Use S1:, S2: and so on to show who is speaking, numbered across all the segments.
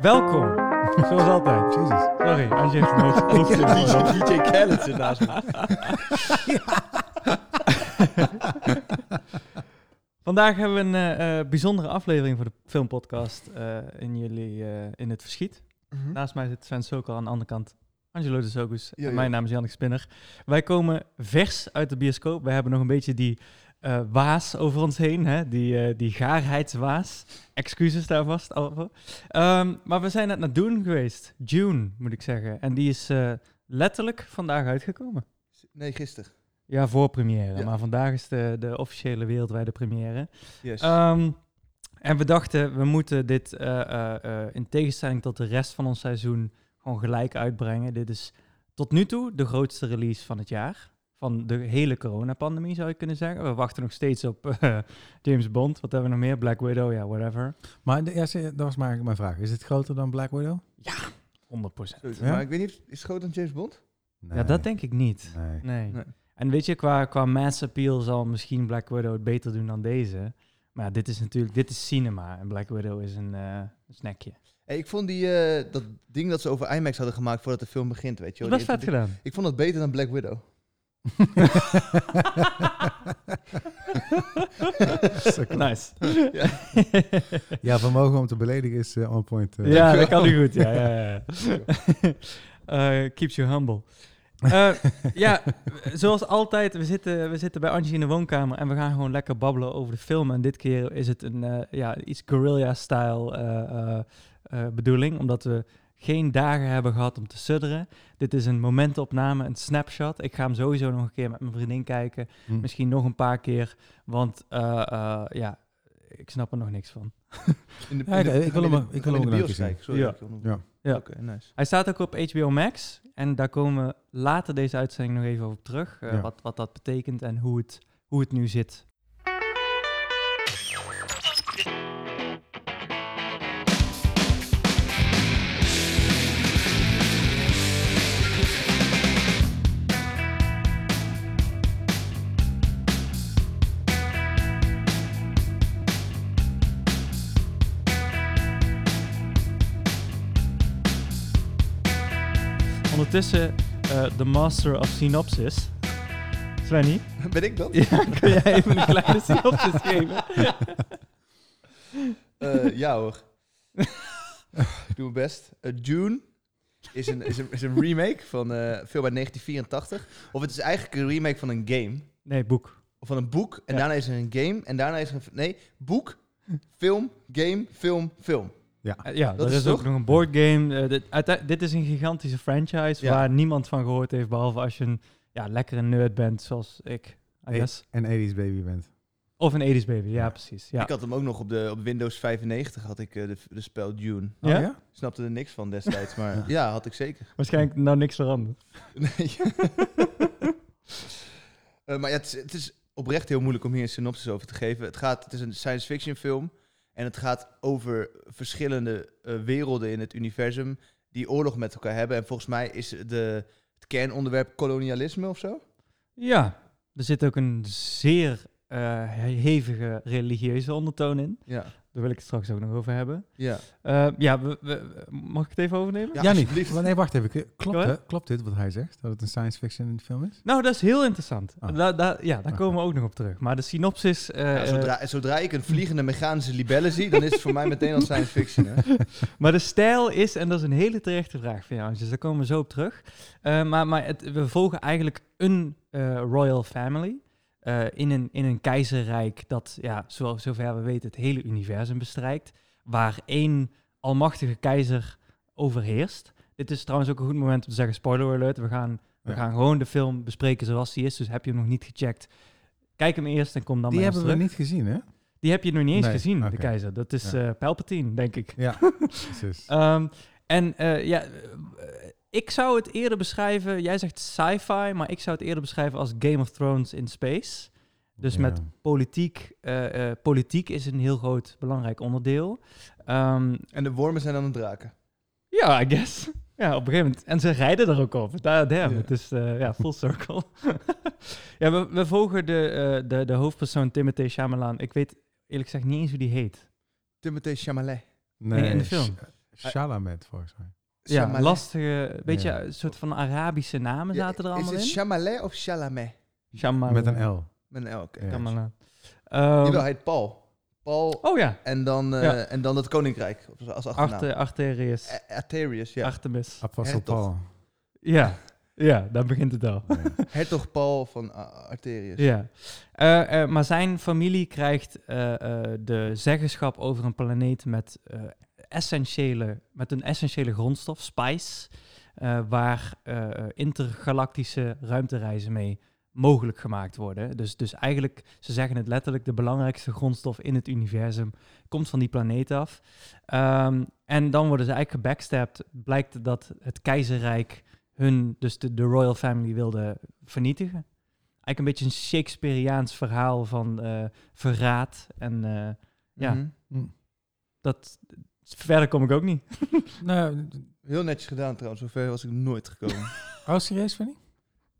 S1: Welkom, zoals altijd.
S2: Jezus.
S1: Sorry, als je even nooit proeft.
S2: Ja.
S1: in de-
S3: DJ, DJ Khaled zit naast me.
S1: Vandaag hebben we een eh, eh, bijzondere aflevering voor de filmpodcast eh, in jullie eh, in het verschiet.
S4: Mhm.
S2: Nou,
S1: Naast mij zit Sven Sokal, aan de andere kant Angelo de Sogus.
S2: Hm? Ja,
S1: en
S2: ja.
S1: mijn naam is Jannik Spinner. Wij komen vers uit de bioscoop. Wij hebben nog een beetje die eh, waas over ons heen, hè? Die, eh, die gaarheidswaas. Excuses daar vast al voor. Ehm, maar we zijn net naar Dune geweest. June, moet ik zeggen. En die is eh, letterlijk vandaag uitgekomen.
S2: Nee, gisteren.
S1: Ja, voor première.
S2: Ja.
S1: Maar vandaag is de, de officiële wereldwijde première.
S2: Yes.
S4: Eh,
S1: Ehm, en we dachten, we moeten dit eh, eh, eh, in tegenstelling tot de rest van ons seizoen gewoon gelijk uitbrengen. Dit is tot nu toe de grootste release van het jaar. Van de hele coronapandemie zou je kunnen zeggen. We wachten nog steeds op eh, James Bond. Wat hebben we nog meer? Black Widow, ja, whatever.
S4: Maar de eerste, dat was maar mijn vraag. Is het groter dan Black Widow?
S1: 100 procent.
S2: Zoiets.
S4: Ja?
S2: Maar ik weet niet, is het groter dan James Bond?
S4: Nee.
S1: Ja, dat denk ik niet.
S4: Nee.
S1: Nee.
S2: Nee.
S1: En weet je, qua, qua mass appeal zal misschien Black Widow het beter doen dan deze. Maar ja, dit is natuurlijk, dit is cinema. En Black Widow is een eh, snackje.
S2: Hey, ik vond die, eh, dat ding dat ze over IMAX hadden gemaakt voordat de film begint, weet je
S1: Dat
S2: wel.
S1: is best
S2: Die
S1: vet gedaan.
S2: introdu- Ik vond dat beter dan Black Widow.
S1: nice.
S4: Ja, vermogen om te beledigen is eh, on point. eh.
S1: Ja, dat kan nu goed. Ja, ja, ja. Eh, keeps you humble. Eh, ja, zoals altijd, we zitten, we zitten bij Angie in de woonkamer en we gaan gewoon lekker babbelen over de film. En dit keer is het een eh, ja, iets guerrilla-style eh, eh, eh, bedoeling, omdat we geen dagen hebben gehad om te sudderen. Dit is een momentopname, een snapshot. Ik ga hem sowieso nog een keer met mijn vriendin kijken.
S4: Hm.
S1: Misschien nog een paar keer, want eh, eh, ja, ik snap er nog niks van.
S2: In de,
S4: Ja, ik- ik wil hem ook- ik wil hem ook nog een keer
S1: Ja.
S4: zien.
S2: Ja.
S4: Ja.
S1: Ja.
S2: Oké, nice.
S1: Hij staat ook op HBO Max. En daar komen we later deze uitzending nog even over terug. eh,
S4: Ja.
S1: wat, wat dat betekent en hoe het, hoe het nu zit. Ondertussen eh, de master of synopsis. Svenny,
S2: Ben ik dat?
S1: ja, kun jij even een kleine synopsis geven?
S2: Eh, ja hoor. ik doe mijn best. Eh, Dune is een, is, een, is een remake van eh, een film uit 1984. Of het is eigenlijk een remake van een game.
S1: Nee, boek.
S2: Of van een boek. En
S1: Ja.
S2: daarna is er een game. En daarna is er een... Nee, boek, film, game, film, film.
S1: Eh, ja,
S2: Dat
S1: er
S2: is
S1: is ook
S2: toch-
S1: nog een boardgame. eh, dit, uite- dit is een gigantische franchise
S2: Ja.
S1: waar niemand van gehoord heeft. Behalve als je een ja, lekkere nerd bent zoals ik. I
S4: Hey.
S1: guess.
S4: En 80s baby bent.
S1: Of een 80s baby, ja,
S4: Ja.
S1: precies. Ja.
S2: Ik had hem ook nog op, de, op Windows 95 had ik eh, de, de spel Dune.
S4: Oh,
S1: Ja?
S2: Snapte er niks van destijds, maar ja, had ik zeker.
S1: Waarschijnlijk nou niks veranderd.
S2: Nee. Eh, maar ja, het is, het is oprecht heel moeilijk om hier een synopsis over te geven. Het, gaat, het is een science fiction film en het gaat over verschillende eh, werelden in het universum die oorlog met elkaar hebben. En volgens mij is de, het kernonderwerp kolonialisme of zo.
S1: Ja, er zit ook een zeer eh, he- hevige religieuze ondertoon in.
S2: Ja,
S1: Daar wil ik het straks ook nog over hebben.
S2: ja.
S1: Eh, ja, we, we- mag ik het even overnemen?
S2: Ja,
S4: Ja, niet.
S2: alsjeblieft.
S4: Maar nee, wacht even. K- Klopt,
S1: Go
S4: hè? Klopt dit wat hij zegt? Dat het een science fiction film is?
S1: Nou, dat is heel interessant.
S4: Ah.
S1: Da- da- ja, daar
S4: Oké.
S1: komen we ook nog op terug. Maar de synopsis... eh,
S2: Ja, zodra, zodra ik een vliegende mechanische libelle zie, dan is het voor mij meteen al science fiction. Hè?
S1: eh, maar de stijl is, en dat is een hele terechte vraag van jou, dus daar komen we zo op terug. Eh, maar maar het, we volgen eigenlijk een eh, royal family eh, in, een, in een keizerrijk dat, ja, zo, zover we weten, het hele universum bestrijkt. Waar één almachtige keizer overheerst. Dit is trouwens ook een goed moment om te zeggen, spoiler alert, we gaan, we
S4: Ja.
S1: gaan gewoon de film bespreken zoals die is. Dus heb je hem nog niet gecheckt, kijk hem eerst en kom dan
S4: Die
S1: bij
S4: hebben
S1: ons
S4: we
S1: terug. Oh,
S4: niet gezien, hè?
S1: Die heb je nog niet eens
S4: Nee,
S1: gezien, de
S4: oké.
S1: keizer. Dat is
S4: Ja.
S1: eh Palpatine, denk ik.
S4: Ja, precies.
S1: Ehm, en eh, ja, eh, ik zou het eerder beschrijven, jij zegt sci-fi, maar ik zou het eerder beschrijven als Game of Thrones in space. Dus
S4: Ja.
S1: met politiek, eh, eh, politiek is een heel groot belangrijk onderdeel. Ehm,
S2: En de wormen zijn dan de draken.
S1: ja, I guess. Ja, op een gegeven moment. En ze rijden er ook op. Daar, damn,
S2: Ja.
S1: het is eh, ja, full circle. ja, we, we volgen de, eh, de, de hoofdpersoon Timothée Chalamet. Ik weet eerlijk gezegd niet eens hoe die heet.
S2: Timothée Chalamet.
S1: in de film.
S4: sh- Shalamet, volgens mij.
S1: Ja, lastige, weet je,
S4: Ja.
S1: een soort van Arabische namen
S2: Ja,
S1: zaten er
S2: Is
S1: allemaal
S2: het
S1: in.
S2: Chamalet of Chalamet?
S1: Shyamalan.
S4: Met een L.
S2: Met een L, oké.
S4: Ja.
S1: Shyamalan.
S2: Jawel,
S1: Ehm,
S2: hij heet Paul. Paul
S1: oh ja,
S2: en, dan, eh,
S1: Ja.
S2: en dan het koninkrijk of zo, als achternaam.
S1: Arte, Arterius.
S2: A- Arterius, ja.
S1: Artemis.
S4: Apostel
S2: Hertog.
S4: Paul.
S1: Ja. ja, daar begint het al.
S2: Oh,
S4: Nee.
S2: Hertog Paul van A- Arterius.
S1: Ja. Eh, eh, maar zijn familie krijgt eh, eh, de zeggenschap over een planeet met, eh, essentiële, met een essentiële grondstof, spice, eh, waar eh, eh, intergalactische ruimtereizen mee mogelijk gemaakt worden. Dus, dus eigenlijk, ze zeggen het letterlijk, de belangrijkste grondstof in het universum komt van die planeet af. Ehm, en dan worden ze eigenlijk gebackstapt. Blijkt dat het keizerrijk hun, dus de, de royal family, wilde vernietigen eigenlijk een beetje een Shakespeareaans verhaal van eh, verraad. En eh, Ja.
S2: Mhm.
S1: dat, verder kom ik ook niet.
S4: nou,
S2: Heel netjes gedaan trouwens, zover was ik nooit gekomen.
S4: oh, serieus, Fanny?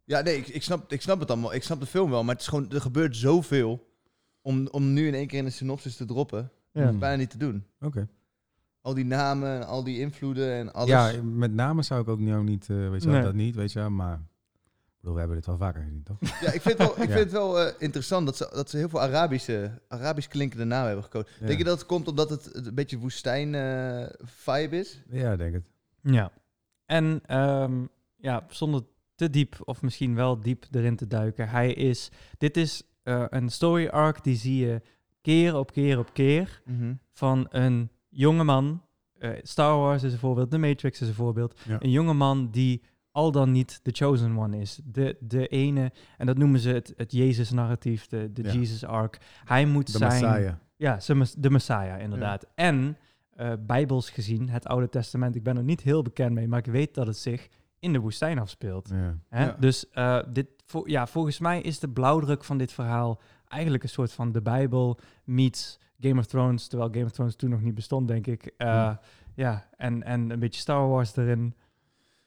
S2: ja, nee, ik, ik, snap, ik snap het allemaal. Ik snap de film wel, maar het is gewoon, er gebeurt zoveel om, om nu in één keer in een synopsis te droppen.
S1: Ja.
S4: Mm.
S2: Bijna niet te doen.
S4: Oké.
S2: Al die namen en al die invloeden en alles.
S4: Ja, met name zou ik ook nou niet, eh, weet je wel,
S1: Nee.
S4: dat niet, weet je wel, maar... Ik bedoel, we hebben dit wel vaker gezien, toch?
S2: Ja, ik vind het wel, ik
S4: Ja.
S2: vind het wel eh, interessant dat ze, dat ze heel veel Arabische, Arabisch klinkende namen hebben gekozen.
S4: Ja.
S2: Denk je dat het komt omdat het een beetje woestijn-vibe is?
S4: Ja, ik denk het.
S1: Ja. En ehm, ja, zonder te diep of misschien wel diep erin te duiken. Hij is, dit is eh, een story arc die zie je keer op keer op keer.
S4: Mhm.
S1: van een jonge man. eh, Star Wars is een voorbeeld, The Matrix is een voorbeeld.
S4: Ja.
S1: Een jonge man die al dan niet de chosen one is. De, de ene, en dat noemen ze het, het Jezus-narratief, de, de
S4: Ja.
S1: Jesus-arc. Hij moet
S4: De
S1: zijn...
S4: Messiah.
S1: Ja, ze mes- de Messiah, inderdaad. En, eh, bijbels gezien, het Oude Testament, ik ben er niet heel bekend mee, maar ik weet dat het zich in de woestijn afspeelt.
S4: Ja.
S1: Hè?
S2: Ja.
S1: Dus eh, dit, vo- ja, volgens mij is de blauwdruk van dit verhaal eigenlijk een soort van de Bijbel meets Game of Thrones, terwijl Game of Thrones toen nog niet bestond, denk ik. Eh, Ja, en, en een beetje Star Wars erin.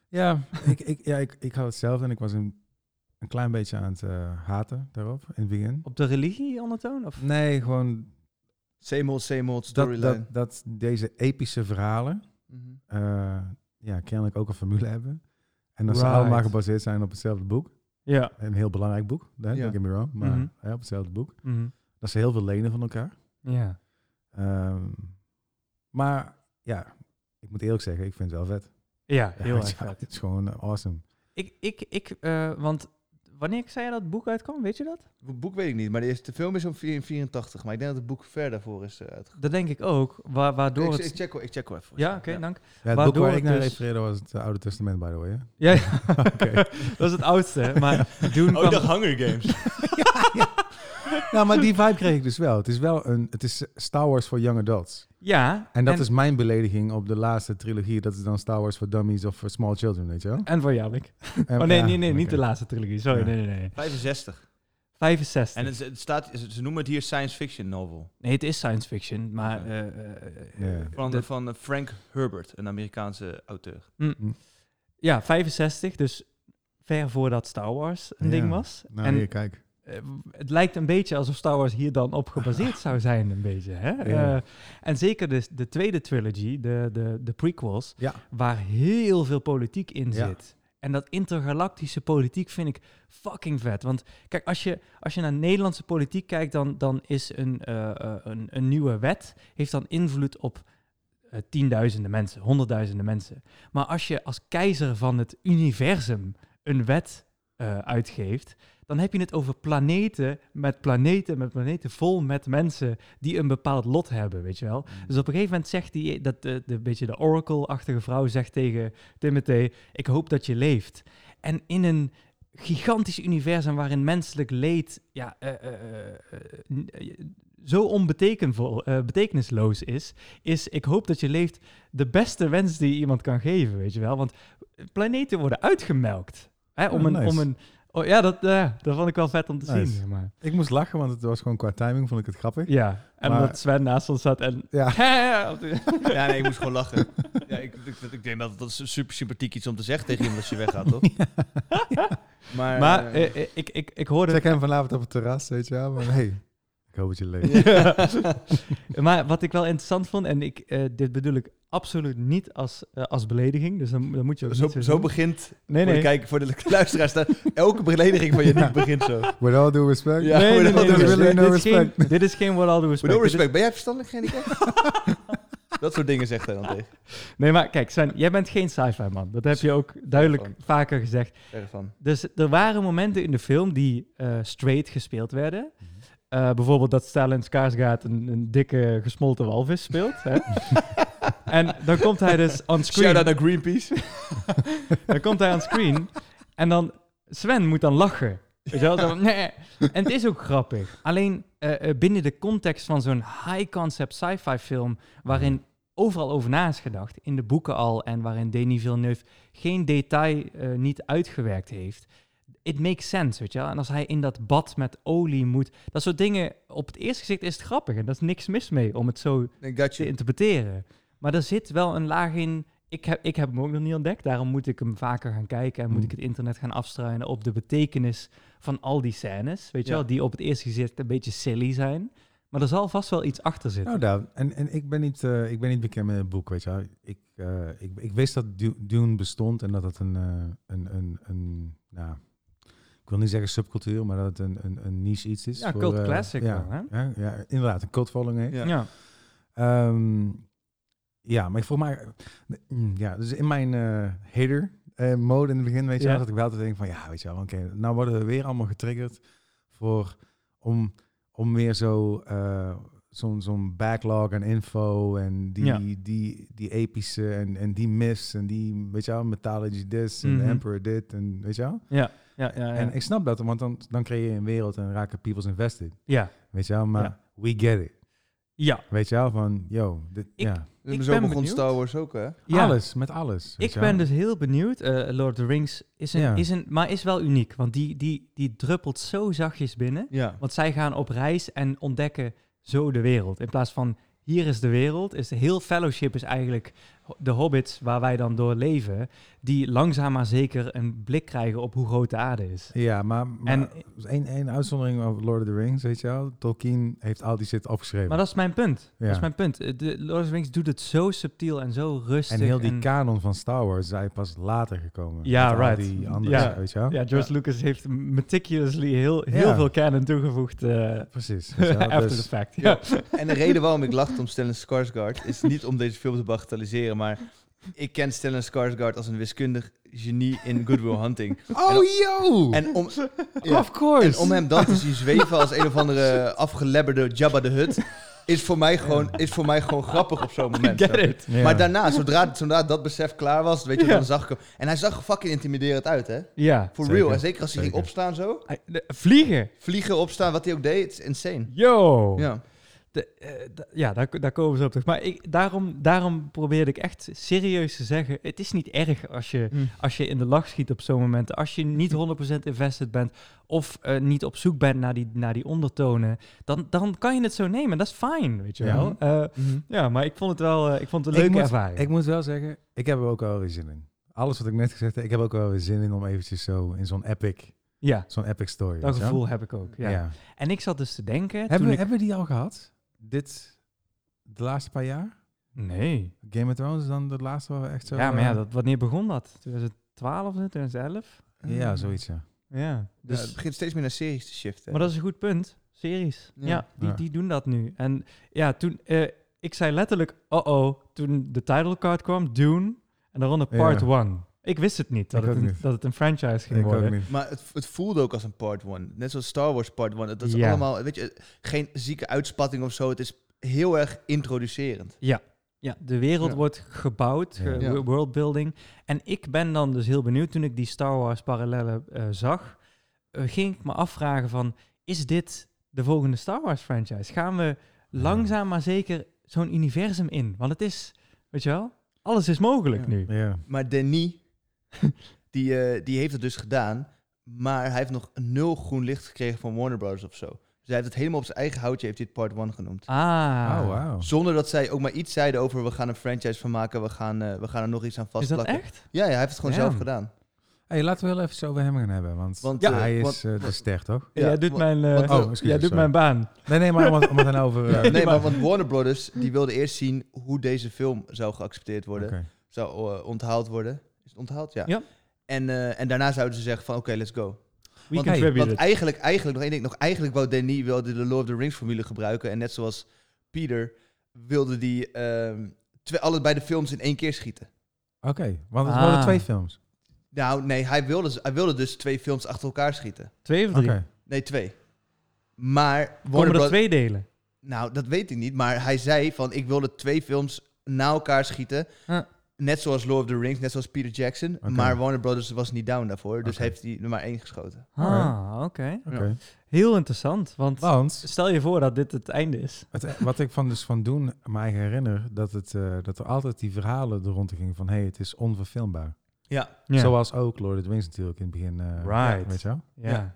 S4: Ja, ik, ik, ja ik, ik had hetzelfde en ik was een, een klein beetje aan het eh, haten daarop in het begin.
S1: Op de religie ondertoon? Of?
S4: Nee, gewoon
S2: Same old, same old
S4: dat,
S2: storyline.
S4: dat, dat deze epische verhalen
S2: Mhm.
S4: eh, ja, kennelijk ook een formule hebben. En dat ze
S1: Right.
S4: allemaal gebaseerd zijn op hetzelfde boek.
S1: Ja.
S4: Een heel belangrijk boek, hè,
S2: Ja.
S4: don't get me wrong, maar
S1: Mhm.
S4: hè, op hetzelfde boek.
S1: Mhm.
S4: Dat ze heel veel lenen van elkaar.
S1: ja.
S4: Ehm, maar ja, ik moet eerlijk zeggen, ik vind het wel vet.
S1: Ja,
S4: Ja,
S1: heel
S4: ja,
S1: erg vet.
S4: Het is gewoon eh, awesome.
S1: Ik, ik, ik, eh, want wanneer zei je dat het boek uitkwam, weet je dat?
S2: Het boek weet ik niet, maar de, eerste, de film is om 84. Maar ik denk dat het boek ver daarvoor is eh, uitgekomen.
S1: Dat denk ik ook, wa- waardoor
S2: Ik,
S1: het...
S2: ik check wel, ik check wel even.
S1: ja, oké, dank.
S4: Ja, nou. het boek
S1: Waardoor
S4: waar ik
S1: het
S4: naar
S1: dus-
S4: refereerde was het eh, Oude Testament, by the way. Hè?
S1: Ja, ja. dat is het oudste, maar toen kwam...
S2: Oh, Hunger Games.
S4: nou, maar die vibe kreeg ik dus wel. Het is wel een, het is Star Wars voor young adults.
S1: Ja,
S4: En dat is mijn belediging op de laatste trilogie. Dat is dan Star Wars for Dummies of for Small Children, weet je wel?
S1: en voor Jalik.
S4: En-
S1: Oh nee,
S4: ja,
S1: nee, nee, niet
S4: oké.
S1: de laatste trilogie. Sorry,
S4: Ja.
S1: nee, nee, nee.
S2: 65.
S1: 65.
S2: En het, het staat, ze noemen het hier science fiction novel.
S1: nee, het is science fiction, maar... eh, eh, eh,
S4: Ja.
S2: Van,
S1: dat-
S2: van eh, Frank Herbert, een Amerikaanse auteur.
S1: ja, 65, dus ver voordat Star Wars een
S4: Ja.
S1: ding was.
S4: Nou,
S1: en
S4: hier, kijk.
S1: eh, het lijkt een beetje alsof Star Wars hier dan op gebaseerd zou zijn, een beetje. Hè?
S4: Ja.
S1: Eh, en zeker de, de tweede trilogie, de, de, de prequels,
S4: Ja.
S1: waar heel veel politiek in
S4: Ja.
S1: zit. En dat intergalactische politiek vind ik fucking vet. Want kijk, als je, als je naar Nederlandse politiek kijkt, dan, dan is een, eh, eh, een, een nieuwe wet heeft dan invloed op eh, tienduizenden mensen, honderdduizenden mensen. Maar als je als keizer van het universum een wet eh, uitgeeft, dan heb je het over planeten met planeten met planeten vol met mensen die een bepaald lot hebben, weet je wel. Dus op een gegeven moment zegt die, dat de, de beetje de oracle-achtige vrouw zegt tegen Timothy, ik hoop dat je leeft. En in een gigantisch universum waarin menselijk leed ja, eh, eh, eh, eh, n- eh, zo onbetekenvol, eh, betekenisloos is, is ik hoop dat je leeft de beste wens die je iemand kan geven, weet je wel. Want planeten worden uitgemelkt. Hè, om,
S4: Ja,
S1: een,
S4: Ah, nice.
S1: om een... Oh, ja, dat, eh, dat vond ik wel vet om te
S4: Nice.
S1: zien. zeg maar.
S4: Ik moest lachen, want het was gewoon qua timing vond ik het grappig.
S1: Ja, en
S4: Maar-
S1: omdat Sven naast ons zat en...
S4: Ja.
S2: Ja, nee, ik moest gewoon lachen. Ja, ik, ik, ik denk dat dat is super sympathiek iets om te zeggen tegen iemand als je weggaat, toch? Maar,
S1: Maar
S2: eh,
S1: eh, eh, ik, ik, ik hoorde
S4: Check hem vanavond op het terras, weet je wel. Maar hey, ik hoop dat je leeft.
S1: maar wat ik wel interessant vond, en ik, eh, dit bedoel ik absoluut niet als, eh, als belediging. Dus dan, dan moet je ook
S2: Zo,
S1: niet zo
S2: zo
S1: doen.
S2: begint,
S1: Nee,
S2: voor
S1: nee.
S2: de, kijk, voor de luisteraars, daar- elke belediging van je
S4: Ja.
S2: niet begint zo.
S4: With all due respect.
S2: Ja.
S1: nee, nee, nee,
S2: with all
S1: nee,
S2: due
S1: nee.
S4: respect.
S1: Dit is geen- Dit is geen what all due
S2: With all
S1: respect. Dit is-
S2: respect, ben jij verstandelijk gehandicapt? dat soort dingen zegt hij dan tegen.
S1: Nee, maar kijk, Sven, jij bent geen sci-fi man. Dat heb je ook duidelijk
S2: Gewoon.
S1: vaker gezegd.
S2: Erg van.
S1: Dus er waren momenten in de film die eh, straight gespeeld werden. Eh, bijvoorbeeld dat Stellan Skarsgård een, een dikke gesmolten walvis speelt. Hè? en dan komt hij dus on
S2: Shout out
S1: screen.
S2: naar Greenpeace.
S1: Dan komt hij on screen. En dan Sven moet dan lachen. Weet je wel? Zo van, nee. En het is ook grappig. Alleen eh, eh, binnen de context van zo'n high concept sci-fi film, waarin overal over na is gedacht, in de boeken al, en waarin Denis Villeneuve geen detail eh, niet uitgewerkt heeft. It makes sense, weet je wel. En als hij in dat bad met olie moet... Dat soort dingen, op het eerste gezicht is het grappig. En daar is niks mis mee om het zo
S2: I got
S1: te
S2: you.
S1: interpreteren. Maar er zit wel een laag in. Ik heb, ik heb hem ook nog niet ontdekt. Daarom moet ik hem vaker gaan kijken. En moet
S4: Mm.
S1: ik het internet gaan afstruinen op de betekenis van al die scènes. Weet je
S2: Ja.
S1: wel, die op het eerste gezicht een beetje silly zijn. Maar er zal vast wel iets achter zitten.
S4: Nou, daar, en, en ik, ben niet, eh, ik ben niet bekend met het boek, weet je wel. Ik, eh, ik, ik wist dat Du- Dune bestond en dat het een, eh, een, een, een nou, ik wil niet zeggen subcultuur, maar dat het een, een, een niche iets is.
S1: Ja, cult
S4: eh,
S1: classic
S4: ja,
S1: wel, hè?
S4: Ja, ja, inderdaad, een cult following heeft.
S2: Ja.
S1: ja.
S4: Ehm, ja, maar ik volgens mij... mm, Ja, dus in mijn eh, hater eh, mode in het begin, weet je
S1: Ja.
S4: wel, dat ik wel altijd denk van... Ja, weet je wel, oké, nou worden we weer allemaal getriggerd voor... Om, om weer zo... eh, Zo'n zo'n backlog en info en die,
S1: Ja.
S4: die, die epische en, en die mist en die, weet je wel, Mythology this en
S1: Mhm.
S4: Emperor dit en weet je wel.
S1: ja, ja, ja.
S4: En ik snap dat, want dan, dan creëer je een wereld en raken people's invested,
S1: ja.
S4: weet je wel. Maar
S1: Ja.
S4: we get it,
S1: Ja.
S4: weet je wel, van yo, dit,
S1: Ik-
S4: ja.
S2: Zo
S1: Ik
S2: begon
S1: ben benieuwd.
S2: Star Wars ook, hè?
S1: Ja.
S4: Alles, met alles. weet
S1: Ik
S4: je wel.
S1: ben dus heel benieuwd. Eh, Lord of the Rings is een,
S4: Ja.
S1: is een, maar is wel uniek. Want die, die, die druppelt zo zachtjes binnen.
S2: Ja.
S1: Want zij gaan op reis en ontdekken zo de wereld. In plaats van hier is de wereld, is de heel fellowship is eigenlijk ho- de hobbits waar wij dan door leven, die langzaam maar zeker een blik krijgen op hoe groot de aarde is.
S4: Ja, maar, maar
S1: dus- En-
S4: één, één uitzondering over Lord of the Rings, weet je wel. Tolkien heeft al die shit opgeschreven.
S1: Maar dat is mijn punt.
S4: Ja.
S1: Dat is mijn punt. Eh, De Lord of the Rings doet het zo subtiel en zo rustig.
S4: en heel die kanon van Star Wars is eigenlijk pas later gekomen.
S1: Ja,
S4: Met al
S1: right.
S4: die andere
S1: Ja.
S4: shit, weet je wel.
S1: Ja, George Lucas heeft meticulously heel, heel
S4: Ja.
S1: veel canon toegevoegd eh
S4: Precies. weet je wel.
S1: after
S4: Dus-
S1: the fact.
S2: Ja.
S1: Ja.
S2: En de reden waarom ik lachte om Stellan Skarsgård is niet om deze film te bagatelliseren, maar ik ken Stellan Skarsgård als een wiskundig genie in Good Will Hunting.
S4: oh, yo!
S2: En om, ja.
S4: of course!
S2: en om hem dan te zien zweven als een of andere afgelebberde Jabba de Hutt, is voor mij gewoon, is voor mij gewoon grappig op zo'n moment.
S1: Get
S2: snap je?
S1: it.
S4: Ja.
S2: Maar daarna, zodra, zodra dat besef klaar was, weet je,
S1: Ja.
S2: dan zag ik hem. En hij zag er fucking intimiderend uit, hè?
S1: Ja.
S2: For
S4: Zeker,
S2: real. En zeker als hij ging
S4: zeker.
S2: opstaan zo.
S1: Hij- de- Vliegen.
S2: Vliegen, opstaan, wat hij ook deed. Het is insane.
S1: Yo.
S2: Ja.
S1: De, eh, d- ja, daar, ko- daar komen ze op terug. Maar ik, daarom, daarom probeerde ik echt serieus te zeggen... het is niet erg als je,
S4: Hmm.
S1: als je in de lach schiet op zo'n moment. Als je niet 100% invested bent... of eh, niet op zoek bent naar die, naar die ondertonen... Dan, dan kan je het zo nemen. Dat is fijn, weet je
S4: Ja.
S1: wel. Eh, ja, maar ik vond het wel eh, ik vond het een
S4: Ik
S1: leuke
S4: moet-
S1: ervaring.
S4: Ik moet wel zeggen, ik heb er ook wel weer zin in. Alles wat ik net gezegd heb, ik heb ook wel weer zin in om eventjes zo in zo'n epic,
S1: ja,
S4: zo'n epic story.
S1: dat
S4: weet je wel.
S1: gevoel heb ik ook. Ja.
S4: Ja.
S1: En ik zat dus te denken...
S4: Hebben,
S1: toen
S4: we,
S1: ik-
S4: hebben we die al gehad? Dit, de laatste paar jaar?
S1: Nee.
S4: Game of Thrones is dan de laatste waar we echt zo...
S1: Ja, maar ja,
S4: eh,
S1: dat, wanneer begon dat? 2012 of zo? 2011?
S4: Ja, zoiets, ja.
S1: Ja.
S2: Dus
S1: Dus
S2: het begint steeds meer naar series te shiften.
S1: Maar dat is een goed punt. Series.
S2: Ja.
S1: Ja, die,
S4: Ja.
S1: die doen dat nu. En ja, toen... eh, ik zei letterlijk, oh-oh, toen de title card kwam, Dune. En daaronder part
S4: Ja.
S1: 1. Ik wist het niet dat,
S4: Ik
S1: het
S4: ook
S1: een,
S4: niet.
S1: dat het een franchise ging
S4: Ik ook
S1: worden.
S4: niet.
S2: Maar het, het voelde ook als een part one. Net zoals Star Wars part one. Dat is
S1: Ja.
S2: allemaal, weet je, geen zieke uitspatting of zo. Het is heel erg introducerend.
S1: Ja, de wereld
S2: Ja.
S1: wordt gebouwd, ge-
S4: Ja.
S2: Ja.
S1: wo- worldbuilding. En ik ben dan dus heel benieuwd, toen ik die Star Wars parallellen eh, zag, eh, ging ik me afvragen van, is dit de volgende Star Wars franchise? Gaan we langzaam maar zeker zo'n universum in? Want het is, weet je wel, alles is mogelijk
S2: Ja.
S1: nu.
S4: Ja.
S2: Maar Denis, die, eh, die heeft het dus gedaan. Maar hij heeft nog nul groen licht gekregen van Warner Brothers of zo. Dus hij heeft het helemaal op zijn eigen houtje, heeft hij het part one genoemd.
S1: Ah,
S4: Oh, wauw.
S2: Zonder dat zij ook maar iets zeiden over we gaan een franchise van maken, we gaan, eh, we gaan er nog iets aan
S1: is dat
S2: vastplakken.
S1: echt?
S2: Ja, ja, hij heeft het gewoon
S1: Damn.
S2: zelf gedaan.
S4: Hey, laten we wel even zo over hem gaan hebben, want,
S2: Want,
S1: Ja,
S2: eh,
S4: hij is
S2: want-
S4: eh, de ster, toch?
S1: jij doet,
S2: wa-
S1: mijn, eh,
S2: want-
S4: oh, excuses,
S1: jij doet
S4: sorry.
S1: mijn baan.
S4: Nee, nee, maar om het, om het dan over... eh,
S2: Nee, maar want Warner Brothers die wilde eerst zien hoe deze film zou geaccepteerd worden.
S4: oké.
S2: Zou eh, onthaald worden. Is het onthaald? Ja.
S1: Ja.
S2: En, eh, en daarna zouden ze zeggen van oké, let's go.
S1: We
S4: Want-
S1: contributed.
S2: Want eigenlijk, eigenlijk, nog één ding, nog eigenlijk wou Denis wilde de Lord of the Rings formule gebruiken. En net zoals Peter wilde die ehm twee, allebei de films in één keer schieten.
S4: Oké, want het
S1: Ah.
S4: worden twee films.
S2: Nou, nee, hij wilde, hij wilde dus twee films achter elkaar schieten.
S1: Twee of
S4: Oké.
S1: drie?
S2: Nee, twee. Maar Warner
S1: Komen er
S2: Bros.
S1: twee delen?
S2: Nou, dat weet ik niet. Maar hij zei van ik wilde twee films na elkaar schieten.
S1: Ja.
S2: Net zoals Lord of the Rings, net zoals Peter Jackson.
S4: Oké.
S2: Maar Warner Brothers was niet down daarvoor. Dus
S4: Oké.
S2: heeft hij er maar één geschoten.
S1: Ah, oké.
S4: Oké.
S2: Ja.
S1: Heel interessant, want
S4: Want
S1: stel je voor dat dit het einde is.
S4: Het, wat ik van dus van doen mij herinner, dat, het, eh, dat er altijd die verhalen er rond gingen van hé, hey, het is onverfilmbaar.
S2: Ja.
S4: Zoals ook Lord of the Rings natuurlijk in het begin. eh,
S1: Right.
S4: Weet je wel?
S1: Ja.
S2: Ja.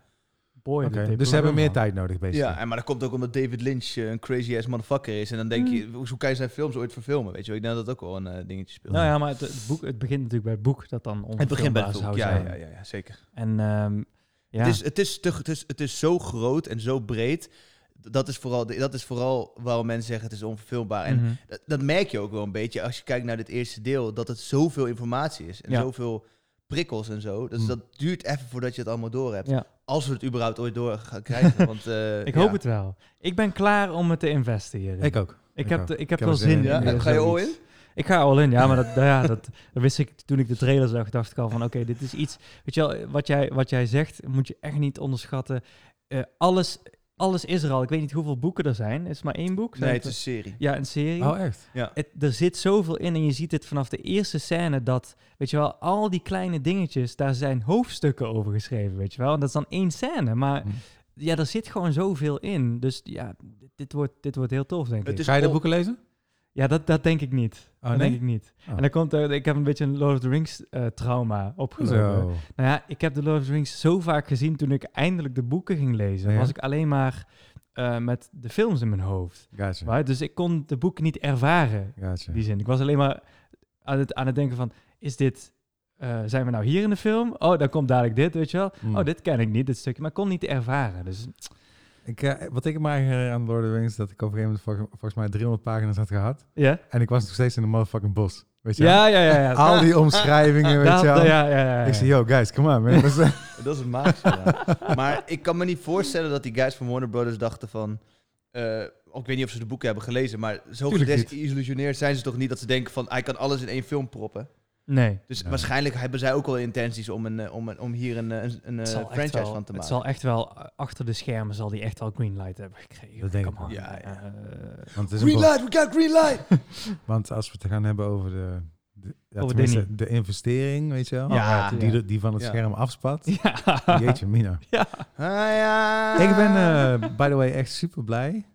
S1: Boy,
S4: Oké,
S1: dit deed
S4: Dus ze hebben
S1: wel
S4: meer
S1: man.
S4: tijd nodig bezig.
S2: Ja, en maar dat komt ook omdat David Lynch eh, een crazy ass motherfucker is. En dan denk je, hoe hoe kan je zijn films ooit verfilmen? Weet je, wel? ik denk dat dat ook wel een eh, dingetje speelt.
S1: Nou ja, maar het, het boek, het begint natuurlijk bij het boek dat dan
S2: het begint bij
S1: onverfilmbaar
S2: het
S1: zou
S2: boek. Ja,
S1: zijn.
S2: ja, ja, ja, zeker.
S1: En ehm, ja,
S2: Het, is, het, is te, het, is, het is zo groot en zo breed. Dat is vooral, de- dat is vooral waarom mensen zeggen het is onverfilmbaar. En
S1: Mhm.
S2: dat, dat merk je ook wel een beetje als je kijkt naar dit eerste deel, dat het zoveel informatie is en
S1: Ja. Mhm.
S2: zoveel prikkels en zo. Dus
S4: Hmm.
S2: dat duurt even voordat je het allemaal door hebt.
S1: Ja.
S2: Als we het überhaupt ooit door gaan krijgen. Want, eh,
S1: ik
S2: ja.
S1: hoop het wel. Ik ben klaar om het te investeren.
S4: Ik ook.
S1: Ik
S4: ik
S1: heb,
S4: ook.
S1: de- ik heb
S4: heb
S1: wel
S4: er zin
S1: zin in.
S4: in.
S2: Ja,
S1: eh,
S2: ga je all
S1: zoiets.
S2: in?
S1: Ik ga all in, ja, maar dat, nou ja, dat, dat wist ik toen ik de trailer zag, dacht ik al van, oké, dit is iets, weet je wel, wat jij, wat jij zegt, moet je echt niet onderschatten. Eh, alles, alles is er al. Ik weet niet hoeveel boeken er zijn. Is het maar één boek? Zijn
S2: Nee, het is een serie.
S1: Ja, een serie.
S4: Oh, echt?
S1: het, er zit zoveel in en je ziet het vanaf de eerste scène dat, weet je wel, al die kleine dingetjes, daar zijn hoofdstukken over geschreven, weet je wel. En dat is dan één scène, maar
S4: Hm.
S2: Hmm.
S1: ja, er zit gewoon zoveel in. Dus ja, dit, dit wordt, dit wordt heel tof, denk
S2: Het
S1: ik.
S2: is
S4: Ga je de
S2: on-
S4: boeken lezen?
S1: Ja, dat, dat denk ik niet. dat
S4: Oh, nee?
S1: denk ik niet.
S4: Oh.
S1: En dan komt er, ik heb een beetje een Lord of the Rings eh, trauma opgelopen.
S4: Zo.
S1: Nou ja, ik heb de Lord of the Rings zo vaak gezien toen ik eindelijk de boeken ging lezen.
S4: Ja.
S1: was ik alleen maar eh, met de films in mijn hoofd.
S4: Gotcha.
S1: Right? Dus ik kon de boeken niet ervaren
S4: Gotcha.
S1: die zin. Ik was alleen maar aan het, aan het denken van, is dit, eh, zijn we nou hier in de film? Oh, dan komt dadelijk dit, weet je wel.
S4: Hmm.
S1: Oh, dit ken ik niet, dit stukje. Maar ik kon niet ervaren. Dus
S4: Ik, eh, wat ik me herinner aan Lord of the Rings, is dat ik op een gegeven moment vol- volgens mij 300 pagina's had gehad.
S1: ja.
S4: En ik was nog steeds in de motherfucking bos. Weet je wel?
S1: Ja, ja, ja. ja.
S4: Al die omschrijvingen, weet
S1: Dat-
S4: je wel?
S1: ja, ja, ja, ja.
S4: Ik zei, yo guys, come on man. Dat is, eh,
S2: Dat is het magische. ja. Maar ik kan me niet voorstellen dat die guys van Warner Brothers dachten van... eh, ik weet niet of ze de boeken hebben gelezen, maar zo
S4: Tuurlijk niet.
S2: gedesillusioneerd zijn ze toch niet dat ze denken van... Hij kan alles in één film proppen.
S1: Nee.
S2: Dus
S4: Ja.
S2: waarschijnlijk hebben zij ook wel intenties om, een, eh, om, een- om hier een, eh, een, een, eh,
S1: Het zal, echt
S2: franchise
S1: wel,
S2: van
S1: het
S2: te maken.
S1: zal echt wel, eh, achter de schermen zal die echt al greenlight hebben gekregen.
S4: Dat denk ik
S1: Come
S4: wel.
S1: on.
S2: Ja, ja.
S1: Eh,
S4: want het is een
S2: Green
S4: bos.
S2: light, we got green light!
S4: Want als we het gaan hebben over de, de, ja,
S1: Over
S4: tenminste,
S1: Disney.
S4: de investering, weet je wel.
S2: Ja.
S4: Oh, die, er- die van het
S2: Ja.
S4: scherm afspat.
S1: ja.
S4: Jeetje, Mina.
S2: Ah, ja.
S4: Ik ben, eh, by the way, echt super blij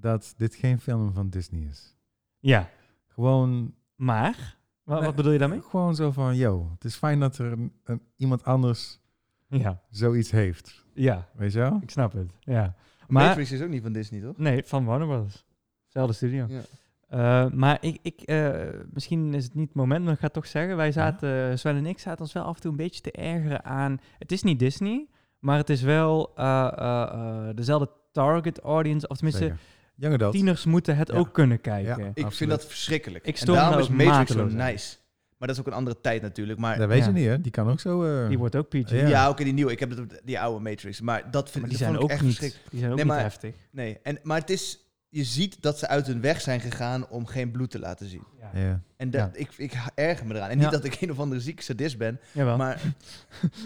S4: dat dit geen film van Disney is.
S1: Ja,
S4: Gewoon,
S1: maar, wa-
S4: Nee.
S1: wat bedoel je daarmee?
S4: gewoon zo van, yo, het is fijn dat er een, een- iemand anders
S1: Ja,
S4: zoiets heeft.
S1: ja,
S4: Weet je wel?
S1: ik snap het. Ja.
S2: maar...
S1: Maar,
S2: Matrix is ook niet van Disney, toch?
S1: Nee, van Warner Brothers. Zelfde studio.
S2: Ja.
S1: Eh, maar ik, ik eh, misschien is het niet het moment, maar ik ga het toch zeggen. Wij zaten, eh, Sven en ik zaten ons wel af en toe een beetje te ergeren aan... Het is niet Disney, maar het is wel eh, eh, eh, dezelfde target audience. Of tenminste,
S4: Zeker. Young adult.
S1: tieners moeten het
S4: Ja.
S1: ook kunnen kijken.
S4: Ja.
S2: Ik vind
S4: Absoluut.
S2: dat verschrikkelijk.
S1: Ik
S2: en
S1: stoor me
S2: daarom
S1: daar
S2: is
S1: ook
S2: Matrix zo
S1: mateloos aan.
S2: nice. Maar dat is ook een andere tijd natuurlijk. Maar
S4: Dat weet
S1: Ja.
S4: je niet, hè? Die kan ook zo... eh,
S1: Die wordt ook PG.
S4: Ja.
S2: ja, ook in die nieuwe. Ik heb het op de- die oude Matrix. Maar dat vind
S1: Maar
S2: dat
S1: die zijn
S2: vond ik
S1: ook
S2: echt
S1: niet,
S2: verschrikkelijk.
S1: die zijn ook
S2: Nee,
S1: niet
S2: maar-
S1: heftig.
S2: Nee, en, maar het is, je ziet dat ze uit hun weg zijn gegaan om geen bloed te laten zien.
S4: ja.
S2: En dat, ik, ik erger me eraan. En
S1: Ja.
S2: niet dat ik een of andere ziek sadist ben,
S1: Jawel.
S2: maar,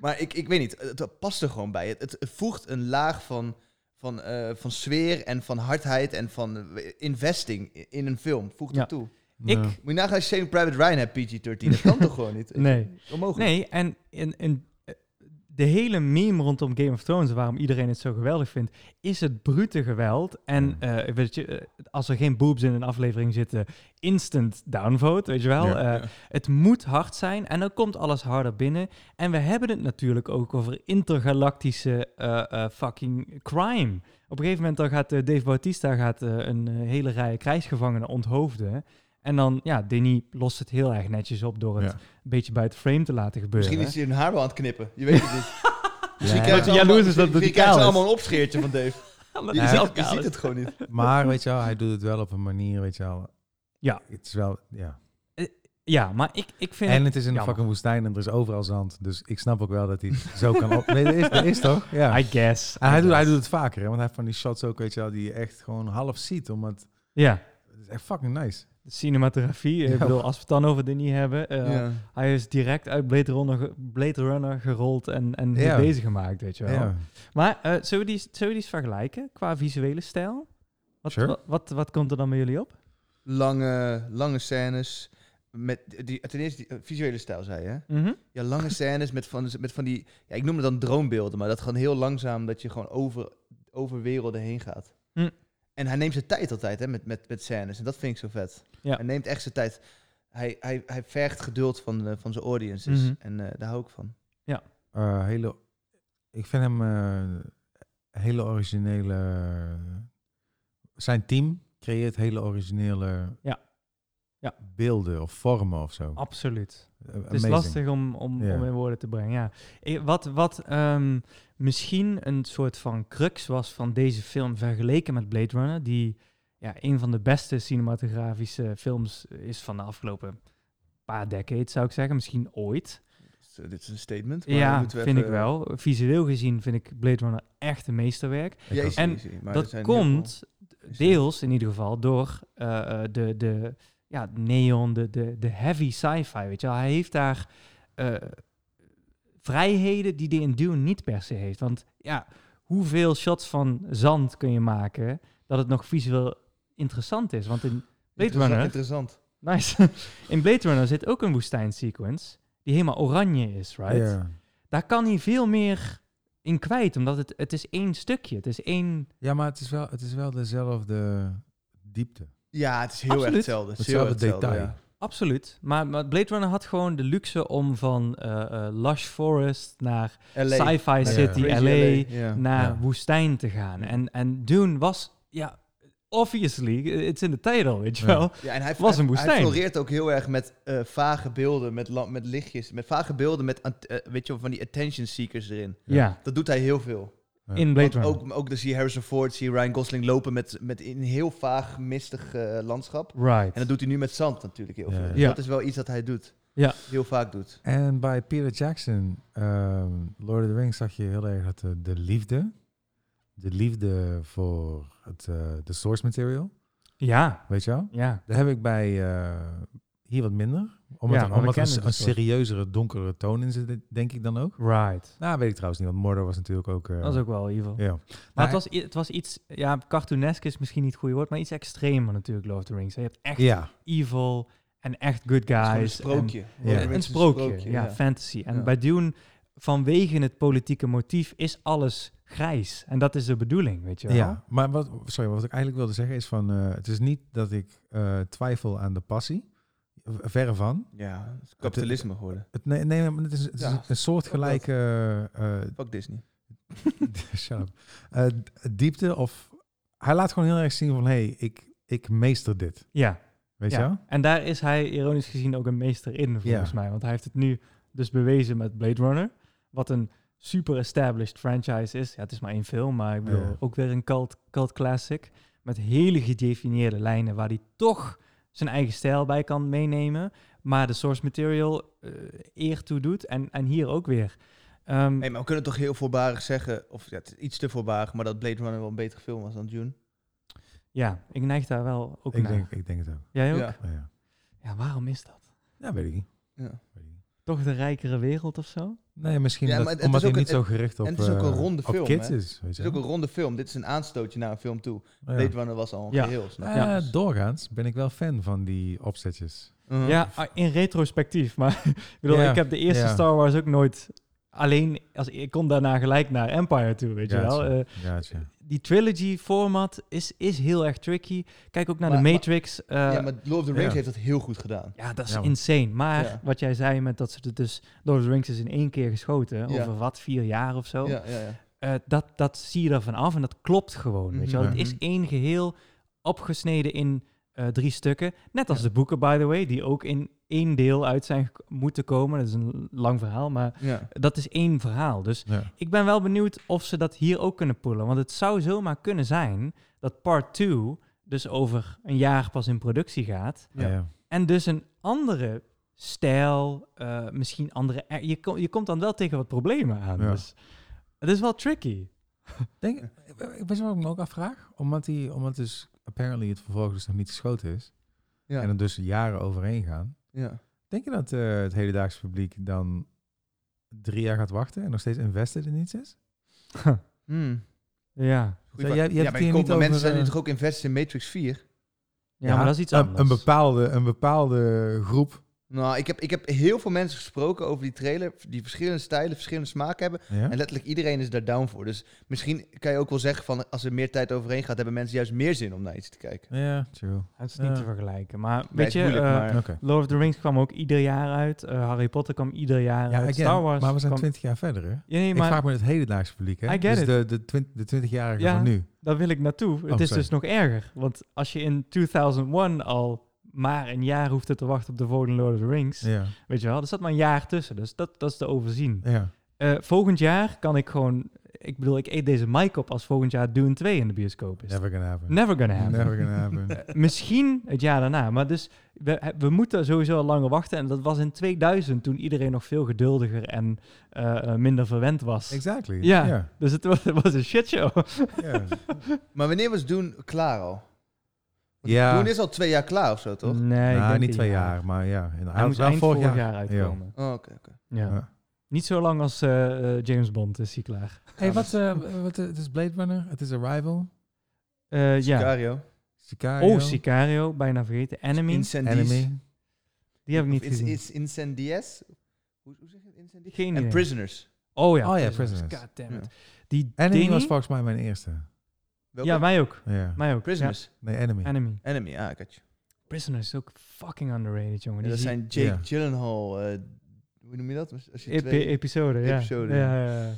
S2: maar ik, ik weet niet, het, het past er gewoon bij. Het, het, voegt een laag van, van, eh, van sfeer en van hardheid en van eh, investing i- in een film. Voegt
S1: Ja.
S2: het toe.
S1: Ik-
S4: Nou,
S2: Moet je nagaan als je Saving Private Ryan hebt, PG-13. Dat kan toch gewoon niet?
S1: Nee.
S2: Onmogelijk.
S1: Nee, en, en, en eh, de hele meme rondom Game of Thrones, waarom iedereen het zo geweldig vindt, is het brute geweld. En eh, weet je, eh, als er geen boobs in een aflevering zitten, instant downvote, weet je wel.
S4: Ja.
S1: Eh, Het moet hard zijn en dan komt alles harder binnen. En we hebben het natuurlijk ook over intergalactische eh, eh, fucking crime. Op een gegeven moment dan gaat eh, Dave Bautista gaat, eh, een eh, hele rij krijgsgevangenen onthoofden. En dan, ja, Denny lost het heel erg netjes op door het
S4: Ja.
S1: een beetje bij het frame te laten gebeuren.
S2: Misschien is hij hun haar wel aan het knippen. Je weet het niet. Misschien krijgen
S4: Ja.
S2: ze
S1: Wat
S2: allemaal-
S1: jaloers is dat het
S2: misschien
S1: die kaal
S2: krijgen ze
S1: is.
S2: allemaal een opscheertje van Dave.
S1: Omdat
S2: Je,
S1: hij
S2: ziet,
S1: zelf
S2: je
S1: kaal
S2: ziet
S1: is.
S2: het gewoon niet.
S4: Maar weet je wel, hij doet het wel op een manier, weet je wel.
S1: Ja.
S4: Het is wel, ja.
S1: Ja, maar ik, ik vind...
S4: En het is in de
S1: jammer.
S4: fucking woestijn en er is overal zand. Dus ik snap ook wel dat hij het zo kan op... Nee, dat is, dat is toch? Ja.
S1: I guess.
S4: En hij
S1: I
S4: doet, hij
S1: guess.
S4: doet het vaker, hè? want hij heeft van die shots ook, weet je wel, die je echt gewoon half ziet. Omdat
S1: Ja,
S4: het is echt fucking nice.
S1: de cinematografie. Ik
S4: Ja.
S1: bedoel, als we het dan over Denny hebben. eh,
S2: Ja.
S1: Hij is direct uit Blade Runner, ge- Blade Runner gerold en, en
S4: Ja.
S1: hier deze gemaakt, weet je wel.
S4: Ja.
S1: Maar eh, zullen, we die, zullen we die eens vergelijken qua visuele stijl? Wat,
S4: Sure.
S1: wat, wat, wat komt er dan bij jullie op?
S2: Lange, lange scènes. Met die, ten eerste die eh, visuele stijl, zei je. hè?
S1: Mhm.
S2: Ja, lange scènes met van, met van die... Ja, ik noem het dan droombeelden, maar dat gewoon heel langzaam... dat je gewoon over, over werelden heen gaat.
S1: Hm.
S2: En hij neemt zijn tijd altijd hè, met, met, met scènes. En dat vind ik zo vet.
S1: Ja.
S2: Hij neemt echt zijn tijd. Hij, hij, hij vergt geduld van, eh, van zijn audiences.
S1: Mhm.
S2: En eh, daar hou ik van.
S4: Eh, hele, ik vind hem eh, hele originele. Zijn team creëert hele originele
S1: Ja. Ja.
S4: beelden of vormen of zo.
S1: Absoluut.
S4: Eh,
S1: Het is
S4: amazing.
S1: lastig om, om,
S4: Ja.
S1: om in woorden te brengen. Ja. Ik- Wat, wat ehm, misschien een soort van crux was van deze film vergeleken met Blade Runner, die ja, een van de beste cinematografische films is van de afgelopen paar decades, zou ik zeggen. Misschien ooit.
S2: Dus, eh, dit is een statement. maar
S1: Ja,
S2: moeten we
S1: vind
S2: even-
S1: ik wel. Visueel gezien vind ik Blade Runner echt een meesterwerk.
S4: Ik
S2: Jezus,
S4: ook.
S1: En
S2: jezus, maar er
S1: dat
S2: zijn heel
S1: komt
S2: veel-
S1: deels in ieder geval door eh, eh, de, de ja, neon, de, de, de heavy sci-fi. Weet je wel. Hij heeft daar eh, vrijheden die hij in Dune niet per se heeft. Want ja, hoeveel shots van zand kun je maken dat het nog visueel interessant is? Want in Blade
S2: Interessant,
S1: Runner,
S2: Interessant.
S1: nice. in Blade Runner zit ook een woestijnsequence die helemaal oranje is, right?
S4: Ja.
S1: Daar kan hij veel meer in kwijt, omdat het, het is één stukje. Het is één...
S4: ja, maar het is, wel, het is wel dezelfde diepte.
S2: Ja, het is heel erg
S1: Absoluut.
S2: hetzelfde. Het is heel
S4: Hetzelfde
S2: erg hetzelfde,
S4: detail.
S2: ja.
S1: Absoluut. Maar, maar Blade Runner had gewoon de luxe om van eh, eh, lush forest naar
S2: LA.
S1: sci-fi city
S2: Crazy
S1: LA,
S2: Ja.
S1: naar
S4: Ja.
S1: woestijn te gaan. En, en Dune was, ja, obviously, it's in the title, weet je
S4: Ja.
S1: wel.
S2: Ja, en hij,
S1: Was
S2: hij-
S1: een woestijn.
S2: Hij floreert ook heel erg met eh, vage beelden, met, lam- met lichtjes, met vage beelden, met ant- eh, weet je, wel, van die attention seekers erin.
S1: Ja,
S4: Ja.
S2: Dat doet hij heel veel.
S4: Ja.
S1: in Blade
S2: Want
S1: Runner.
S2: ook, ook dan zie je Harrison Ford, zie je Ryan Gosling lopen met, met een heel vaag, mistig eh, landschap.
S1: right.
S2: En dat doet hij nu met zand natuurlijk heel
S4: Ja.
S2: veel. Dus
S1: Ja.
S2: dat is wel iets dat hij doet.
S1: Ja.
S2: Heel vaak doet.
S4: En bij Peter Jackson, ehm, Lord of the Rings, zag je heel erg dat eh, de, de liefde, de liefde voor het, eh, de source material,
S1: ja,
S4: weet je wel?
S1: ja.
S4: Daar heb ik bij eh, hier wat minder.
S1: Ja,
S4: Omdat,
S1: maar we
S4: omdat
S1: kennen
S4: er
S1: het
S4: een
S1: dus wel.
S4: serieuzere, donkere toon in zit, denk ik dan ook.
S1: Right.
S4: Nou, weet ik trouwens niet, want Mordor was natuurlijk ook... eh,
S1: Dat is ook wel evil.
S4: Ja. Maar,
S1: Maar het was, i- het was iets, ja, cartoonesk is misschien niet het goede woord, maar iets extremer natuurlijk, Lord of the Rings. Je hebt echt
S4: Ja,
S1: evil en echt good
S2: Het is gewoon
S1: guys.
S2: een
S1: en-
S2: sprookje.
S4: Ja.
S2: Lord of the
S1: Een,
S2: Rings is
S1: sprookje, ja, fantasy. En
S2: Ja.
S1: bij Dune, vanwege het politieke motief, is alles grijs. En dat is de bedoeling, weet je wel?
S4: ja. maar wat, sorry, wat ik eigenlijk wilde zeggen is van... eh, het is niet dat ik eh, twijfel aan de passie. V- Verre van.
S2: Ja, het is kapitalisme geworden.
S4: Het, nee, nee, maar het is, het is
S2: Ja,
S4: een soortgelijke eh, eh,
S2: Fuck Disney.
S4: Shut up. Eh, d- diepte of... Hij laat gewoon heel erg zien van... Hé, hey, ik, ik meester dit.
S1: Ja,
S4: Weet
S1: ja.
S4: je wel?
S1: En daar is hij ironisch gezien ook een meester in, volgens
S4: Ja.
S1: mij. Want hij heeft het nu dus bewezen met Blade Runner. Wat een super established franchise is. Ja, het is maar één film, maar ik bedoel,
S4: Ja.
S1: ook weer een cult, cult classic. Met hele gedefinieerde lijnen waar hij toch zijn eigen stijl bij kan meenemen. Maar de source material eh, eer toe doet. En, en hier ook weer. Ehm,
S2: Hey, maar we kunnen toch heel voorbarig zeggen, of ja, het is iets te voorbarig, maar dat Blade Runner wel een betere film was dan Dune.
S1: Ja, ik neig daar wel ook
S4: Ik
S1: naar.
S4: denk, ik denk het ook.
S1: Jij ook? Ja.
S2: Ja.
S4: Maar ja.
S1: waarom is dat?
S4: ja, weet ik niet.
S2: Ja.
S4: Weet ik niet.
S1: Toch de rijkere wereld of zo?
S4: Nee, misschien
S2: Ja,
S4: dat-
S2: maar het is
S4: omdat hij
S2: ook een-
S4: niet zo gericht op,
S2: en het is ook een
S4: eh,
S2: ronde
S4: op
S2: film,
S4: kids
S2: hè?
S4: is. Weet
S2: Het
S4: je
S2: is ook
S4: wel.
S2: een ronde film. Dit is een aanstootje naar een film toe.
S4: Ja.
S2: Blade Runner was al een
S1: Ja.
S2: geheel. snap je?
S4: Eh,
S1: Ja.
S4: doorgaans ben ik wel fan van die opzetjes.
S2: Mhm.
S1: Ja, ah, in retrospectief. Maar ik bedoel,
S4: Hm. Ja,
S1: ik heb de eerste
S4: ja.
S1: Star Wars ook nooit... Alleen, als, ik kom daarna gelijk naar Empire toe, weet je wel. Eh,
S4: Gotcha.
S1: die trilogy-format is, is heel erg tricky. Kijk ook naar
S2: Maar-
S1: de
S2: maar-
S1: Matrix. eh,
S2: ja, maar Lord of the Rings
S4: ja.
S2: heeft dat heel goed gedaan.
S1: Ja, dat is
S4: Ja, maar-
S1: insane. Maar
S2: Ja.
S1: wat jij zei met dat ze het dus... Lord of the Rings is in één keer geschoten.
S2: Ja.
S1: Over wat, vier jaar of zo.
S2: Ja, ja, ja.
S1: Eh, dat, dat zie je ervan af en dat klopt gewoon. Weet je wel?
S4: Mhm.
S1: Het is één geheel opgesneden in eh, drie stukken. Net als de boeken, by the way, die ook in één deel uit zijn gek- moeten komen. Dat is een lang verhaal, maar
S2: Ja.
S1: dat is één verhaal. Dus
S4: Ja.
S1: ik ben wel benieuwd of ze dat hier ook kunnen pullen. Want het zou zomaar kunnen zijn dat part 2 dus over een jaar pas in productie gaat.
S2: Ja.
S4: Ja. Ja.
S1: En dus een andere stijl, eh, misschien andere... Je, ko- je komt dan wel tegen wat problemen aan.
S4: Ja.
S1: Dus het is wel tricky.
S4: Denk, eh, weet je wat ik me ook afvraag? Omdat, die, omdat dus apparently het vervolg dus nog niet geschoten is.
S2: Ja.
S4: En er dus jaren overheen gaan.
S2: Ja.
S4: Denk je dat eh, het hedendaagse publiek dan drie jaar gaat wachten en nog steeds invested in iets is?
S2: Hmm.
S1: Ja.
S2: Goeie vraag.
S4: Jij- jij hebt
S2: ja,
S4: het
S2: maar
S4: hier
S2: kom-
S4: niet
S2: maar mensen
S4: over,
S2: zijn nu
S4: eh,
S2: toch ook invested in Matrix 4?
S1: Ja, maar dat is iets
S4: een,
S1: anders.
S4: Een bepaalde, een bepaalde groep.
S2: Nou, ik heb, ik heb heel veel mensen gesproken over die trailer, die verschillende stijlen, verschillende smaken hebben.
S4: Ja?
S2: En letterlijk iedereen is daar down voor. Dus misschien kan je ook wel zeggen van als er meer tijd overheen gaat, hebben mensen juist meer zin om naar iets te kijken.
S4: Ja, true.
S1: Het is niet
S4: Ja.
S1: te vergelijken. Maar
S2: Nee,
S1: weet
S2: het
S1: je,
S2: is
S1: eh,
S2: moeilijk, maar-
S4: Oké.
S1: Lord of the Rings kwam ook ieder jaar uit. eh, Harry Potter kwam ieder jaar
S4: Ja,
S1: uit.
S4: again,
S1: Star Wars
S4: maar we zijn
S1: kwam...
S4: twintig jaar verder, hè?
S1: Ja, nee,
S4: Ik
S1: maar
S4: vraag me het hedendaagse publiek, hè?
S1: I get
S4: dus
S1: it.
S4: de, de, twint, de 20-jarigen
S1: Ja.
S4: van nu.
S1: daar wil ik naartoe. het is
S4: Oh, sorry.
S1: dus nog erger. Want als je in 2001 al maar een jaar hoeft te wachten op de volgende Lord of the Rings,
S4: Ja.
S1: weet je wel, er zat maar een jaar tussen. Dus dat, dat is te overzien.
S4: ja.
S1: Eh, volgend jaar kan ik gewoon... Ik bedoel, ik eet deze mic op als volgend jaar Dune 2 in de bioscoop is.
S4: Never gonna happen.
S1: Never gonna happen.
S4: Never gonna happen.
S1: Eh, misschien het jaar daarna. Maar dus we, we moeten sowieso al langer wachten. En dat was in 2000 toen iedereen nog veel geduldiger en eh, eh, minder verwend was.
S4: exactly.
S1: Ja.
S4: ja.
S1: Dus het was, het was een shitshow.
S4: ja.
S2: Maar wanneer was Doen klaar al?
S4: Ja.
S2: Doen is al twee jaar klaar of zo, toch?
S1: Nee, ik
S4: Nou,
S1: denk
S4: niet
S1: een
S4: twee jaar, maar ja. En
S1: Hij moest
S4: wel
S1: eind vorig jaar, uitkomen.
S2: Oh, oké, oké.
S1: Ja.
S4: Ja.
S1: Niet zo lang als eh, eh, James Bond is hij klaar.
S4: Hey, wat, eh, wat, eh, het is Blade Runner, het is Arrival,
S1: Eh, ja.
S2: Sicario.
S4: Sicario,
S1: Oh, Sicario, bijna vergeten. Enemy,
S2: Incendies.
S4: Enemy.
S1: die heb ik niet
S2: Of is,
S1: gezien.
S2: is Incendies? Hoe, hoe zeg je het? Incendies?
S1: Geen
S2: En
S1: idee.
S2: Prisoners.
S1: Oh ja,
S4: Oh ja, Prisoners.
S1: God damn it.
S2: Ja.
S1: Die
S4: Enemy
S1: Danny-
S4: was volgens mij mijn eerste.
S2: Welke?
S1: Ja, mij ook.
S4: Ja.
S1: Mij ook.
S2: Prisoners.
S4: Nee, Enemy.
S1: Ja, Enemy.
S2: Enemy, ja, ik had je.
S1: Prisoners is ook fucking underrated, jongen.
S2: Ja,
S1: Die
S2: dat
S1: zie-
S2: zijn Jake
S4: Ja.
S2: Gyllenhaal. eh, hoe noem je dat? Als je
S1: Epi-
S2: twee...
S1: episode, ja.
S2: Episode,
S1: Ja, ja, ja.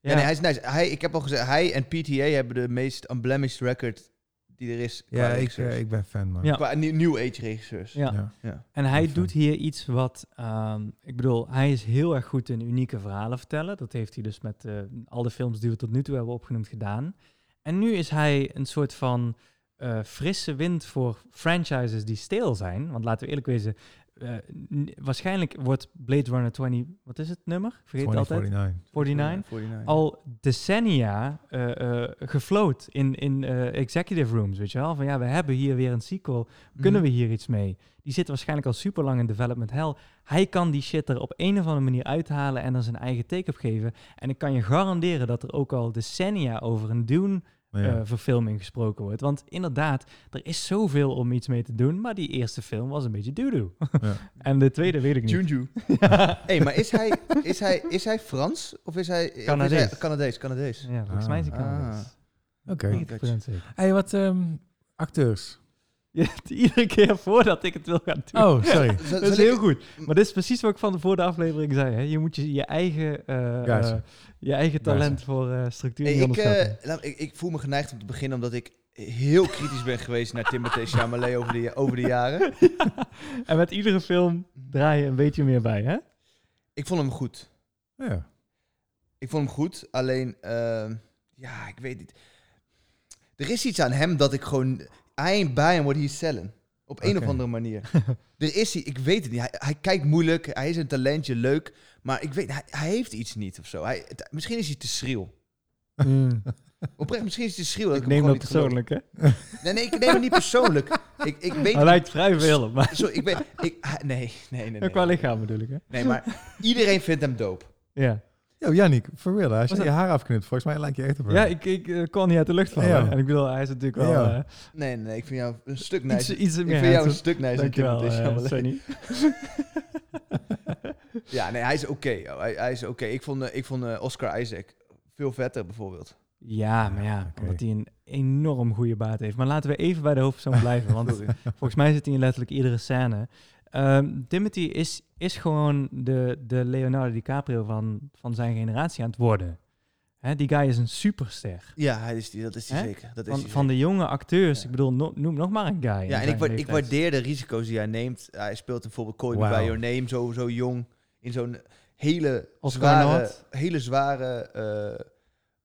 S2: Ja, nee, hij is nice. Hij, ik heb al gezegd, hij en PTA hebben de meest unblemished record die er is. qua
S4: Ja, ik,
S2: regisseurs.
S4: eh, ik ben fan, man.
S1: Ja.
S2: Qua new, new age regisseurs.
S1: Ja. En hij
S4: Even.
S1: doet hier iets wat, ehm, ik bedoel, hij is heel erg goed in unieke verhalen vertellen. Dat heeft hij dus met eh, al de films die we tot nu toe hebben opgenoemd gedaan. En nu is hij een soort van eh, frisse wind voor franchises die steel zijn. Want laten we eerlijk wezen, eh, n- waarschijnlijk wordt Blade Runner 20, wat is het nummer? Ik vergeet het altijd.
S4: 2049.
S1: 49.
S2: 49.
S1: al decennia eh eh, gefloat in, in eh, executive rooms, weet je wel? Van ja, we hebben hier weer een sequel.
S2: Mhm.
S1: Kunnen we hier iets mee? Die zit waarschijnlijk al super lang in development hell. Hij kan die shit er op een of andere manier uithalen en er zijn eigen take op geven. En ik kan je garanderen dat er ook al decennia over een
S4: Ja.
S1: Dune-verfilming gesproken wordt. Want inderdaad, er is zoveel om iets mee te doen, maar die eerste film was een beetje doodoo.
S4: Ja.
S1: en de tweede weet ik niet.
S2: Junju. hey, maar is hij, is, hij, is hij Frans? Of is hij... of is hij-
S1: Canadees.
S2: Canadees, Canadees.
S1: Ja, volgens mij is ik
S2: Ah.
S1: Eh,
S4: Oké.
S2: Ja.
S1: 90% zeker.
S4: Hey, wat ehm, acteurs.
S1: Je hebt iedere keer voordat ik het wil gaan doen.
S4: Oh, sorry.
S2: Zal-
S1: Dat is
S2: zal ik-
S1: heel goed. Maar dit is precies wat ik van de voor de aflevering zei. Hè? Je moet je, je, eigen, eh,
S4: Gotcha.
S1: eh, je eigen talent voor eh, structuur
S2: Hey,
S1: niet
S2: ik,
S1: onderschatten.
S2: eh, laat- ik, ik voel me geneigd om te beginnen omdat ik heel kritisch ben geweest naar Timothée Chalamet over de, over de jaren.
S1: en met iedere film draai je een beetje meer bij, hè?
S2: Ik vond hem goed.
S4: Ja.
S2: Ik vond hem goed, alleen... ehm, ja, ik weet niet. Er is iets aan hem dat ik gewoon... I ain't buying what he's selling. Op een
S4: Oké.
S2: of andere manier. er is hij, ik weet het niet. Hij, hij kijkt moeilijk, hij is een talentje, leuk. Maar ik weet, hij, hij heeft iets niet of zo. Hij, het- misschien is hij te schreeuw.
S1: Mm.
S2: Oprecht, misschien is hij te schreeuw. Dat ik,
S1: ik
S2: hem
S1: neem
S2: gewoon
S1: dat
S2: niet geloof.
S1: persoonlijk, hè?
S2: Nee, nee, ik neem het niet persoonlijk. ik, ik weet
S1: Hij lijkt vrij veel op mij.
S2: Zo, ik ben. Ik, ah, nee, nee, nee.
S1: Ook qua
S2: Nee.
S1: lichaam bedoel ik, hè?
S2: nee, maar iedereen vindt hem dope.
S1: Ja,
S4: Yo, Yannick, for real, hè, als je
S1: Was
S4: je haar afknipt, volgens mij lijkt je echt op haar.
S1: ja ik, ik eh, kon niet uit de lucht vallen.
S4: Ja.
S1: En ik bedoel, hij is natuurlijk wel
S4: Ja.
S1: eh,
S2: Nee, nee, nee, ik vind jou een stuk
S1: iets,
S2: nicer.
S1: iets
S2: ik
S1: meer...
S2: vind jou een dus
S1: handsome.
S2: stuk nicer. dan
S1: Dankjewel,
S2: Timothée
S1: eh,
S2: Chalamet.
S1: Sonny.
S2: ja, nee, hij is oké. joh. Hij, hij is oké. Ik vond, eh, ik vond eh, Oscar Isaac veel vetter bijvoorbeeld.
S1: Ja, maar ja,
S4: Oké.
S1: omdat hij een enorm goede baat heeft. Maar laten we even bij de hoofdpersoon blijven, want
S2: Sorry.
S1: volgens mij zit hij in letterlijk iedere scène. Ehm, Timothy is, is gewoon de, de Leonardo DiCaprio van, van zijn generatie aan het worden. Hè, Hè, die guy is een superster.
S2: Ja, hij is die, dat is die
S1: Hè?
S2: zeker. Dat is
S1: Van,
S2: die
S1: van de jonge acteurs,
S2: Ja.
S1: ik bedoel, no- noem nog maar een guy. in
S2: Ja, en
S1: zijn
S2: ik, wa- ik
S1: leeftijd.
S2: waardeer de risico's die hij neemt. Hij speelt bijvoorbeeld Call Me
S4: Wauw.
S2: By Your Name, zo, zo jong. In zo'n hele
S1: Oscar
S2: zware,
S1: Noord.
S2: hele zware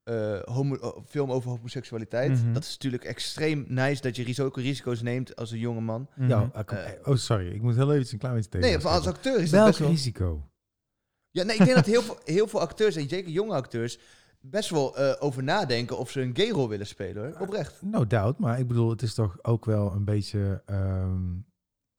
S2: eh, eh, homo- oh, film over homoseksualiteit.
S1: Mhm.
S2: Dat is natuurlijk extreem nice dat je ris- ook risico's neemt als een jonge man.
S1: Mhm.
S4: Ja, ah, kom-
S2: Eh.
S4: oh, sorry. Ik moet heel even een klein beetje tegen.
S2: Nee, maar als acteur is dat
S4: Welk
S2: best wel...
S4: risico?
S2: Ja, nee, ik denk dat heel veel, heel veel acteurs, en zeker jonge acteurs, best wel eh, over nadenken of ze een gay rol willen spelen. Hoor. Oprecht.
S4: No doubt, maar ik bedoel, het is toch ook wel een beetje ehm,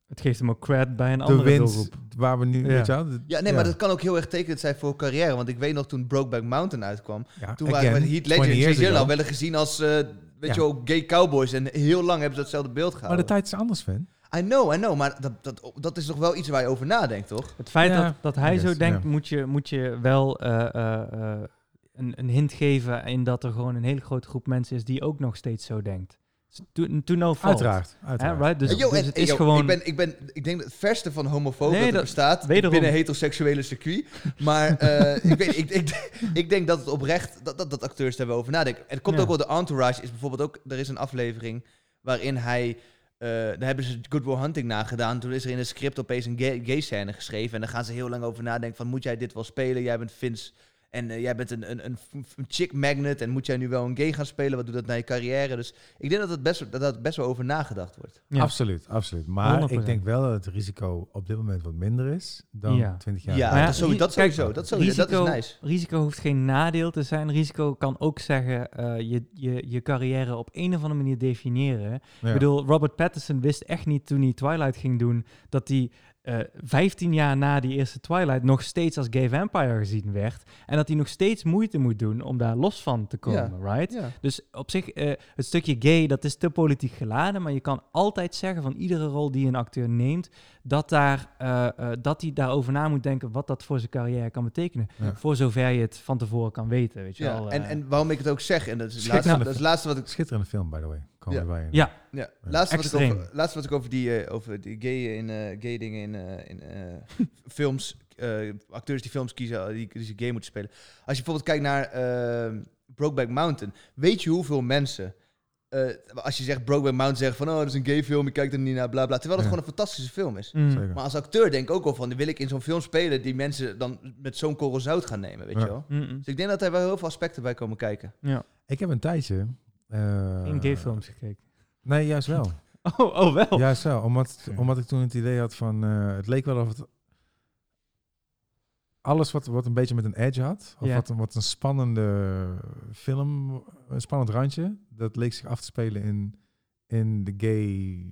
S1: Het geeft hem ook cred bij een
S4: de
S1: andere
S4: wind
S1: doelgroep.
S4: waar we nu...
S1: Ja.
S4: Weet je wel, de-
S2: Ja, nee, maar dat kan ook heel erg tekenend zijn voor carrière. Want ik weet nog toen Brokeback Mountain uitkwam,
S4: ja,
S2: Toen waren we
S4: again,
S2: met Heath
S4: 20
S2: Ledger en
S4: years
S2: Jay
S4: ago.
S2: Leno werden gezien als, eh, weet
S4: Ja.
S2: je wel, gay cowboys. En heel lang hebben ze datzelfde beeld
S4: Maar de
S2: gehouden.
S4: tijd is anders, Van.
S2: I know, I know. Maar dat, dat, dat is toch wel iets waar je over nadenkt, toch?
S1: Het feit
S4: Ja,
S1: dat, dat hij
S4: I
S1: zo
S4: guess,
S1: denkt,
S4: ja.
S1: moet, je, moet je wel eh, eh, eh, een, een hint geven in dat er gewoon een hele grote groep mensen is die ook nog steeds zo denkt. Toen to no fault.
S4: Uiteraard.
S1: Hè,
S4: uiteraard.
S1: right? Dus,
S2: En joh,
S1: dus
S2: en-
S1: het
S2: en
S1: is
S2: joh,
S1: gewoon...
S2: Ik, ben, ik, ben, ik denk dat het verste van homofoob
S1: Nee,
S2: dat er
S1: dat-
S2: bestaat
S1: wederom.
S2: binnen heteroseksuele circuit. Maar eh, ik, weet, ik, ik, ik denk dat het oprecht, dat, dat, dat acteurs daar wel over nadenken. En het komt
S1: Ja.
S2: ook wel, de entourage is bijvoorbeeld ook, er is een aflevering waarin hij... eh, daar hebben ze Good Will Hunting nagedaan. Toen is er in een script opeens een gay, gay scène geschreven. En daar gaan ze heel lang over nadenken van... moet jij dit wel spelen? Jij bent Vince en eh, jij bent een, een, een, een chick magnet. En moet jij nu wel een gay gaan spelen? Wat doet dat naar je carrière? Dus ik denk dat het best, dat, dat best wel over nagedacht wordt.
S1: Ja.
S4: Absoluut, absoluut. Maar
S1: 100%.
S4: ik denk wel dat het risico op dit moment wat minder is dan
S1: Ja.
S4: 20 jaar
S2: Ja,
S1: eh, Maar ja,
S2: dat, sowieso, dat
S1: kijk,
S2: sowieso. dat, sowieso dat is nice.
S1: Risico hoeft geen nadeel te zijn. Risico kan ook zeggen eh, je, je, je carrière op een of andere manier definiëren. Ik bedoel, Robert Pattinson wist echt niet toen hij Twilight ging doen dat hij eh 15 jaar na die eerste Twilight nog steeds als gay vampire gezien werd. En dat hij nog steeds moeite moet doen om daar los van te komen, right?
S2: Ja.
S1: Dus op zich, eh, het stukje gay, dat is te politiek geladen. Maar je kan altijd zeggen van iedere rol die een acteur neemt, dat, daar, eh, eh, dat hij daarover na moet denken wat dat voor zijn carrière kan betekenen.
S4: Ja.
S1: Voor zover je het van tevoren kan weten, weet je
S2: Ja,
S1: wel. eh.
S2: en, en waarom ik het ook zeg, en dat is het
S4: Schrik-
S2: laatste,
S4: nou,
S2: dat is het laatste wat ik.
S4: Schitterende film, by the way. Call
S2: Ja.
S4: Me By Your Name.
S1: Ja.
S2: Ja, laatste, wat ik
S1: Extreem.
S2: over, laatste wat ik over die, eh, over die gay, in, eh, gay dingen in, eh, in eh, films. eh, acteurs die films kiezen, eh, die, die ze gay moeten spelen. Als je bijvoorbeeld kijkt naar eh, Brokeback Mountain, weet je hoeveel mensen. eh, als je zegt Brokeback Mountain zeggen van oh, dat is een gay film, ik kijk er niet naar, bla bla. Terwijl het
S4: Ja.
S2: gewoon een fantastische film is.
S1: Mm.
S4: Zeker.
S2: Maar als acteur denk ik ook wel van, wil ik in zo'n film spelen die mensen dan met zo'n korrel zout gaan nemen, weet
S4: Ja.
S2: je wel?
S1: Mm-mm.
S2: Dus ik denk dat er wel heel veel aspecten bij komen kijken. Dus
S1: Ja.
S4: Ik heb een tijdje... eh,
S1: In gay films gekeken.
S4: Nee, juist wel.
S1: Oh, oh wel.
S4: Juist wel. Omdat,
S1: Ja.
S4: omdat ik toen het idee had van... eh, het leek wel of het... Alles wat, wat een beetje met een edge had, of
S1: Ja.
S4: wat, een- wat een spannende film, een spannend randje, dat leek zich af te spelen in, in de gay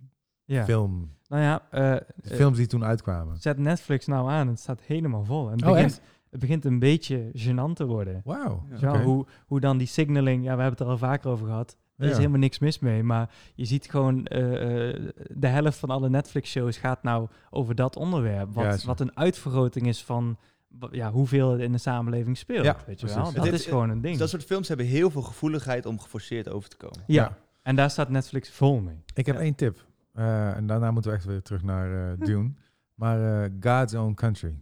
S1: Ja.
S4: film.
S1: Nou ja, eh, eh,
S4: De films die toen uitkwamen.
S1: zet Netflix nou aan. Het staat helemaal vol. En het,
S4: Oh,
S1: begint,
S4: echt?
S1: het begint een beetje gênant te worden.
S4: Wauw.
S2: Ja.
S1: Ja,
S4: oké.
S1: hoe, hoe dan die signaling, ja, we hebben het er al vaker over gehad. Er is
S4: Ja.
S1: helemaal niks mis mee, maar je ziet gewoon eh, eh, de helft van alle Netflix-shows gaat nou over dat onderwerp. Wat,
S4: Juist, ja.
S1: wat een uitvergroting is van wa- ja, hoeveel het in de samenleving speelt.
S4: Ja,
S1: weet je
S4: precies.
S1: wel?
S4: Het
S1: Dat
S2: heeft-
S1: is gewoon een ding.
S2: Dus dat soort films hebben heel veel gevoeligheid om geforceerd over te komen.
S1: ja.
S4: Ja.
S1: en daar staat Netflix vol mee.
S4: Ik heb
S2: Ja.
S4: één tip. Eh, en daarna moeten we echt weer terug naar eh, Dune. Maar eh, God's Own Country.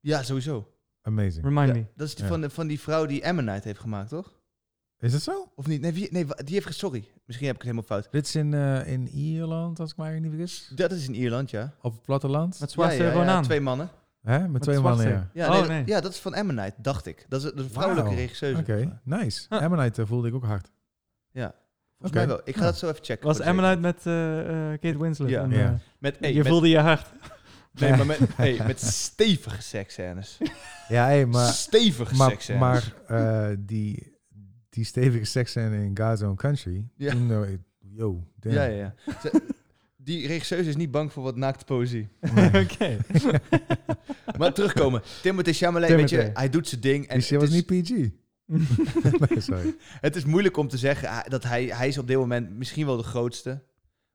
S2: Ja, sowieso.
S4: Amazing.
S1: Remind
S2: Ja,
S1: me.
S2: Dat is die
S4: Ja.
S2: van, de- van die vrouw die Ammonite heeft gemaakt, toch?
S4: Is dat zo?
S2: Of niet? Nee, wie, nee wa- die heeft... ge- Sorry, misschien heb ik het helemaal fout.
S4: Dit is in, eh, in Ierland, als ik me eigenlijk niet vergis.
S2: Dat is in Ierland, ja.
S4: Op het platteland.
S1: Met zwarte
S2: ja, ja, ja,
S1: Ronan.
S2: twee mannen.
S4: Hè? Met, twee
S1: zwarte.
S4: mannen, ja.
S2: Ja,
S1: Oh,
S2: nee, dat-
S1: nee.
S2: ja, dat is van Ammonite, dacht ik. Dat is, dat is een vrouwelijke
S4: Wauw.
S2: regisseuse.
S4: Oké, nice.
S1: Ah.
S4: Ammonite eh, voelde ik ook hard.
S2: Volgens
S4: Oké.
S2: mij wel. Ik ga
S4: Ja.
S2: dat zo even checken.
S1: Was
S2: voor de
S1: Ammonite met eh, eh, Kate Winslet.
S2: Ja.
S1: en,
S4: Ja.
S1: eh,
S2: zekerheid. Met, hey,
S1: je
S2: met-
S1: voelde je hart.
S2: nee, maar met, hey, met stevige seksscènes.
S4: Ja, hey, maar,
S2: Stevige
S4: maar,
S2: seksscènes.
S4: maar eh, die, die stevige seks in God's Own Country.
S2: Ja.
S4: Toen, eh, ik- yo, damn.
S2: Ja, ja, ja. Ze- die regisseuse is niet bang voor wat naakte poëzie.
S1: Oké.
S2: Maar terugkomen. Timothée Chalamet, weet je,
S1: Timothy.
S2: hij doet zijn ding. En
S4: Die
S2: het,
S4: shit was
S2: is,
S4: niet PG. nee, sorry.
S2: het is moeilijk om te zeggen ah, dat hij, hij is op dit moment misschien wel de grootste.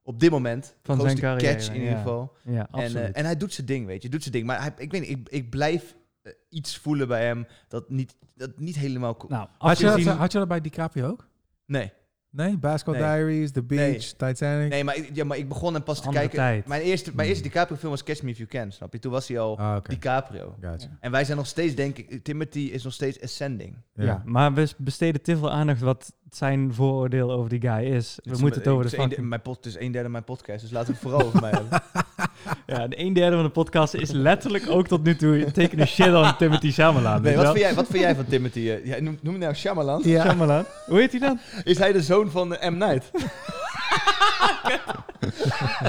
S2: Op dit moment.
S1: Van
S2: de grootste
S1: zijn carrière,
S2: catch in
S1: ja.
S2: ieder geval.
S1: Ja,
S2: En,
S1: absoluut.
S2: eh, en hij doet zijn ding, weet je. Doet zijn ding. Maar hij, ik weet niet, ik, ik blijf eh, iets voelen bij hem dat niet, dat niet helemaal... ko-
S1: nou,
S4: Had je, dat,
S1: afgezien-
S4: had je dat bij DiCaprio ook?
S2: Nee.
S4: Nee, Basketball
S2: Nee.
S4: Diaries, The Beach,
S2: Nee.
S4: Titanic.
S2: Nee, maar, ik- ja, maar ik begon en pas te
S1: Andere
S2: kijken.
S1: tijd. Oh,
S2: Mijn eerste, mijn
S4: Hmm.
S2: eerste DiCaprio-film was Catch Me If You Can, snap je? Toen was hij al
S4: Ah, oké.
S2: DiCaprio.
S4: Gotcha.
S2: En wij zijn nog steeds, denk ik, Timothy is nog steeds ascending.
S1: Ja. maar we besteden te veel aandacht wat zijn vooroordeel over die guy is. We
S2: Dus
S1: moeten het over de
S2: het is een de-
S1: fucking...
S2: mijn pod, Het is een derde van mijn podcast, dus laten we het vooral over mij hebben.
S1: Ja, de een derde van de podcast is letterlijk ook tot nu toe taking a shit on Timothy Shyamalan.
S2: Nee,
S1: weet
S2: wat,
S1: Ah, je
S2: vind
S1: wel?
S2: jij, wat vind jij van Timothy? eh? Ja, noem, noem je nou Shyamalan?
S4: Ja.
S1: Shyamalan? Hoe heet hij dan?
S2: Is hij de zoon van eh, M. Night?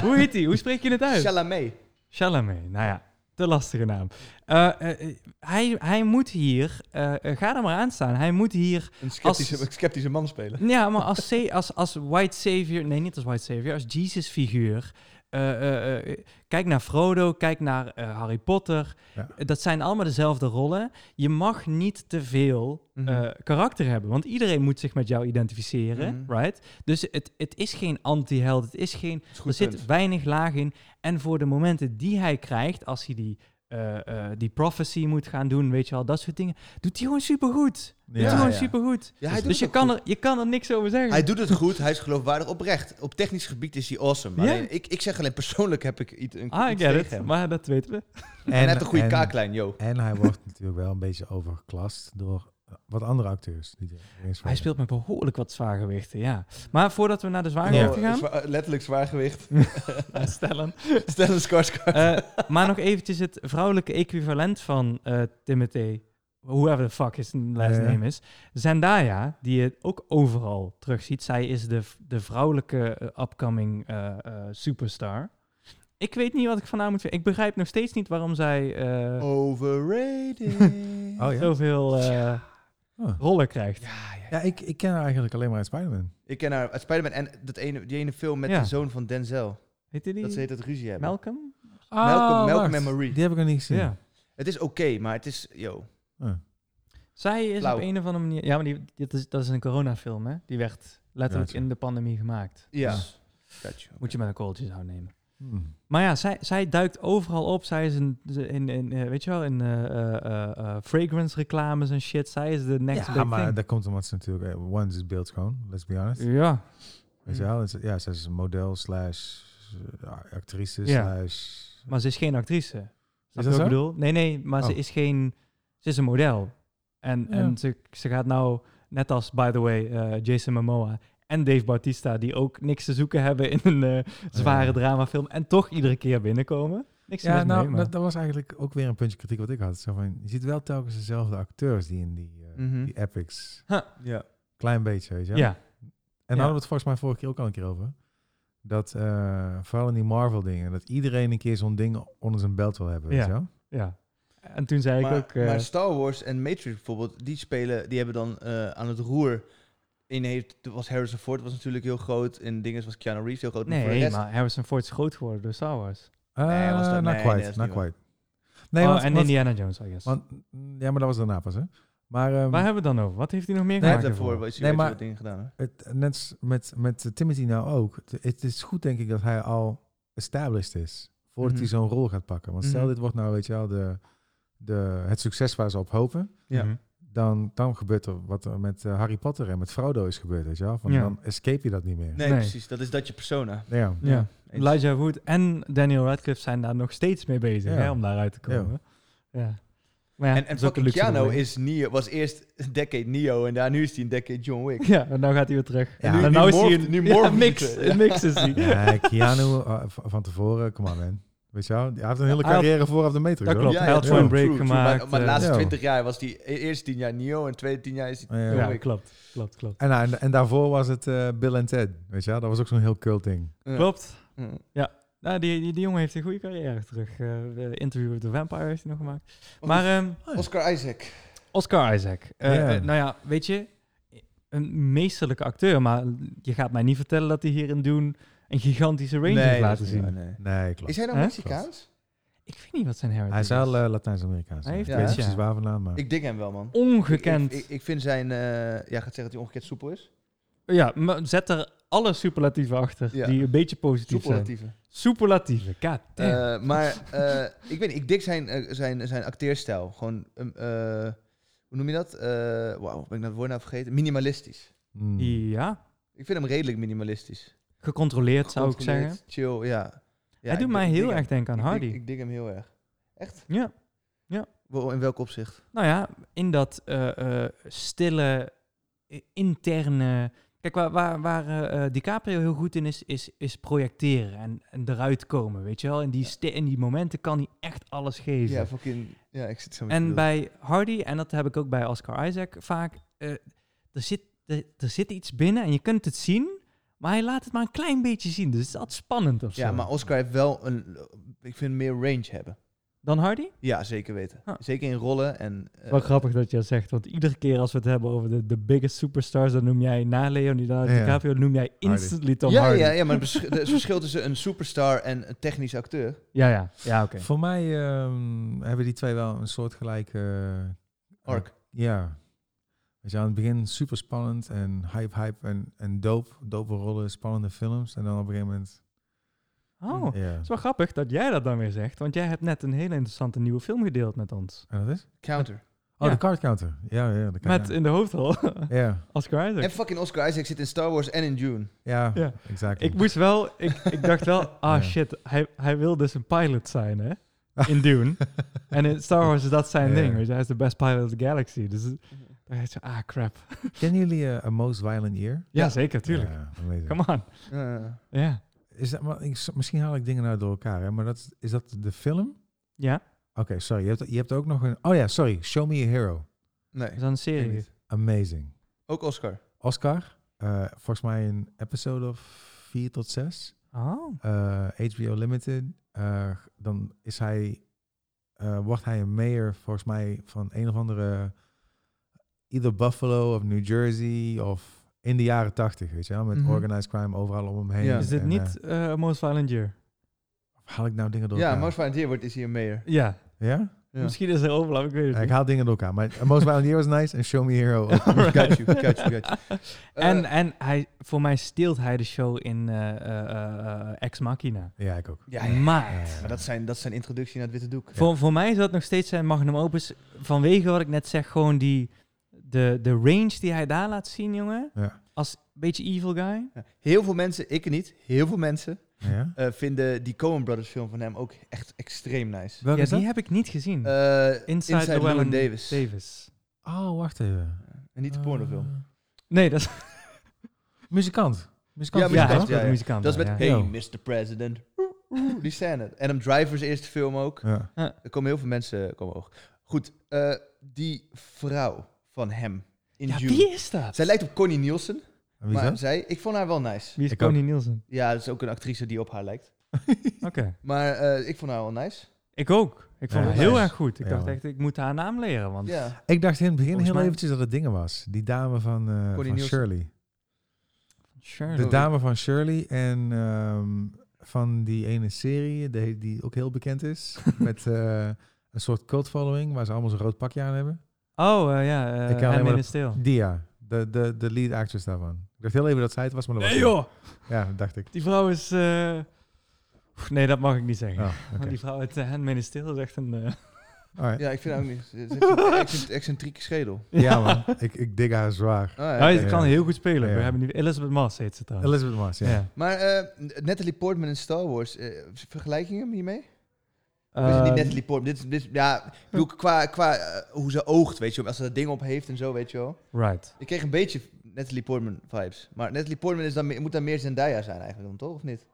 S1: Hoe heet hij? Hoe spreek je het uit?
S2: Chalamet.
S1: Chalamet. Nou ja, te lastige naam. Eh, eh, eh, hij, hij moet hier... eh, eh, ga er maar aan staan. Hij moet hier
S2: Een sceptische, een sceptische man spelen.
S1: Ja, maar als, sa- als, als White Savior, nee, niet als White Savior, als Jesus figuur. eh, eh, eh, kijk naar Frodo, kijk naar eh, Harry Potter.
S4: Ja.
S1: Eh, Dat zijn allemaal dezelfde rollen. Je mag niet te veel eh,
S2: Mhm.
S1: karakter hebben, want iedereen moet zich met jou identificeren,
S2: Mhm.
S1: right? Dus het, het is geen anti-held, het is geen
S2: Is
S1: er
S2: goed
S1: zit
S2: punt.
S1: weinig laag in. En voor de momenten die hij krijgt, als hij die, eh, eh, die prophecy moet gaan doen, weet je wel, dat soort dingen, doet hij gewoon supergoed. Doet
S4: Ja,
S1: hij gewoon
S2: ja.
S1: supergoed.
S2: Ja, hij doet
S1: dus
S2: het
S1: je
S2: ook
S1: kan,
S2: goed.
S1: er, je kan er niks over zeggen.
S2: Hij doet het goed, hij is geloofwaardig oprecht. Op technisch gebied is hij awesome.
S1: Ja.
S2: Alleen, ik, ik zeg alleen persoonlijk heb ik iets, een,
S1: ah, ik
S2: iets
S1: get
S2: tegen
S1: it.
S2: hem.
S1: Maar dat weten we.
S2: En, hij heeft een goede kaaklijn, yo.
S4: En hij wordt natuurlijk wel een beetje overgeklast door eh, wat andere acteurs. Die er eens
S1: Hij
S4: vallen.
S1: speelt met behoorlijk wat zwaargewichten, ja. Maar voordat we naar de zwaargewichten gaan,
S2: Zwa- letterlijk zwaargewicht.
S1: eh, stellen.
S2: Stel een Skarsgård.
S1: eh, maar nog eventjes het vrouwelijke equivalent van eh Timothy, whoever the fuck his last
S4: Ja, ja.
S1: name is. Zendaya, die je ook overal terugziet. Zij is de, de vrouwelijke eh, upcoming eh, eh, superstar. Ik weet niet wat ik van haar moet vinden. Ik begrijp nog steeds niet waarom zij eh,
S2: Oh, Overrated.
S4: Oh ja?
S1: zoveel eh,
S4: Oh.
S1: rollen krijgt.
S2: Ja, ja.
S4: Ja, ik, ik ken haar eigenlijk alleen maar uit Spider-Man.
S2: Ik ken haar uit Spider-Man en dat ene, die ene film met
S1: Ja.
S2: de zoon van Denzel.
S1: Heet die?
S2: Dat ze heet dat ruzie hebben.
S1: Malcolm?
S2: Malcolm- Malcolm
S4: wacht.
S2: en Marie.
S4: Die heb ik nog niet gezien.
S1: Ah, Ja.
S2: Het is oké, maar het is... Yo.
S4: Oh.
S1: Zij is
S2: Flauw.
S1: op een of andere manier... Ja, maar die, dat, is, dat is een coronafilm, hè? Die werd letterlijk
S4: Gotcha.
S1: in de pandemie gemaakt.
S2: Ja.
S1: Dus
S2: Got you.
S1: moet je met een kooltje zou nemen.
S4: Hmm.
S1: Maar ja, zij, zij duikt overal op. Zij is een, ze- in, in, eh, weet je wel, in eh, eh, eh, eh, fragrance reclames en shit. Zij is de next
S4: Ja, ah,
S1: big
S4: maar
S1: thing.
S4: dat komt omdat ze natuurlijk... eh, One is beeldschoon, let's be honest.
S1: Ja,
S4: Weet je wel? Het is- Ja, ze is een model slash eh, actrice
S1: Ja.
S4: slash...
S1: maar ze is geen actrice. Snap
S4: dat
S1: je wat
S4: zo?
S1: ik bedoel? Nee, nee, maar ze
S4: Oh.
S1: is geen... Ze is een model. En,
S4: Ja.
S1: en ze, ze gaat nou, net als, by the way, eh, Jason Momoa en Dave Bautista... die ook niks te zoeken hebben in een eh, zware
S4: Oh, Ja.
S1: dramafilm... en toch iedere keer binnenkomen. Niks
S4: Ja,
S1: mis
S4: nou,
S1: mee, maar...
S4: dat, dat was eigenlijk ook weer een puntje kritiek wat ik had. Zo van, je ziet wel telkens dezelfde acteurs die in die, eh,
S2: Mhm.
S4: die epics...
S2: Ja.
S4: Klein beetje, weet je
S1: ja.
S4: wel. En
S1: Ja.
S4: daar hadden we het volgens mij vorige keer ook al een keer over. Dat eh, vooral in die Marvel dingen, dat iedereen een keer zo'n ding onder zijn belt wil hebben. Weet
S1: Ja.
S4: je wel?
S1: ja. En toen zei
S2: Maar,
S1: ik ook... eh,
S2: maar Star Wars en Matrix bijvoorbeeld, die spelen... Die hebben dan eh, aan het roer... In heeft, toen was Harrison Ford was natuurlijk heel groot. In dingen was Keanu Reeves heel groot. maar voor de
S1: nee,
S2: rest-
S1: maar Harrison Ford is groot geworden door Star Wars.
S2: Nee,
S1: Ah,
S2: was dat-
S4: Eh,
S2: nee,
S4: not
S2: nee,
S4: quite,
S2: dat is
S4: not
S2: niet waar.
S4: quite. Nee,
S1: oh,
S4: want-
S1: en
S4: want-
S1: Indiana Jones, I guess.
S4: want- ja, maar dat was daarna pas, hè? Maar, ehm,
S1: Waar hebben we het dan over? Wat heeft hij nog meer
S2: Hij heeft
S1: gemaakt?
S2: daarvoor
S1: ervoor?
S2: wel iets
S4: Nee,
S2: weet je
S4: maar-
S2: wat dingen gedaan. Hè?
S4: het, net s- met, met Timothy nou ook. Het, het is goed, denk ik, dat hij al established is. Voordat
S2: Mhm.
S4: hij zo'n rol gaat pakken. Want stel,
S2: Mhm.
S4: dit wordt nou, weet je wel, de, de, het succes waar ze op hopen.
S2: Ja.
S1: Mhm.
S4: Dan, dan gebeurt er wat er met eh, Harry Potter en met Frodo is gebeurd, weet je wel. Van,
S1: Ja.
S4: Dan escape je dat niet meer.
S2: Nee,
S1: Nee.
S2: precies. Dat is dat je persona.
S4: Ja.
S1: Ja.
S2: Eens.
S1: Elijah Wood en Daniel Radcliffe zijn daar nog steeds mee bezig
S4: Ja.
S1: hè, om daaruit te komen. Ja. Maar ja,
S2: En,
S1: dat is
S2: en
S1: ook een
S2: fucking
S1: luxe
S2: Keanu
S1: probleem.
S2: is Neo, was eerst een decade Neo en daar, nu is hij een decade John Wick.
S1: Ja, en nou gaat hij weer terug.
S4: Ja.
S1: En
S4: Nu-
S1: nou
S2: nu
S1: is hij
S2: morph-
S1: een,
S2: nu
S1: ja,
S2: morph-
S1: een mix.
S2: Ja.
S1: Een mix is hij.
S4: Nee, Keanu eh, v- van tevoren, kom aan man. Weet je wel, hij heeft een hele
S1: Hij had-
S4: carrière vooraf de Matrix.
S1: Dat
S4: hoor.
S1: klopt. hij had
S4: true,
S1: Point Break
S2: true, true. Maar-
S1: gemaakt.
S2: Maar, de
S1: eh,
S2: laatste
S4: ja.
S2: 20 jaar was hij e- eerst 10 jaar Neo en tweede 10 jaar is hij
S4: Ja.
S2: John
S1: ja,
S2: Wick.
S1: klopt. Klopt, klopt.
S4: En, en, en daarvoor was het eh, Bill en Ted, weet je wel. Dat was ook zo'n heel cult ding.
S2: Ja.
S1: Klopt.
S2: Mm.
S1: Nou, die, die, die jongen heeft een goede carrière terug. Eh, de interview with the Vampire heeft hij nog gemaakt. Maar ehm,
S2: Oscar Isaac.
S1: Oscar Isaac. Eh,
S4: Ja.
S1: eh, nou ja, weet je, een meesterlijke acteur, maar je gaat mij niet vertellen dat hij hier in Doen een gigantische range heeft laten zien.
S4: Nee, klopt.
S2: Is hij nou
S1: Hè?
S2: Mexicaans?
S1: Ik weet niet wat zijn heritage
S4: Hij is wel eh, Latijns-Amerikaans.
S1: Hij
S4: Ik
S1: heeft
S4: weet
S2: ja,
S4: niet
S1: hè?
S4: precies waar vandaan, maar...
S2: Ik denk hem wel, man.
S1: Ongekend.
S2: eh, Ik, ik, ik vind zijn... eh ja, gaat zeggen dat hij ongekend soepel is?
S1: ja, maar zet er alle superlatieven achter
S2: Ja.
S1: die een beetje positief zijn.
S2: Soepelatieve.
S1: Superlatieven, god damn.
S2: Eh, maar eh, ik weet niet, ik dik zijn, eh, zijn, zijn acteerstijl. Gewoon, ehm, eh, hoe noem je dat? Eh Wauw, ben ik dat woord nou vergeten? nou Minimalistisch.
S4: Mm.
S1: ja,
S2: Ik vind hem redelijk minimalistisch.
S1: Gecontroleerd, zou ik
S2: Gecontroleerd,
S1: zeggen.
S2: Chill, ja. ja
S1: Hij doet
S2: ik-
S1: mij
S2: ik
S1: heel
S2: dig
S1: erg denken aan
S2: hem. Ik,
S1: Hardy.
S2: dig- ik dig hem heel erg. Echt?
S1: Ja.
S2: Wel, In welk opzicht?
S1: Nou ja, in dat eh, eh, stille, eh, interne... Kijk, waar, waar, waar eh, eh, DiCaprio heel goed in is, is, is projecteren en, en eruit komen, weet je wel? In die, sti- in die momenten kan hij echt alles geven.
S2: Ja, fucking... Ja, ik zit zo met je
S1: En
S2: bedoelt.
S1: bij Hardy, en dat heb ik ook bij Oscar Isaac vaak, eh, er, zit, er, er zit iets binnen en je kunt het zien, maar hij laat het maar een klein beetje zien. Dus het is altijd spannend of
S2: Ja,
S1: zo.
S2: maar Oscar heeft wel een... Ik vind meer range hebben.
S1: Dan Hardy?
S2: Ja, zeker weten.
S1: Ah.
S2: Zeker in rollen en... eh,
S1: Wel grappig dat je dat zegt, want iedere keer als we het hebben over de, de biggest superstars, dan noem jij na Leonardo
S4: Ja.
S1: DiCaprio, noem jij instantly Tom
S2: ja,
S1: Hardy.
S2: ja, ja, maar het besch- er is verschil tussen een superstar en een technisch acteur.
S1: ja, ja. Ja, oké.
S4: Voor mij ehm, hebben die twee wel een soortgelijke... eh,
S2: Arc.
S4: Ja. Weet je, aan het begin super spannend en hype, hype en, en dope. Dope rollen, spannende films. En dan op een gegeven moment...
S1: Oh, het
S4: Ja.
S1: is wel grappig dat jij dat dan weer zegt, want jij hebt net een hele interessante nieuwe film gedeeld met ons.
S4: En dat is?
S2: Counter.
S4: Oh,
S1: Ja.
S4: de card counter. Ja, ja. De
S1: Met in de hoofdrol
S4: Ja,
S1: Oscar Isaac.
S2: En fucking Oscar Isaac zit in Star Wars en in Dune.
S4: ja,
S1: Ja.
S4: exact.
S1: Ik moest wel, ik, ik dacht wel, ah
S4: Ja.
S1: shit, hij, hij wil dus een pilot zijn, hè? In Dune. en in Star Wars is dat zijn
S4: Ja.
S1: ding, weet je. Hij is de best pilot of the galaxy. Dus dan dacht je, ah crap.
S4: Kennen jullie eh, A Most Violent Year?
S1: Ja, zeker, tuurlijk.
S4: Ja, amazing.
S1: Come on.
S2: Eh,
S1: Ja.
S4: Is dat, maar ik, misschien haal ik dingen nou door elkaar, hè? maar dat, is- is dat de film?
S1: Ja,
S4: Oké, sorry. Je hebt, je hebt ook nog een... Oh ja, sorry. Show Me a Hero.
S2: nee,
S1: is dat een
S2: ik
S1: serie?
S2: niet.
S4: Amazing.
S2: Ook Oscar.
S4: Oscar. eh, volgens mij een episode of vier tot zes.
S1: Oh.
S4: Eh, HBO Limited. Eh, dan is hij... eh, wordt hij een mayor, volgens mij, van een of andere... Either Buffalo of New Jersey of... In de jaren tachtig, weet je wel. Met
S2: Mhm.
S4: organized crime overal om hem heen.
S2: Ja.
S1: Is dit
S4: En,
S1: niet eh, Most Violent Year?
S4: eh, haal ik nou dingen door
S2: Ja,
S4: elkaar?
S2: Mars van Deer wordt is hier meer.
S1: Ja.
S4: Ja?
S2: Ja.
S1: Misschien is er overlap, ik weet het
S4: Ja, ik
S1: niet.
S4: haal dingen door elkaar. Maar A Most Violent Year was nice en Show Me a Hero ook.
S2: Got you, got you, got you. Eh,
S1: En, en hij, voor mij steelt hij de show in eh, eh, eh, eh, Ex Machina.
S4: Ja, ik ook.
S2: ja, ja,
S1: Maar...
S4: Eh,
S2: maar dat zijn, dat zijn introductie naar het witte doek.
S1: Voor, voor mij is dat nog steeds zijn magnum opus. Vanwege wat ik net zeg, gewoon die, de, de range die hij daar laat zien, jongen.
S4: Ja.
S1: Als beetje evil guy.
S2: Ja. Heel veel mensen, ik niet, heel veel mensen
S4: Ja?
S2: eh, vinden die Coen Brothers film van hem ook echt extreem nice.
S4: Welke
S1: ja,
S4: is dat?
S1: die heb ik niet gezien.
S2: Eh,
S1: Inside, Llewellyn
S2: Davis.
S1: Davis.
S4: Oh, wacht even.
S2: En niet de pornofilm.
S4: Eh,
S1: Nee, dat is,
S4: muzikant. Muzikant.
S2: Ja,
S1: ja,
S2: muzikant,
S1: hij
S4: toch?
S1: speelt
S2: ja, ja.
S1: een muzikant.
S2: Dat is met
S1: Ah, ja.
S2: Hey
S4: Ja.
S2: Mr. President. Die scène. Adam Driver's eerste film ook.
S4: Ja.
S2: Er komen heel veel mensen komen hoog. Goed, eh, die vrouw van hem in
S1: Ja,
S2: Dune.
S1: wie is dat?
S2: Zij lijkt op Connie Nielsen,
S4: En Wie is
S2: maar
S4: dat?
S2: zij, ik vond haar wel nice.
S1: Wie is
S4: Ik
S1: Connie Nielsen?
S2: Ja, dat is ook een actrice die op haar lijkt.
S1: Oké.
S2: Maar eh, ik vond haar wel nice.
S1: Ik ook. Ik vond
S4: Ja,
S1: hem
S4: nice.
S1: heel erg goed. Ik
S4: Ja,
S1: dacht
S4: man.
S1: echt, ik moet haar naam leren. Want
S2: Ja.
S4: Ik dacht in het begin
S1: Volgens
S4: heel
S1: mij-
S4: eventjes dat het dingen was. Die dame van, eh,
S2: Connie
S4: van
S2: Nielsen.
S4: Shirley.
S1: sure.
S4: De
S2: Shirley.
S4: dame van Shirley en ehm, van die ene serie die, die ook heel bekend is. met eh, een soort cult following waar ze allemaal zo'n rood pakje aan hebben.
S1: Oh, eh, ja. eh,
S4: Ik kan alleen
S1: Hem
S4: maar
S1: in
S4: de-
S1: de stil.
S4: Dia, de, de, de lead actress daarvan. Ik dacht heel even dat zij het was, maar dat
S1: Nee
S4: was ze
S1: joh,
S4: niet. Ja, dat dacht ik.
S1: die vrouw is... eh, oef, Nee, dat mag ik niet zeggen.
S4: Oh,
S1: Want
S4: oké.
S1: die vrouw uit uh, Handmaid's Tale is echt een... eh,
S4: Alright.
S2: ja, ik vind haar ook niet. Ze heeft een ex- excentrieke schedel.
S4: Ja, man. Ik, ik dig haar zwaar.
S2: Ah, ja,
S1: Hij
S2: oké.
S1: kan
S4: ja.
S1: heel goed spelen. We
S4: Ja.
S1: hebben nu Elizabeth Moss heet ze trouwens.
S4: Elizabeth Moss, ja.
S1: Ja.
S2: Maar eh, Natalie Portman in Star Wars, eh, vergelijk je hem hiermee? Of is
S1: Ehm,
S2: het niet
S4: Eh,
S2: Natalie Portman? Dit, is- dit, is- ja, ik bedoel, qua, qua eh, hoe ze oogt, weet je wel. Als ze dat ding op heeft en zo, weet je wel.
S1: right.
S2: Ik kreeg een beetje Natalie Portman vibes. Maar Natalie Portman is dan, meer- moet dan meer Zendaya zijn eigenlijk dan, toch? Of niet?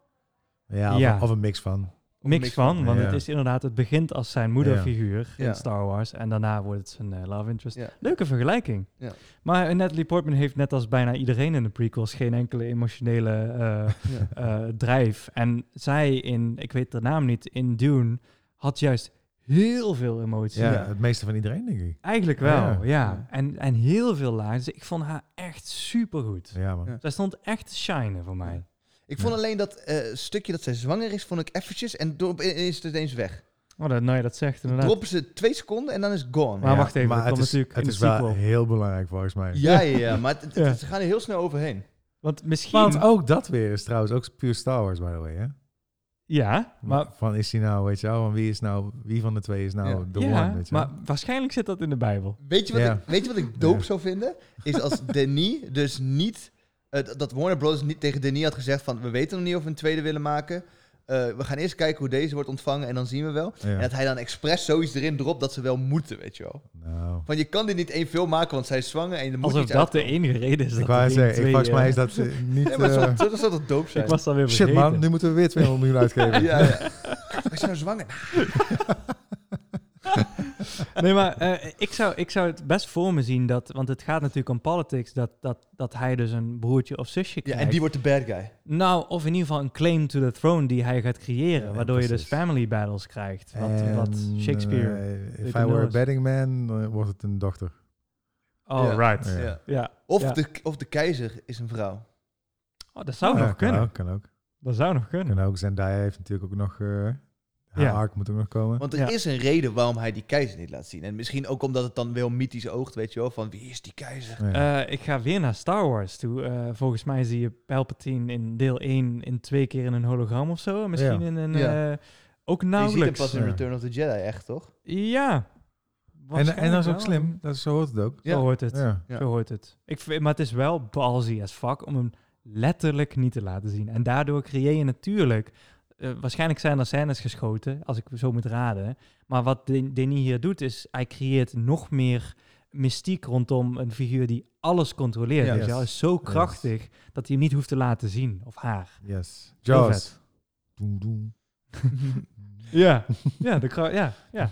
S4: Ja, of,
S1: Ja.
S4: of een mix van.
S2: een
S1: Mix,
S2: mix
S1: van,
S2: van,
S1: want
S4: ja.
S1: het is inderdaad, het begint als zijn moederfiguur
S2: Ja.
S1: in Star Wars en daarna wordt het zijn eh, love interest.
S2: Ja.
S1: Leuke vergelijking.
S2: Ja.
S1: Maar eh, Natalie Portman heeft net als bijna iedereen in de prequels geen enkele emotionele eh,
S2: Ja.
S1: eh, drijf. En zij in, ik weet de naam niet, in Dune had juist heel veel emotie.
S4: Ja,
S2: Ja.
S4: het meeste van iedereen, denk ik.
S1: Eigenlijk wel,
S4: Ja.
S1: ja.
S2: Ja.
S1: En, en heel veel laag. Dus ik vond haar echt supergoed.
S4: Ja, man.
S2: Ja.
S1: Zij stond echt te shinen voor mij.
S2: Ik vond
S4: Ja.
S2: alleen dat eh, stukje dat zij zwanger is, vond ik eventjes. En door, eh, is het ineens weg.
S1: Oh, dat, nou ja, dat zegt
S2: Dan
S1: inderdaad.
S2: droppen ze twee seconden en dan is het gone.
S1: Maar
S4: Ja,
S1: wacht even, dat
S4: het
S1: komt
S4: is,
S1: natuurlijk
S4: het
S1: in
S4: is
S1: de
S4: wel
S1: sequel.
S4: heel belangrijk volgens mij.
S2: Ja, ja, ja, maar het- het-
S1: Ja.
S2: ze gaan er heel snel overheen.
S1: Want misschien...
S4: Want ook dat weer is trouwens ook puur Star Wars, by the way. Hè?
S1: ja, maar,
S4: Van is hij nou, weet je wel, van wie is nou, wie van de twee is nou de
S1: ja,
S4: one, weet je wel?
S1: maar waarschijnlijk zit dat in de Bijbel.
S2: Weet je wat,
S4: Ja.
S2: ik, weet je wat ik doop
S4: Ja.
S2: zou vinden? Is als Denis dus niet eh, d- dat Warner Bros. niet tegen Denis had gezegd van... we weten nog niet of we een tweede willen maken. Eh, we gaan eerst kijken hoe deze wordt ontvangen en dan zien we wel.
S4: Ja.
S2: En dat hij dan expres zoiets erin dropt dat ze wel moeten, weet je wel.
S4: Nou.
S2: Van je kan dit niet één film maken, want zij is zwanger en er moet
S1: Alsof
S2: iets
S1: dat
S2: uit-
S1: de enige reden is.
S4: Ik
S1: dat
S4: wou
S1: er geen
S4: zeggen, ik,
S1: twee,
S4: volgens
S1: eh,
S4: mij is dat eh, niet...
S2: Nee, maar
S4: eh,
S2: zo, zo zou dat doop zijn.
S1: Ik was dan weer
S4: shit
S1: vergeten.
S4: man, nu moeten we weer 200
S2: ja,
S4: miljoen uitgeven.
S2: ja. Is ze nou zwanger?
S1: Nee, maar eh, ik, zou, ik zou het best voor me zien dat... Want het gaat natuurlijk om politics. Dat, dat, dat hij dus een broertje of zusje
S2: Ja,
S1: krijgt.
S2: en die wordt de bad guy.
S1: Nou, of in ieder geval een claim to the throne die hij gaat creëren.
S4: Ja,
S1: waardoor je dus
S4: precies.
S1: family battles krijgt. Wat,
S4: En,
S1: wat Shakespeare...
S4: eh, if I
S1: Dick
S4: were a
S1: Norris.
S4: betting man, eh, wordt het een dochter.
S1: oh,
S2: ja.
S1: right.
S4: Ja.
S1: Ja.
S2: Of,
S1: Ja.
S2: De, of de keizer is een vrouw.
S1: Oh, dat zou
S4: Ja,
S1: nog kunnen.
S4: Kan ook, kan ook.
S1: Dat zou nog kunnen.
S4: Kan ook. Zendaya heeft natuurlijk ook nog... eh haar
S1: Ja.
S4: arc moet ook nog komen.
S2: Want er
S1: Ja.
S2: is een reden waarom hij die keizer niet laat zien. En misschien ook omdat het dan wel mythisch oogt, weet je wel. Van wie is die keizer?
S4: Ja.
S1: Eh, ik ga weer naar Star Wars toe. Eh, volgens mij zie je Palpatine in deel 1 in twee keer in een hologram of zo. Misschien
S4: Ja.
S1: in een...
S2: Ja.
S1: eh, ook
S2: Je ziet hem
S1: nauwelijks.
S2: pas in
S4: Ja.
S2: Return of the Jedi, echt toch?
S1: Ja.
S4: en, en dat is ook
S1: Waarschijnlijk
S4: slim.
S1: wel.
S4: Dat is, zo hoort het ook.
S1: Zo hoort het.
S4: Ja.
S2: Ja.
S1: Zo hoort het. Ik vind, maar het is wel ballsy as fuck om hem letterlijk niet te laten zien. En daardoor creëer je natuurlijk... eh, waarschijnlijk zijn er scènes geschoten, als ik zo moet raden. Maar wat Den- Denis hier doet, is hij creëert nog meer mystiek rondom een figuur die alles controleert.
S2: Ja.
S1: weet je wel. Hij is zo
S4: Yes.
S1: krachtig dat hij hem niet hoeft te laten zien, of haar.
S4: Yes.
S1: Heel
S4: Jaws.
S1: vet.
S4: Doem, doem.
S1: Ja, ja, de kra- ja, ja.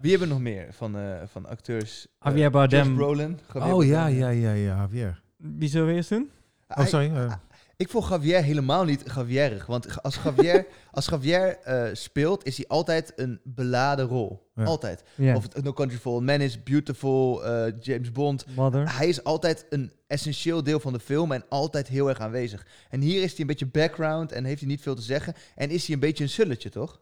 S2: Wie hebben we nog meer van, eh, van acteurs?
S1: Javier
S2: Eh, Josh
S1: Bardem,
S2: Brolin. Javier
S4: Oh ja,
S2: Bardem.
S4: ja, ja, ja. Javier.
S1: wie zullen we eerst doen?
S4: Oh,
S2: Hij-
S4: sorry. eh,
S2: Ik vond Javier helemaal niet Javierig. Want als Javier, als Javier eh, speelt, is hij altijd een beladen rol.
S4: Ja.
S2: Altijd.
S1: Ja.
S2: Of het No Country for Old Men is, Beautiful, eh, James Bond.
S1: Mother.
S2: Hij is altijd een essentieel deel van de film en altijd heel erg aanwezig. En hier is hij een beetje background en heeft hij niet veel te zeggen. En is hij een beetje een sulletje, toch?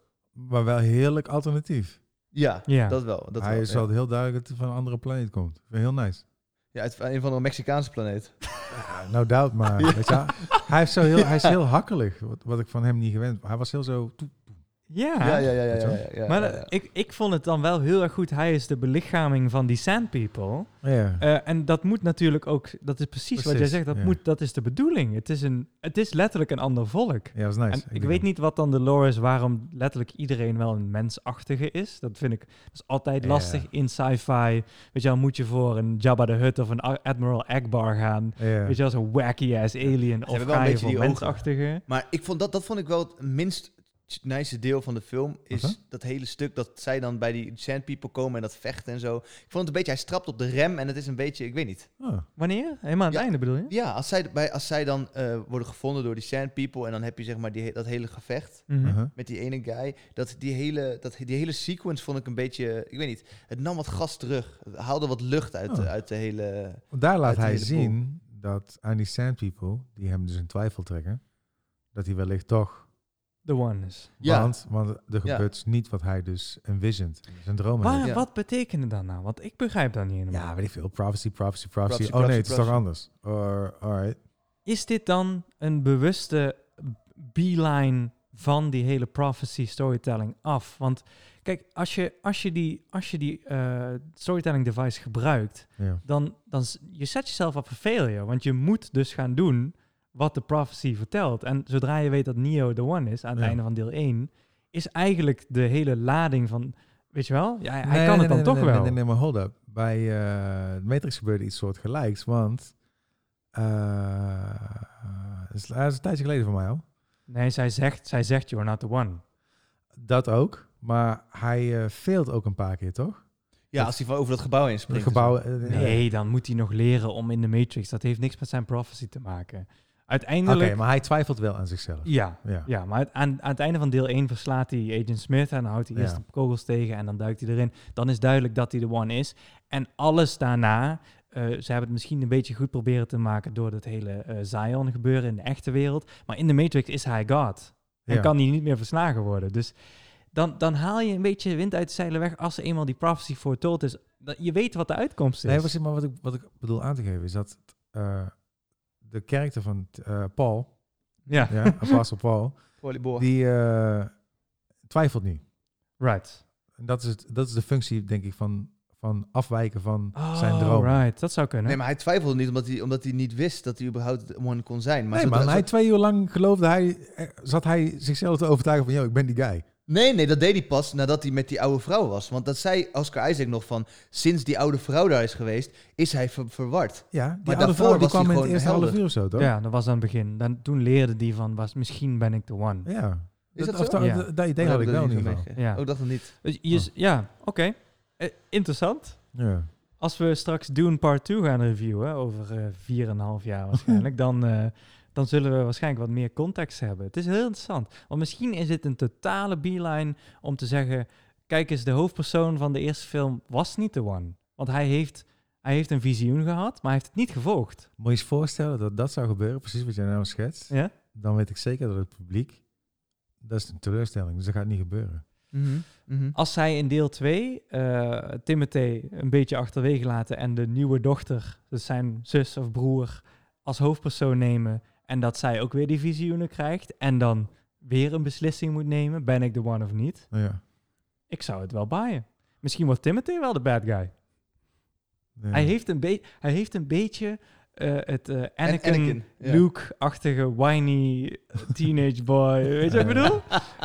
S4: maar wel heerlijk alternatief.
S2: Ja,
S1: Ja.
S2: dat wel. Dat
S4: Hij
S2: wel,
S4: is
S2: ja.
S4: wel heel duidelijk dat hij van een andere planeet komt. Vind ik Heel nice.
S2: Ja, uit een van de Mexicaanse planeet.
S4: Ja, no doubt, maar weet je, hij, heeft zo heel, hij is heel hakkelig, wat, wat ik van hem niet gewend Hij was heel zo... toe-
S2: Ja, ja, ja. ja, ja, ja, ja,
S1: Maar eh,
S2: ja,
S1: dat-
S2: ja.
S1: Ik, ik vond het dan wel heel erg goed. Hij is de belichaming van die Sand People.
S4: Ja.
S1: Eh, en dat moet natuurlijk ook, dat is precies, wat jij
S4: Precies,
S1: zegt, dat,
S4: ja.
S1: moet, dat is de bedoeling. Het is, een, het is letterlijk een ander volk.
S4: ja, was nice.
S1: En ik
S4: denk
S1: weet
S4: dat-
S1: niet wat dan de lore is waarom letterlijk iedereen wel een mensachtige is. Dat vind ik dat is altijd
S4: Ja.
S1: lastig in sci-fi. Weet je wel, moet je voor een Jabba the Hutt of een A- Admiral Akbar gaan.
S4: Ja.
S1: Weet je wel, zo'n wacky-ass alien. Of
S2: hebben wel
S1: ga
S2: een
S1: je
S2: beetje
S1: voor
S2: die ogen.
S1: mensachtige.
S2: Maar ik vond dat, dat vond ik wel het minst nice deel van de film. Is
S4: Wat
S2: dat hele stuk dat zij dan bij die Sand People komen en dat vechten en zo. Ik vond het een beetje, hij strapt op de rem en het is een beetje, ik weet niet.
S4: Oh,
S1: Wanneer? Helemaal aan het
S2: Ja.
S1: einde bedoel je?
S2: Ja, als zij, bij, als zij dan eh, worden gevonden door die Sand People en dan heb je zeg maar die, he- dat hele gevecht.
S1: Mhm.
S4: uh-huh.
S2: met die ene guy. Dat die, hele, dat, die hele sequence vond ik een beetje. Ik weet niet. Het nam wat gas terug. Het haalde wat lucht uit, de-
S4: Oh.
S2: uit de hele.
S4: Want Daar
S2: Uit
S4: laat
S2: die
S4: hij
S2: hele pool.
S4: zien dat aan die sand people, die hem dus in twijfel trekken, dat hij wellicht toch...
S1: The One is.
S2: Ja.
S4: Want, want er
S2: Ja.
S4: gebeurt niet wat hij dus envisioned. Zijn droom
S1: Maar
S2: Ja.
S1: wat betekende dat nou? Want ik begrijp dat niet helemaal.
S4: Ja, weet ik veel. Prophecy, prophecy, prophecy.
S2: Prophecy,
S4: oh nee, het
S2: prophecy,
S4: is toch anders. Or, alright.
S1: Is dit dan een bewuste beeline van die hele prophecy storytelling af? Want kijk, als je, als je die, als je die eh, storytelling device gebruikt,
S4: Ja.
S1: dan, dan s- je zet jezelf op een failure. Want je moet dus gaan doen wat de prophecy vertelt. En zodra je weet dat Neo de one is, aan het
S4: Ja.
S1: einde van deel 1, is eigenlijk de hele lading van, weet je wel, ja, hij
S4: Nee,
S1: kan
S4: nee,
S1: het dan
S4: nee,
S1: toch
S4: nee,
S1: wel.
S4: Nee, nee, nee, maar hold up. Bij eh, Matrix gebeurde iets soortgelijks, want... eh, het is, het is een tijdje geleden van mij al.
S1: Nee, zij zegt, zij zegt, you're not the one.
S4: Dat ook. Maar hij eh failt ook een paar keer, toch?
S2: Ja, als hij van over dat gebouw heen
S4: Het
S2: springt.
S4: gebouw... eh, eh,
S1: Nee, dan moet hij nog leren om in de Matrix. Dat heeft niks met zijn prophecy te maken.
S4: Oké,
S1: Uiteindelijk,
S4: maar hij twijfelt wel aan zichzelf.
S1: ja.
S4: Ja.
S1: Ja, maar het- aan, aan het einde van deel 1 verslaat hij Agent Smith en dan houdt hij eerst
S4: Ja.
S1: de kogels tegen en dan duikt hij erin. Dan is duidelijk dat hij de one is. En alles daarna, eh, ze hebben het misschien een beetje goed proberen te maken door dat hele eh, Zion gebeuren in de echte wereld. Maar in de Matrix is hij God. En
S4: Ja.
S1: kan hij niet meer verslagen worden. Dus dan, dan haal je een beetje wind uit de zeilen weg als er eenmaal die prophecy voortold is. Dat- Je weet wat de uitkomst is.
S4: Nee, precies, maar wat ik, wat ik bedoel aan te geven is dat eh, de karakter van eh, Paul,
S1: ja,
S4: ja, Apostel Paul,
S2: Volleyball.
S4: die eh, twijfelt nu.
S1: right.
S4: En dat is, het, dat is de functie, denk ik, van, van afwijken van
S1: Oh,
S4: zijn droom.
S1: right. Dat zou kunnen.
S2: Nee, maar hij twijfelde niet omdat hij, omdat hij niet wist dat hij überhaupt one kon zijn. Maar
S4: nee,
S2: zodra-
S4: man, hij twee uur lang geloofde hij, eh, zat hij zichzelf te overtuigen van, yo, ik ben die guy.
S2: Nee, nee, dat deed hij pas nadat hij met die oude vrouw was. Want dat zei Oscar Isaac nog van, sinds die oude vrouw daar is geweest, is hij ver- verward.
S4: Ja, die
S2: Maar
S4: oude
S2: daarvoor
S4: vrouw die
S2: was
S4: kwam
S2: hij
S4: in het
S2: gewoon
S4: eerste
S2: helder.
S4: half uur of zo, toch?
S1: ja, dat was aan het begin. Dan, toen leerde die van, was, misschien ben ik de one.
S4: Ja.
S2: Is dat
S4: of
S2: zo?
S4: dat-
S1: Ja.
S4: dat- Dat idee
S2: Oh,
S4: had ik
S2: dat
S4: wel in
S2: niet
S4: ieder
S2: zo
S4: geval.
S2: meegekregen.
S1: Ja.
S2: Oh, ik dacht dat niet.
S1: Dus je
S4: Oh.
S1: is- Ja, oké. Eh, interessant.
S4: Ja.
S1: Als we straks Dune Part 2 gaan reviewen, over eh 4,5 jaar waarschijnlijk, dan, eh, dan zullen we waarschijnlijk wat meer context hebben. Het is heel interessant. Want misschien is dit een totale beeline om te zeggen, kijk eens, de hoofdpersoon van de eerste film was niet de one. Want hij heeft, hij heeft een visioen gehad, maar hij heeft het niet gevolgd.
S4: Moet je eens voorstellen dat dat zou gebeuren, precies wat jij nou schetst.
S1: Ja?
S4: Dan weet ik zeker dat het publiek, dat is een teleurstelling, dus dat gaat niet gebeuren.
S2: Mhm.
S1: Als zij in deel 2 eh Timothy een beetje achterwege laten en de nieuwe dochter, dus zijn zus of broer, als hoofdpersoon nemen en dat zij ook weer die visioenen krijgt en dan weer een beslissing moet nemen, ben ik de one of niet?
S4: Ja.
S1: Ik zou het wel baaien. Misschien wordt Timothy wel de bad guy.
S4: Ja.
S1: Hij, heeft een be- hij heeft een beetje eh, het eh,
S2: En
S1: Anakin,
S2: Anakin, ja.
S1: Luke-achtige whiny teenage boy. Weet je wat ik bedoel?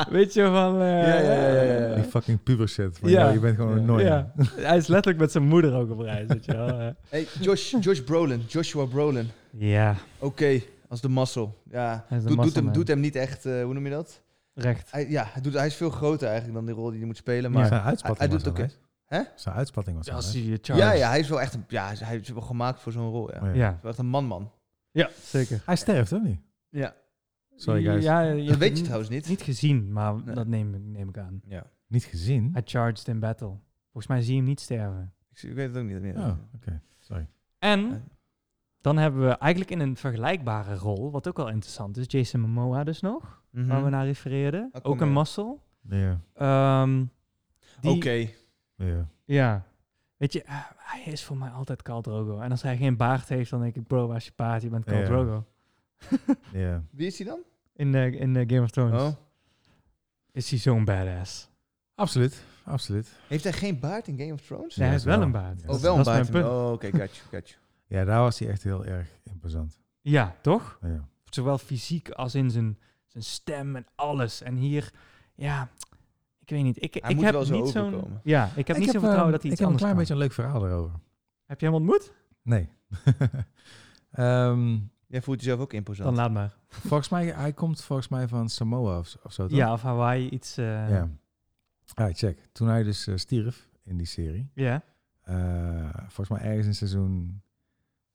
S1: Weet je van... eh,
S2: Ja, ja, ja, ja, ja.
S4: Die fucking puber shit. Van,
S1: Ja.
S4: ja. Je bent gewoon
S2: Ja.
S4: een nooit.
S1: Oh, Ja, hij is letterlijk met zijn moeder ook op reis, weet je wel. eh.
S2: Hey, Josh, Josh Brolin, Joshua Brolin.
S1: Ja,
S2: Oké, als de muscle. Ja,
S1: Hij is de
S2: doet, doet,
S1: muscle
S2: hem,
S1: man.
S2: doet hem niet echt, eh, hoe noem je dat?
S1: recht.
S2: Hij, ja, hij, doet, hij is veel groter eigenlijk dan die rol die hij moet spelen.
S4: Maar
S2: Maar
S4: zijn uitspatting
S2: hij
S4: was
S2: doet
S4: al
S2: ook-
S4: nice.
S2: Hè?
S4: Zijn uitspatting was al
S1: Als
S4: nice.
S1: je Charles.
S2: ja, ja, hij is wel echt een, ja, hij is wel gemaakt voor zo'n rol. Ja. Hij
S4: Maar ja.
S1: Ja,
S2: is wel echt een man-man.
S1: ja zeker.
S4: Hij sterft, of niet?
S2: Ja.
S4: Sorry, guys.
S1: Ja, je
S2: Dat
S1: hebt
S2: weet je
S1: niet-
S2: trouwens niet.
S1: Niet gezien, maar
S2: Nee.
S1: dat neem, ik- neem ik aan.
S2: Ja.
S4: Niet gezien?
S1: Hij charged in battle. Volgens mij zie je hem niet sterven.
S2: Ik, zie- ik weet het ook niet meer.
S4: Oh, oké.
S2: Nee.
S1: En dan hebben we eigenlijk in een vergelijkbare rol, wat ook wel interessant is, Jason Momoa dus nog,
S2: Mhm.
S1: waar we naar refereerden.
S2: Aquaman.
S1: Ook een muscle.
S4: Ja.
S1: Ehm, die-
S2: Oké.
S4: Ja.
S1: Ja. Weet je, eh, hij is voor mij altijd Khal Drogo. En als hij geen baard heeft, dan denk ik, bro, waar is je paard? Je bent Khal
S4: Ja.
S1: Drogo.
S4: Ja.
S2: Wie is hij dan?
S1: In, eh, in eh, Game of Thrones.
S2: Oh.
S1: Is hij zo'n badass?
S4: Absoluut. Absoluut.
S2: Heeft hij geen baard in Game of Thrones?
S1: Nee, hij heeft
S4: wel.
S1: wel een baard.
S4: Ja.
S1: Dat
S2: Oh,
S1: is-
S2: wel een
S1: dat is
S2: baard.
S1: mijn punt.
S2: Oh, oké, got you, got you.
S4: Ja, daar was hij echt heel erg imposant.
S1: Ja, toch?
S4: Ja.
S1: Zowel fysiek als in zijn, zijn stem en alles. En hier, ja, ik weet niet. Ik,
S2: Hij
S1: ik
S2: moet
S1: heb
S2: wel zo
S1: niet zo'n-
S2: overkomen.
S1: Ja, ik heb niet zo'n vertrouwen dat hij iets
S4: Ik heb een
S1: anders
S4: klein
S1: kan.
S4: beetje een leuk verhaal erover.
S1: Heb je hem ontmoet?
S4: Nee. Ehm,
S2: Jij voelt jezelf ook
S1: Dan
S2: imposant.
S1: laat maar.
S4: volgens mij, hij komt volgens mij van Samoa of, of zo. toch?
S1: Ja, of Hawaii iets. eh,
S4: ja. Ah, check. Toen hij dus eh, stierf in die serie,
S1: ja,
S4: eh, volgens mij ergens in seizoen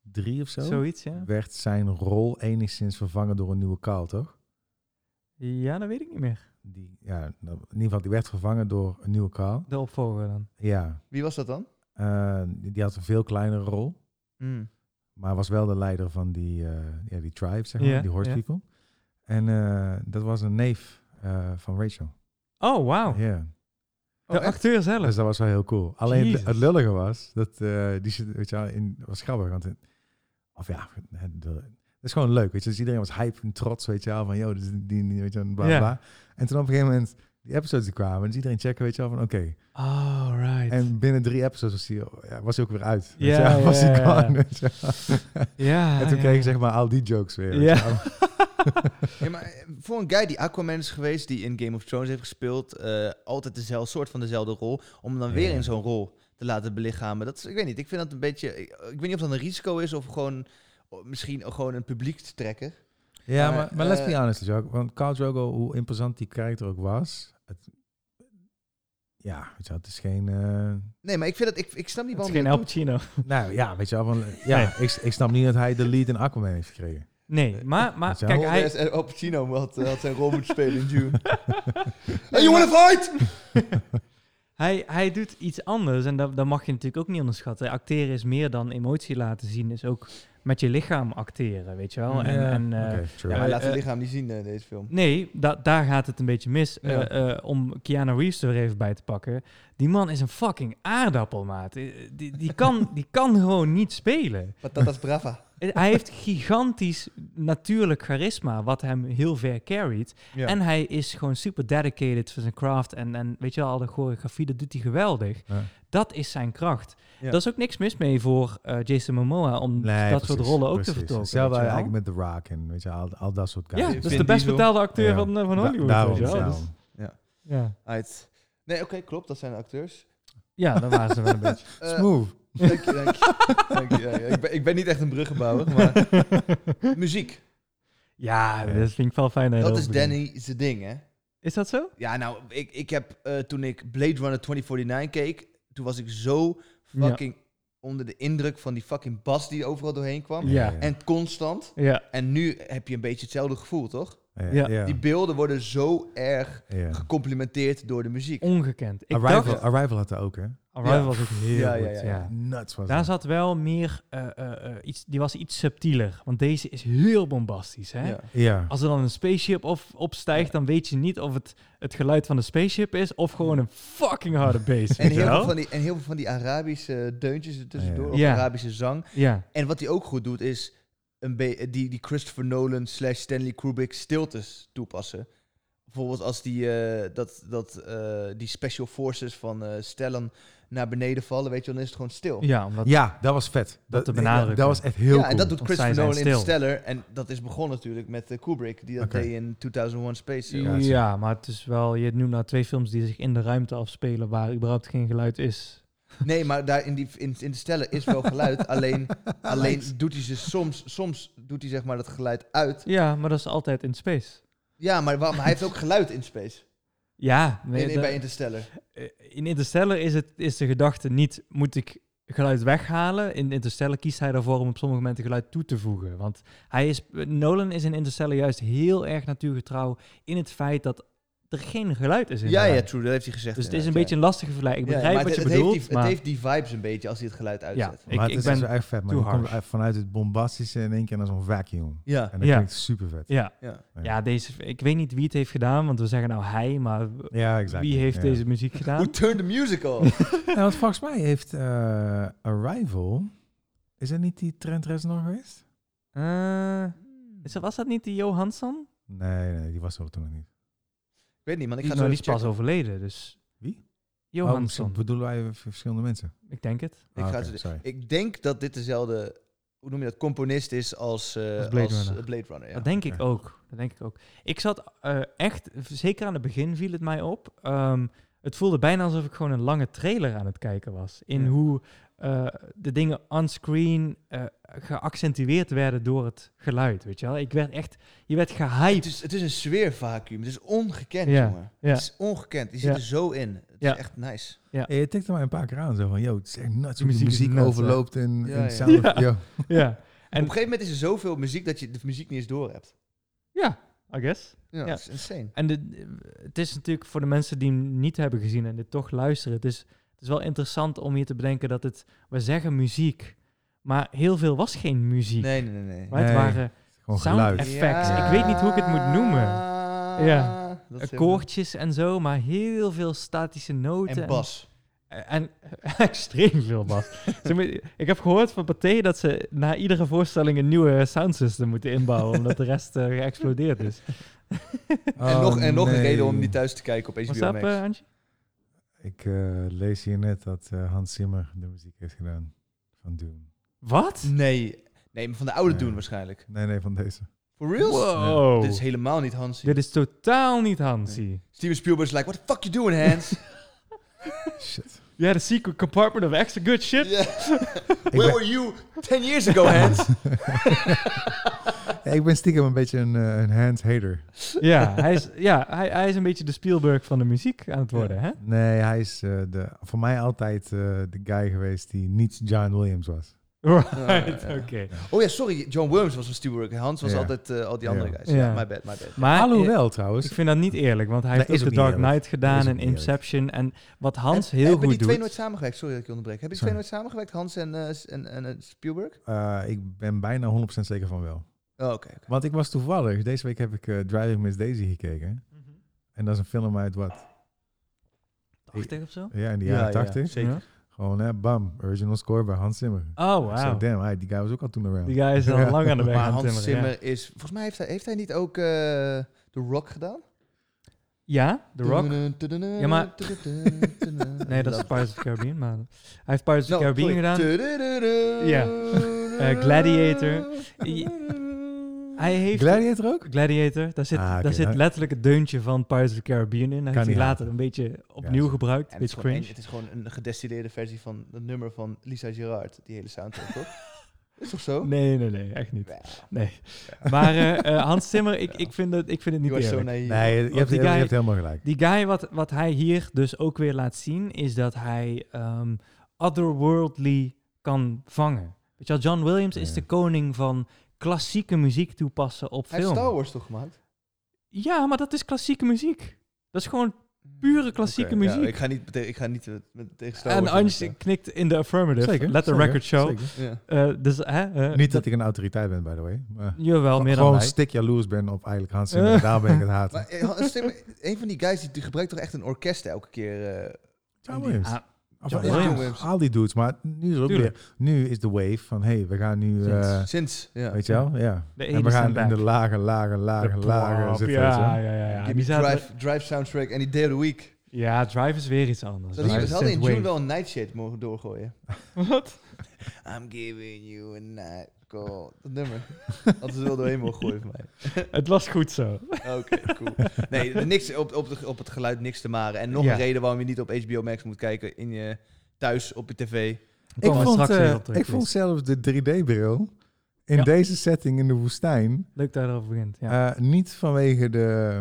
S4: drie of zo,
S1: zoiets, ja.
S4: werd zijn rol enigszins vervangen door een nieuwe kaal, toch?
S1: Ja, dat weet ik niet meer.
S4: Die, ja, nou, in ieder geval, die werd vervangen door een nieuwe kaal.
S1: De opvolger dan.
S4: Ja,
S2: Wie was dat dan?
S4: eh, die, die had een veel kleinere rol.
S2: Mm.
S4: Maar was wel de leider van die, eh, ja, die tribe, zeg maar,
S1: Ja,
S4: die horse
S1: ja.
S4: people. En eh, dat was een neef eh, van Rachel.
S1: Oh,
S4: Ja.
S1: wauw.
S2: Oh,
S1: De
S2: echt?
S1: acteur zelf.
S4: Dus dat was wel heel cool. Alleen
S1: Jezus.
S4: het, het lullige was, dat eh, die zit, weet je wel, in, was grappig. Want, het- of ja, het de- het is gewoon leuk, weet je. Dus iedereen was hype en trots, weet je wel, van joh, dit is die, die, weet je wel, en bla,
S1: Ja.
S4: bla. En toen op een gegeven moment, die episodes die kwamen, dus iedereen checken, weet je wel, van oké.
S1: Oh, right.
S4: En binnen drie episodes was hij, ja, was hij ook weer uit. weet
S1: Ja,
S4: je wel.
S1: ja,
S4: was
S1: ja,
S4: hij
S1: ja.
S4: gone, weet je wel.
S1: ja,
S4: En toen
S1: ja,
S4: kreeg je
S1: ja.
S4: zeg maar al die jokes weer. weet
S1: Ja.
S4: je wel.
S2: Ja, maar eh, voor een guy die Aquaman is geweest, die in Game of Thrones heeft gespeeld, eh, altijd dezelfde soort van dezelfde rol, om hem dan
S4: Ja.
S2: weer in zo'n rol te laten belichamen. Dat is, ik weet niet, ik vind dat een beetje, ik, ik weet niet of dat een risico is of gewoon, o- misschien ook gewoon een publiek te trekken.
S4: Ja,
S2: Maar,
S4: maar, maar let's
S2: eh,
S4: be honest, Jacques, want Carl Drogo, hoe imposant die character ook was, het, ja, weet je wel, het is geen... eh,
S2: Nee, maar ik vind dat, ik, ik snap niet
S1: Het is
S2: waarom...
S1: geen
S2: die-
S1: Al Pacino.
S4: nou ja, weet je wel, van, ja, ik, ik snap niet dat hij de lead in Aquaman heeft gekregen.
S1: Nee, maar, maar
S4: Weet je
S1: kijk,
S2: Horace
S1: hij...
S2: en Al Pacino had, eh, had zijn rol moeten spelen in June. hey, you wanna fight?
S1: Hij, hij doet iets anders en dat, dat mag je natuurlijk ook niet onderschatten. Acteren is meer dan emotie laten zien, is ook met je lichaam acteren, weet je wel. En,
S4: Ja,
S1: en, eh,
S4: oké, true.
S2: Ja, maar
S1: eh,
S2: laat zijn
S1: eh,
S2: lichaam niet zien in deze film.
S1: Nee, da- daar gaat het een beetje mis.
S2: Ja.
S1: Eh, eh, om Keanu Reeves er even bij te pakken. Die man is een fucking aardappel, maat. Eh, Die, die, kan, die kan gewoon niet spelen.
S2: Patatas brava.
S1: Eh, Hij heeft gigantisch natuurlijk charisma, wat hem heel ver carried.
S2: Ja.
S1: En hij is gewoon super dedicated voor zijn craft. En, en weet je wel, al de choreografie, dat doet hij geweldig.
S4: Ja.
S1: Dat is zijn kracht.
S2: Ja.
S1: Daar is ook niks mis mee voor eh, Jason Momoa om dat soort rollen ook te vertolken.
S4: Hetzelfde
S1: weet je wel.
S4: eigenlijk met The Rock en weet je, al, al dat soort guys.
S1: Ja,
S2: Vin
S1: dat is de best
S2: Diesel.
S1: betaalde acteur
S4: Ja.
S1: van, eh, van
S4: Da-
S1: Hollywood.
S4: daarom,
S1: weet je wel.
S4: daarom.
S1: Dus- ja.
S2: Uit. Nee, oké, klopt. Dat zijn de acteurs.
S1: ja, daar waren ze wel een beetje.
S2: Eh,
S4: Smooth.
S2: Dank je, dank je. Dank je, ja, ja. Ik, ben, ik ben niet echt een bruggenbouwer, maar... Muziek.
S1: Ja,
S4: Ja.
S1: dat vind ik wel fijn. je
S2: Dat
S1: dat
S2: is
S1: begint.
S2: Danny zijn ding, hè?
S1: Is dat zo?
S2: Ja, nou, ik, ik heb eh, toen ik Blade Runner 2049 keek, toen was ik zo fucking onder de indruk van die fucking bas die overal doorheen kwam.
S1: Ja.
S2: En constant.
S1: Ja.
S2: En nu heb je een beetje hetzelfde gevoel, toch?
S1: ja.
S4: ja.
S2: Die beelden worden zo erg
S4: ja.
S2: gecomplimenteerd door de muziek.
S1: Ongekend. Ik
S4: Arrival,
S1: dacht,
S4: Arrival had dat ook, hè?
S1: Arrival
S2: Ja.
S1: was ook heel
S2: Ja,
S1: goed.
S2: ja, ja, ja.
S1: ja.
S4: Nuts was
S1: Daar
S4: dat.
S1: zat wel meer, eh, eh, eh, iets, die was iets subtieler. Want deze is heel bombastisch. Hè?
S2: Ja.
S4: Ja.
S1: Als er dan een spaceship op, opstijgt, dan weet je niet of het het geluid van de spaceship is of gewoon een fucking harde bass. weet
S2: En
S1: je
S2: heel, veel
S1: wel?
S2: van die, en heel veel van die Arabische deuntjes er tussendoor,
S4: Ja.
S2: of
S1: Ja.
S2: Arabische zang.
S1: Ja,
S2: En wat hij ook goed doet, is een be- die, die Christopher Nolan slash Stanley Kubrick stiltes toepassen. Bijvoorbeeld als die, eh, dat, dat, eh, die special forces van eh, Stellan naar beneden vallen, weet je, dan is het gewoon stil. Ja,
S1: ja omdat
S4: ja, dat was vet. Dat,
S1: te
S4: ja,
S1: benadrukken.
S4: Dat was echt heel cool.
S2: en dat doet
S1: Want
S2: Christopher
S1: zij
S2: Nolan
S1: zijn
S2: in
S1: stil.
S2: Steller. En dat is begonnen natuurlijk met eh, Kubrick, die dat
S4: Oké.
S2: deed in 2001 Space.
S1: Ja,
S2: Odyssey.
S1: maar het is wel, je noemt nou twee films die zich in de ruimte afspelen waar überhaupt geen geluid is.
S2: Nee, maar daar in, die, in, in de Steller is wel geluid, alleen, alleen doet hij ze soms, soms doet hij zeg maar dat geluid uit.
S1: Ja, maar dat is altijd in space.
S2: Ja, maar, waarom- hij heeft ook geluid in Space.
S1: Ja,
S2: Nee,
S1: nee,
S2: nee,
S1: dat-
S2: bij Interstellar.
S1: eh, in Interstellar is, het, is de gedachte niet, moet ik geluid weghalen? In Interstellar kiest hij ervoor om op sommige momenten geluid toe te voegen. Want hij is, Nolan is in Interstellar juist heel erg natuurgetrouw in het feit dat er geen geluid is in de
S2: Ja, ja,
S1: ruimte.
S2: true, dat heeft hij gezegd.
S1: Dus het is een
S2: inderdaad,
S1: beetje een lastige vergelijking. Ik
S2: Ja,
S1: begrijp
S2: maar
S1: wat
S2: het-
S1: je
S2: het
S1: bedoelt,
S2: Heeft die,
S1: maar...
S2: Het heeft die vibes een beetje als hij het geluid uitzet.
S1: ik-
S4: maar
S1: ik
S4: het
S1: ben
S4: is wel echt vet. Maar
S1: too
S4: je komt
S1: harsh.
S4: uit- vanuit het bombastische in één keer naar zo'n vacuüm.
S2: Ja.
S4: En dat
S1: Ja.
S4: klinkt super vet.
S1: ja.
S2: Ja.
S1: ja, deze, ik weet niet wie het heeft gedaan, want we zeggen nou hij, maar
S4: Ja, exact.
S1: wie heeft
S4: ja.
S1: deze muziek gedaan?
S2: Who turned the musical?
S4: Ja, want volgens mij heeft eh, Arrival... Is dat niet die Trent Reznor geweest?
S1: Eh, is dat- was dat niet die Johansson?
S4: Nee, nee, die was er toen nog niet.
S2: ik weet niet, man. Ik
S1: Die
S2: ga
S1: is,
S2: zo
S1: nou, die is
S2: even
S1: pas
S2: checken.
S1: overleden, dus...
S4: Wie? Oh, misschien
S1: Johansson,
S4: bedoelen wij v- verschillende mensen?
S1: ik denk het.
S2: Ik,
S4: Ah,
S2: ga
S4: oké,
S2: zo-
S4: sorry.
S2: ik denk dat dit dezelfde, hoe noem je dat, componist is als, eh,
S1: Als Blade
S2: als,
S1: Runner.
S2: eh, Blade Runner. Ja.
S1: dat denk ik
S4: oké.
S1: ook. Dat denk ik ook. Ik zat eh, echt, zeker aan het begin viel het mij op. ehm, het voelde bijna alsof ik gewoon een lange trailer aan het kijken was. In
S2: Ja.
S1: hoe eh, de dingen onscreen eh geaccentueerd werden door het geluid. Weet je wel? Ik werd echt, je werd
S2: Het
S1: gehyped.
S2: is, het is een sfeervacuüm. Het is ongekend,
S1: Ja,
S2: jongen.
S1: ja.
S2: Het is ongekend. Die zit
S1: Ja.
S2: er zo in. Het
S1: Ja.
S2: is echt nice.
S4: En Eh, je tikte mij een paar keer aan. Zo van, yo, het is echt nuts hoe die
S1: muziek is
S4: muziek
S1: nuts,
S4: overloopt in,
S2: Ja,
S4: in
S2: ja.
S4: sound.
S1: Ja.
S4: Yo.
S1: ja.
S2: Op een gegeven moment is er zoveel muziek dat je de muziek niet eens door hebt.
S1: ja, I guess.
S2: Ja,
S1: Ja.
S2: dat is insane.
S1: En de, het is natuurlijk voor de mensen die hem niet hebben gezien en dit toch luisteren. Het is, het is wel interessant om hier te bedenken dat het, we zeggen muziek, maar heel veel was geen muziek.
S2: Nee, nee, nee. nee.
S1: Maar het
S4: Nee.
S1: waren
S4: Gewoon
S1: Sound
S4: geluid.
S1: effects. Ik weet niet hoe ik het moet noemen. Ja.
S2: Dat is
S1: eh,
S2: heel
S1: koortjes en zo, maar heel veel statische noten.
S2: En Bas.
S1: En, extreem veel bas. Ze moet- ik heb gehoord van Pathé dat ze na iedere voorstelling een nieuwe soundsystem moeten inbouwen, omdat de rest eh, geëxplodeerd is.
S2: en
S4: Oh,
S2: nog, en nog een
S4: nee.
S2: reden om niet thuis te kijken op
S1: Was
S2: HBO
S1: dat,
S2: Max.
S1: eh, Antje?
S4: Ik eh, lees hier net dat eh, Hans Zimmer de muziek heeft gedaan van Doom.
S1: Wat?
S2: nee. nee, maar van de oude
S4: Nee.
S2: doen waarschijnlijk.
S4: Nee, nee, van deze.
S2: For real?
S1: Wow.
S2: Dit is helemaal niet Hansi.
S1: Dit is totaal niet Hansie.
S2: Steven Spielberg is like, what the fuck you doing, Hans?
S4: Shit.
S1: Ja, de secret compartment of extra good shit.
S2: Yeah.
S4: Ik ben-
S2: Where were you 10 years ago, Hans?
S4: Ja, ik ben stiekem een beetje een, eh, een hands-hater.
S1: Ja, hij is, ja hij, hij is een beetje de Spielberg van de muziek aan het worden, hè?
S4: Nee, hij is eh, de, voor mij altijd eh, de guy geweest die niet John Williams was.
S1: Right,
S2: Ja, ja.
S1: oké.
S2: oh ja, sorry. John Worms was van Spielberg. Hans was
S4: Ja.
S2: altijd eh, al die andere
S4: Ja.
S2: guys. Ja,
S1: Ja.
S2: my bad, my bad.
S1: Maar eh,
S4: Alhoewel
S1: Ik
S4: trouwens.
S1: vind dat niet eerlijk, want hij
S4: Nee,
S1: heeft
S4: is
S1: ook
S4: ook
S1: The
S4: niet
S1: Dark
S4: eerlijk.
S1: Knight gedaan
S4: Is ook
S1: en
S4: niet eerlijk.
S1: Inception. En wat Hans heel
S2: Hebben die
S1: goed
S2: twee
S1: doet...
S2: nooit samengewerkt? Sorry dat ik je onderbreek. Hebben die
S4: Sorry.
S2: twee nooit samengewerkt, Hans en, eh, s- en, en eh, Spielberg?
S4: eh, ik ben bijna 100% zeker van wel.
S2: Oh, oké. oké.
S4: Want ik was toevallig, deze week heb ik eh, Driving Miss Daisy gekeken.
S1: Mhm.
S4: En dat is een film uit wat?
S1: 80 of zo?
S4: Ja, in de
S2: Ja,
S4: jaren
S2: ja,
S4: 80.
S1: Zeker.
S4: Gewoon, hè, bam, original score bij Hans Zimmer.
S1: Oh,
S4: Ik zei,
S1: wauw.
S4: damn, hij- die guy was ook al toen around.
S1: Die guy is al
S4: Ja.
S1: lang aan de weg
S2: Maar
S1: aan het
S2: Hans
S1: timmeren, ja.
S2: Zimmer is... Volgens mij heeft hij, heeft hij niet ook eh, The Rock gedaan?
S1: Ja, The Rock. Ja, maar- Nee, dat is Pirates of the Caribbean, maar hij heeft Pirates of the Caribbean gedaan.
S2: gedaan.
S1: Ja. Eh, Gladiator.
S2: eh,
S1: Hij heeft
S4: Gladiator ook?
S1: Gladiator, daar zit,
S4: Ah, oké,
S1: daar zit
S4: nou-
S1: letterlijk het deuntje van Pirates of the Caribbean in. Hij heeft die
S4: niet
S1: later
S4: haten.
S1: een beetje opnieuw
S4: Ja,
S1: gebruikt,
S2: En
S1: een
S2: het, is
S1: beetje
S2: gewoon
S1: cringe.
S2: een, het is gewoon een gedestilleerde versie van het nummer van Lisa Gerard, die hele soundtrack, toch? Is toch zo?
S1: Nee, nee, nee, echt niet.
S2: Ja.
S1: Nee. Maar eh, eh, Hans Zimmer, ik, ik, vind het, ik vind het niet
S2: You are so
S1: eerlijk.
S2: naive.
S4: Nee, je,
S1: Want
S4: hebt,
S1: die
S4: je
S1: guy-
S4: hebt helemaal gelijk.
S1: Die guy, wat, wat hij hier dus ook weer laat zien, is dat hij ehm, otherworldly kan vangen. Weet je wel, John Williams is
S4: Ja.
S1: de koning van klassieke muziek toepassen op
S2: Hij heeft
S1: film.
S2: Star Wars toch gemaakt?
S1: Ja, maar dat is klassieke muziek. Dat is gewoon pure klassieke
S2: Oké, ja,
S1: muziek.
S2: ik ga niet, meteen- ik ga niet eh, met, tegen Star
S1: en
S2: Wars.
S1: Ange
S2: vechten.
S1: knikt in de affirmative.
S4: Zeker,
S1: Let the
S4: zeker,
S1: record show.
S4: zeker.
S2: Ja.
S1: Eh, dus, hè, eh,
S4: Niet dat ik een autoriteit ben, by the way. maar
S1: Jawel, meer dan
S4: gewoon
S1: wij.
S4: stik jaloers ben op eigenlijk Hans Zimmer. en Daar ben ik het haten.
S2: Maar eh, Hans Zimmer, een van die guys die, die gebruikt toch echt een orkest elke keer. eh
S4: John Williams.
S1: Ah,
S4: Of,
S1: John
S4: ja,
S2: Williams.
S4: Al die dudes. Maar nu is het ook
S1: Tuurlijk.
S4: weer... Nu is de wave van... hey, we gaan nu... eh,
S1: Sinds.
S2: sinds. Ja.
S4: weet je wel? Ja.
S1: De
S4: En
S1: ene
S4: we gaan
S1: staat
S4: in de
S1: back.
S4: lage, lage, lage, lage
S1: Plop,
S4: zitten. weet je wel.
S1: Ja, ja, ja. ja.
S2: Give
S1: Die
S2: me
S1: zaten-
S2: drive, drive soundtrack en die Day of the Week.
S1: Ja, Drive is weer iets anders.
S2: Ze hadden,
S1: Drive
S2: ze hadden in
S1: is
S2: June
S1: wave.
S2: wel een Nightshade mogen doorgooien.
S1: Wat?
S2: I'm giving you a night call. Dat nummer. Hadden ze wel doorheen mogen gooien voor mij.
S1: Het was goed zo.
S2: Oké, cool. Nee, er niks op, op, de, op het geluid niks te maren. En nog
S1: Ja.
S2: een reden waarom je niet op HBO Max moet kijken in je thuis op je tv.
S4: Ik vond, eh, ik
S1: ik
S4: vond zelfs de 3D-bril in
S1: Ja.
S4: deze setting in de woestijn...
S1: Leuk dat je erover begint. Ja.
S4: eh, niet vanwege de,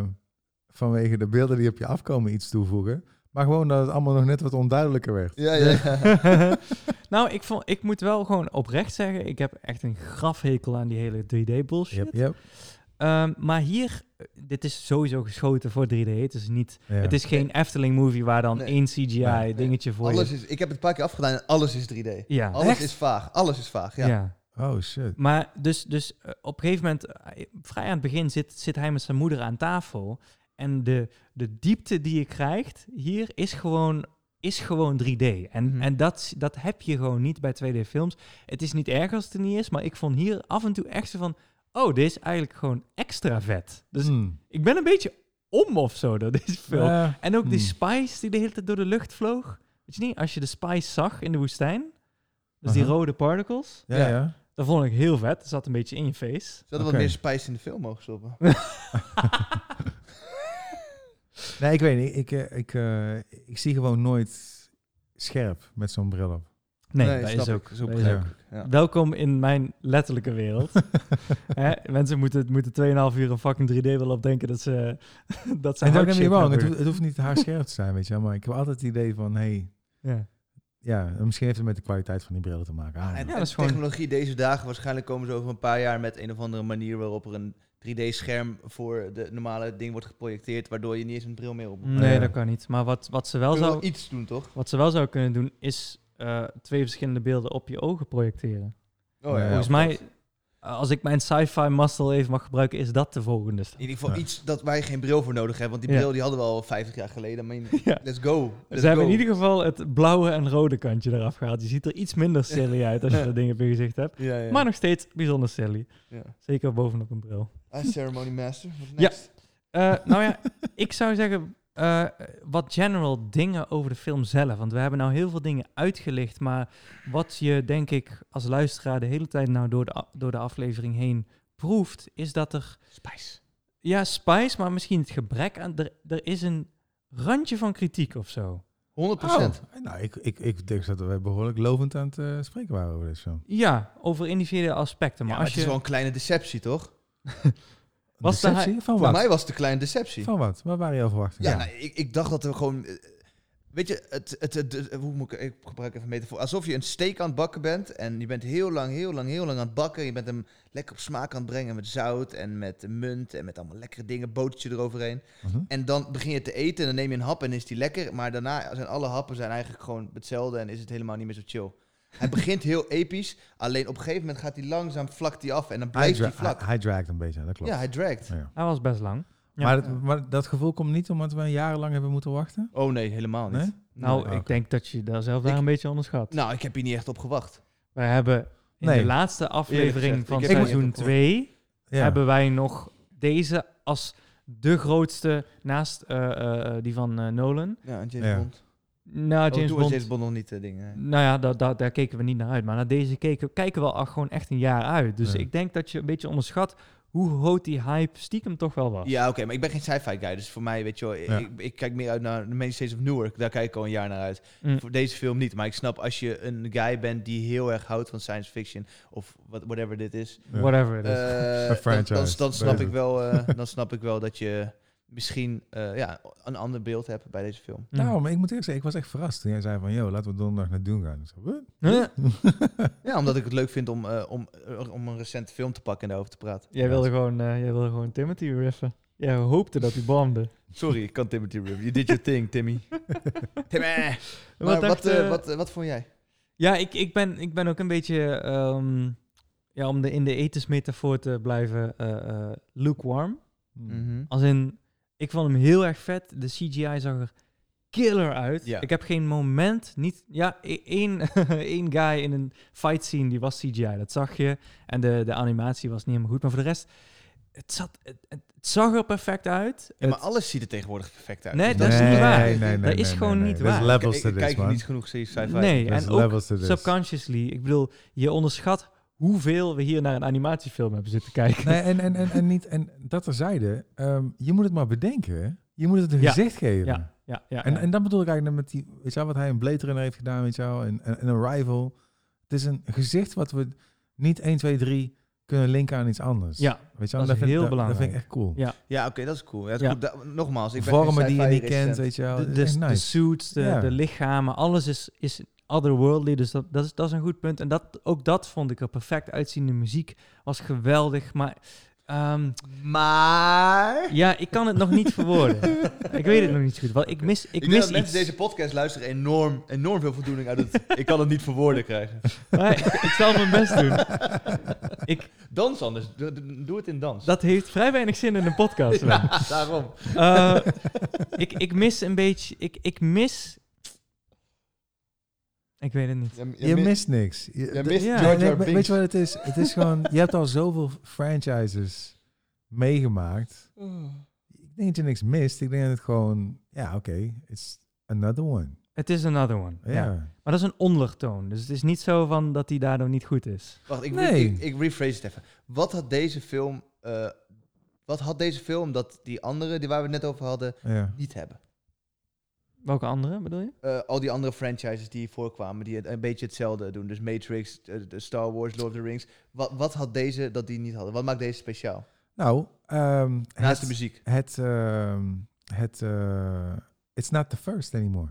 S4: vanwege de beelden die op je afkomen iets toevoegen... maar gewoon dat het allemaal nog net wat onduidelijker werd.
S2: Ja, ja.
S1: nou, ik, vond, ik moet wel gewoon oprecht zeggen, ik heb echt een grafhekel aan die hele 3D bullshit.
S4: Yep, yep.
S1: Ehm, maar hier, eh, dit is sowieso geschoten voor 3D. Het is, niet,
S4: Ja.
S1: het is geen Efteling movie waar dan
S2: Nee.
S1: één CGI
S4: Nee.
S1: dingetje voor
S2: Alles
S1: je...
S2: is, ik heb het een paar keer afgedaan en alles is 3D.
S1: Ja.
S2: Alles
S4: Echt?
S2: is vaag. Alles is vaag, ja.
S1: ja.
S4: Oh, shit.
S1: Maar dus, dus eh, op een gegeven moment, eh, vrij aan het begin, zit, zit hij met zijn moeder aan tafel. En de, de diepte die je krijgt hier is gewoon, is gewoon 3D. En,
S2: Mhm.
S1: en dat, dat heb je gewoon niet bij 2D-films. Het is niet erg als het er niet is, maar ik vond hier af en toe echt zo van... Oh, dit is eigenlijk gewoon extra vet. Dus
S4: Hmm.
S1: ik ben een beetje om of zo door deze film.
S4: Ja.
S1: en ook die
S4: hmm.
S1: spice die de hele tijd door de lucht vloog. Weet je niet, als je de spice zag in de woestijn... Dus die
S4: Aha.
S1: rode particles...
S4: Ja,
S2: Ja.
S4: ja.
S1: Dat vond ik heel vet. Dat zat een beetje in je face.
S2: Ze hadden
S4: Oké.
S2: wat meer spice in de film mogen stoppen.
S4: Nee, ik weet niet. Ik, eh, ik, eh, ik zie gewoon nooit scherp met zo'n bril op.
S1: Nee,
S2: Nee,
S1: dat
S2: snap
S1: is
S2: ik.
S1: ook.
S2: Zo
S1: dat is
S4: begrijp
S1: ook.
S4: ik.
S2: Ja.
S1: Welkom in mijn letterlijke wereld. Hè, mensen moeten, moeten 2,5 uur een fucking 3D-bril op denken dat ze... dat ze
S4: En don't get
S1: hardshape
S4: me wrong, het,
S1: hebben.
S4: hoeft- het hoeft niet haarscherp te zijn, weet je wel. Maar ik heb altijd het idee van, hey,
S1: Ja.
S4: ja, misschien heeft het met de kwaliteit van die brillen te maken. Ah,
S2: En,
S1: dat
S2: en
S1: is gewoon-
S2: technologie deze dagen, waarschijnlijk komen ze over een paar jaar met een of andere manier waarop er een 3D-scherm voor de normale ding wordt geprojecteerd, waardoor je niet eens een bril meer op moet.
S1: Nee,
S4: Ja.
S1: dat kan niet. Maar wat, wat, ze Mm, wel
S2: Kun je wel
S1: zou,
S2: iets doen, toch?
S1: wat ze wel zou kunnen doen, is eh, twee verschillende beelden op je ogen projecteren.
S2: Oh, ja,
S1: Volgens
S2: ja.
S1: mij, als ik mijn sci-fi muscle even mag gebruiken, is dat de volgende stap.
S2: In ieder geval
S4: Ja.
S2: iets dat wij geen bril voor nodig hebben, want die
S1: Ja.
S2: bril die hadden we al 50 jaar geleden. Maar
S1: Ja.
S2: let's go. Let's
S1: Ze hebben
S2: go.
S1: in ieder geval het blauwe en rode kantje eraf gehaald. Je ziet er iets minder silly uit als je dat ding op je gezicht hebt.
S2: Ja, ja.
S1: Maar nog steeds bijzonder silly.
S2: Ja.
S1: Zeker bovenop een bril.
S2: Ah, ceremony master. Wat
S1: Ja.
S2: next?
S1: Eh, nou ja, ik zou zeggen eh, wat general dingen over de film zelf. Want we hebben nou heel veel dingen uitgelicht. Maar wat je denk ik als luisteraar de hele tijd nou door de, a- door de aflevering heen proeft, is dat er...
S2: Spice.
S1: Ja, spice, maar misschien het gebrek aan... Er, er is een randje van kritiek of zo.
S2: 100
S4: oh, nou, ik, ik, ik denk dat we behoorlijk lovend aan het eh, spreken waren over deze film.
S1: Ja, over individuele aspecten.
S2: Ja,
S1: Maar
S2: maar
S1: als
S2: het
S1: je...
S2: is wel een kleine deceptie, toch?
S1: Oh, Was de
S4: Deceptie? Van
S2: Voor
S4: wat?
S2: mij was het een kleine deceptie.
S4: Van wat? Waar waren jouw verwachtingen?
S2: Ja, nou, ik, ik dacht dat we gewoon... eh, Weet je, het, het, het, het- hoe moet ik, ik gebruik even een metafoor. Alsof je een steak aan het bakken bent en je bent heel lang, heel lang, heel lang aan het bakken. Je bent hem lekker op smaak aan het brengen met zout en met munt en met allemaal lekkere dingen, botertje eroverheen.
S4: Mhm.
S2: En dan begin je te eten en dan neem je een hap en is die lekker. Maar daarna zijn alle happen zijn eigenlijk gewoon hetzelfde en is het helemaal niet meer zo chill. Hij begint heel episch, alleen op een gegeven moment gaat hij langzaam vlak die af en dan
S4: hij,
S2: blijft hij
S4: dra- hij,
S2: vlak.
S4: hij draagt een beetje, dat klopt.
S2: ja, hij dragt.
S1: Hij was best lang. Ja.
S4: maar, het- maar dat gevoel komt niet omdat we jarenlang hebben moeten wachten?
S2: Oh nee, helemaal niet.
S4: Nee?
S1: Nou,
S4: Nee,
S1: ik
S4: oké.
S1: denk dat je daar zelf daar
S2: Ik-
S1: een beetje onderschat.
S2: Nou, ik heb hier niet echt op gewacht.
S1: Wij hebben in
S4: Nee.
S1: de laatste aflevering
S2: gezegd,
S1: van
S2: ik
S4: heb-
S1: seizoen
S2: ik heb-
S1: 2
S4: Ja.
S1: hebben wij nog deze als de grootste naast eh, eh, eh, die van eh, Nolan.
S2: Ja, en James
S4: Ja.
S2: Bond.
S1: Nou,
S2: Oh,
S1: James
S2: toen was
S1: Bond.
S2: James Bond nog niet eh, dingen.
S1: Nou ja, daar, daar, daar keken we niet naar uit. Maar naar deze keken, kijken we al gewoon echt een jaar uit. Dus
S4: Ja.
S1: ik denk dat je een beetje onderschat hoe groot die hype stiekem toch wel was.
S2: Ja, oké, maar ik ben geen sci-fi guy, dus voor mij, weet je wel,
S4: Ja.
S2: ik, ik kijk meer uit naar The Many States of Newark. Daar kijk ik al een jaar naar uit.
S1: Mm.
S2: Voor deze film niet, maar ik snap als je een guy bent die heel erg houdt van science fiction of wat- whatever dit is,
S4: Ja.
S1: Whatever it is.
S2: eh,
S4: Een
S2: dan, dan,
S4: franchise,
S2: dan snap
S4: beter.
S2: ik wel, eh, dan snap ik wel dat je misschien eh, ja, een ander beeld hebt bij deze film.
S1: Mm.
S4: Nou, maar ik moet eerlijk zeggen, ik was echt verrast toen jij zei van, joh, laten we donderdag naar Doen gaan. Ik zei, "Wat?"
S1: Huh?
S2: Ja, omdat ik het leuk vind om, eh, om, eh, om een recente film te pakken en daarover te praten.
S1: Jij wilde gewoon, eh, jij wilde gewoon Timothy riffen. Jij hoopte dat hij bomde.
S2: Sorry, ik kan Timothy Rip. You did your thing, Timmy. Timmy! Maar
S1: Wat
S2: wat,
S1: dacht,
S2: eh,
S1: eh,
S2: wat, eh, wat vond jij?
S1: Ja, ik, ik, ben, ik ben ook een beetje, ehm, ja, om de, in de etensmetafoor te blijven, eh, eh, lukewarm.
S4: Hmm.
S2: Mhm.
S1: Als in, ik vond hem heel erg vet. De CGI zag er killer uit.
S2: Ja.
S1: Ik heb geen moment niet... Ja, e- één, één guy in een fight scene, die was CGI. Dat zag je. En de, de animatie was niet helemaal goed. Maar voor de rest, het, zat, het, het- het zag er perfect uit.
S2: Ja, maar
S1: Het-
S2: alles ziet er tegenwoordig perfect uit.
S1: Nee,
S2: Dus
S1: dat is niet waar.
S4: Nee, nee, nee,
S1: Dat is
S4: nee,
S1: gewoon
S4: nee.
S1: niet
S4: There's
S1: waar.
S2: Kijk,
S4: levels to
S2: ik
S4: this,
S2: kijk
S4: man.
S2: niet genoeg sci-fi.
S1: nee,
S4: There's
S1: en ook
S4: levels to this.
S1: subconsciously. Ik bedoel, je onderschat hoeveel we hier naar een animatiefilm hebben zitten kijken.
S4: Nee, en, en, en, en, niet, en dat terzijde, ehm je moet het maar bedenken. hè. Je moet het een
S1: Ja.
S4: gezicht geven.
S1: Ja, ja, ja.
S4: En,
S1: ja.
S4: en dat bedoel ik eigenlijk met die, weet je wel, wat hij in Blade Runner heeft gedaan, weet je wel, en, en, en Arrival. Het is een gezicht wat we niet 1, 2, 3 kunnen linken aan iets anders.
S1: ja,
S4: weet je wel, en
S1: dat is
S4: vind ik-
S1: heel
S4: Dat vind
S1: belangrijk.
S4: ik echt cool.
S1: Ja.
S2: Ja, oké, dat is cool. Ja, dat is
S1: Ja.
S2: goed. Da- nogmaals, ik ben
S4: Vormen
S2: geen
S4: die je niet
S2: sci-fi recensent.
S4: kent, weet je wel.
S1: de,
S4: Het
S1: de,
S4: is echt
S1: de
S4: eh, nice.
S1: suits, de,
S4: Ja.
S1: de lichamen, alles is, is otherworldly. Dus dat, dat, is, dat is een goed punt. En dat, ook dat vond ik er perfect uitzien. De muziek was geweldig. Maar ehm,
S2: Maar...
S1: ja, ik kan het nog niet verwoorden. ik weet het nog niet zo goed. Want ik mis, ik
S2: Ik, denk
S1: mis
S2: dat
S1: iets.
S2: mensen deze podcast luisteren enorm, enorm veel voldoening uit het... ik kan het niet verwoorden krijgen.
S1: Maar ik, ik zal mijn best doen. Ik,
S2: Dans anders. Doe, doe- doe het in dans.
S1: dat heeft vrij weinig zin in een podcast. Sven.
S2: ja, daarom.
S1: Eh, ik, ik mis een beetje... Ik, ik mis... Ik weet het niet.
S4: Je, mist niks. Je,
S2: Je
S4: de-
S2: mist
S1: Ja.
S4: Nee,
S2: George
S4: nee, weet je wat het is? Het is gewoon, je hebt al zoveel franchises meegemaakt. Ik denk dat je niks mist. Ik denk dat het gewoon, ja, oké, it's another one.
S1: Het is another one.
S4: Ja.
S1: ja. Maar dat is een ondertoon. Dus het is niet zo van dat hij daardoor niet goed is.
S2: Wacht, ik,
S4: Nee.
S2: ik, ik rephrase het even. Wat had deze film... eh, wat had deze film dat die andere, die waar we het net over hadden,
S4: ja.
S2: niet hebben?
S1: Welke andere bedoel je?
S2: eh, al die andere franchises die voorkwamen, die het een beetje hetzelfde doen. Dus Matrix, eh, de Star Wars, Lord of the Rings. Wat, wat had deze dat die niet hadden? Wat maakt deze speciaal?
S4: Nou, ehm,
S2: Naast de
S4: het-
S2: muziek.
S4: het, ehm, het, eh, it's not the first anymore.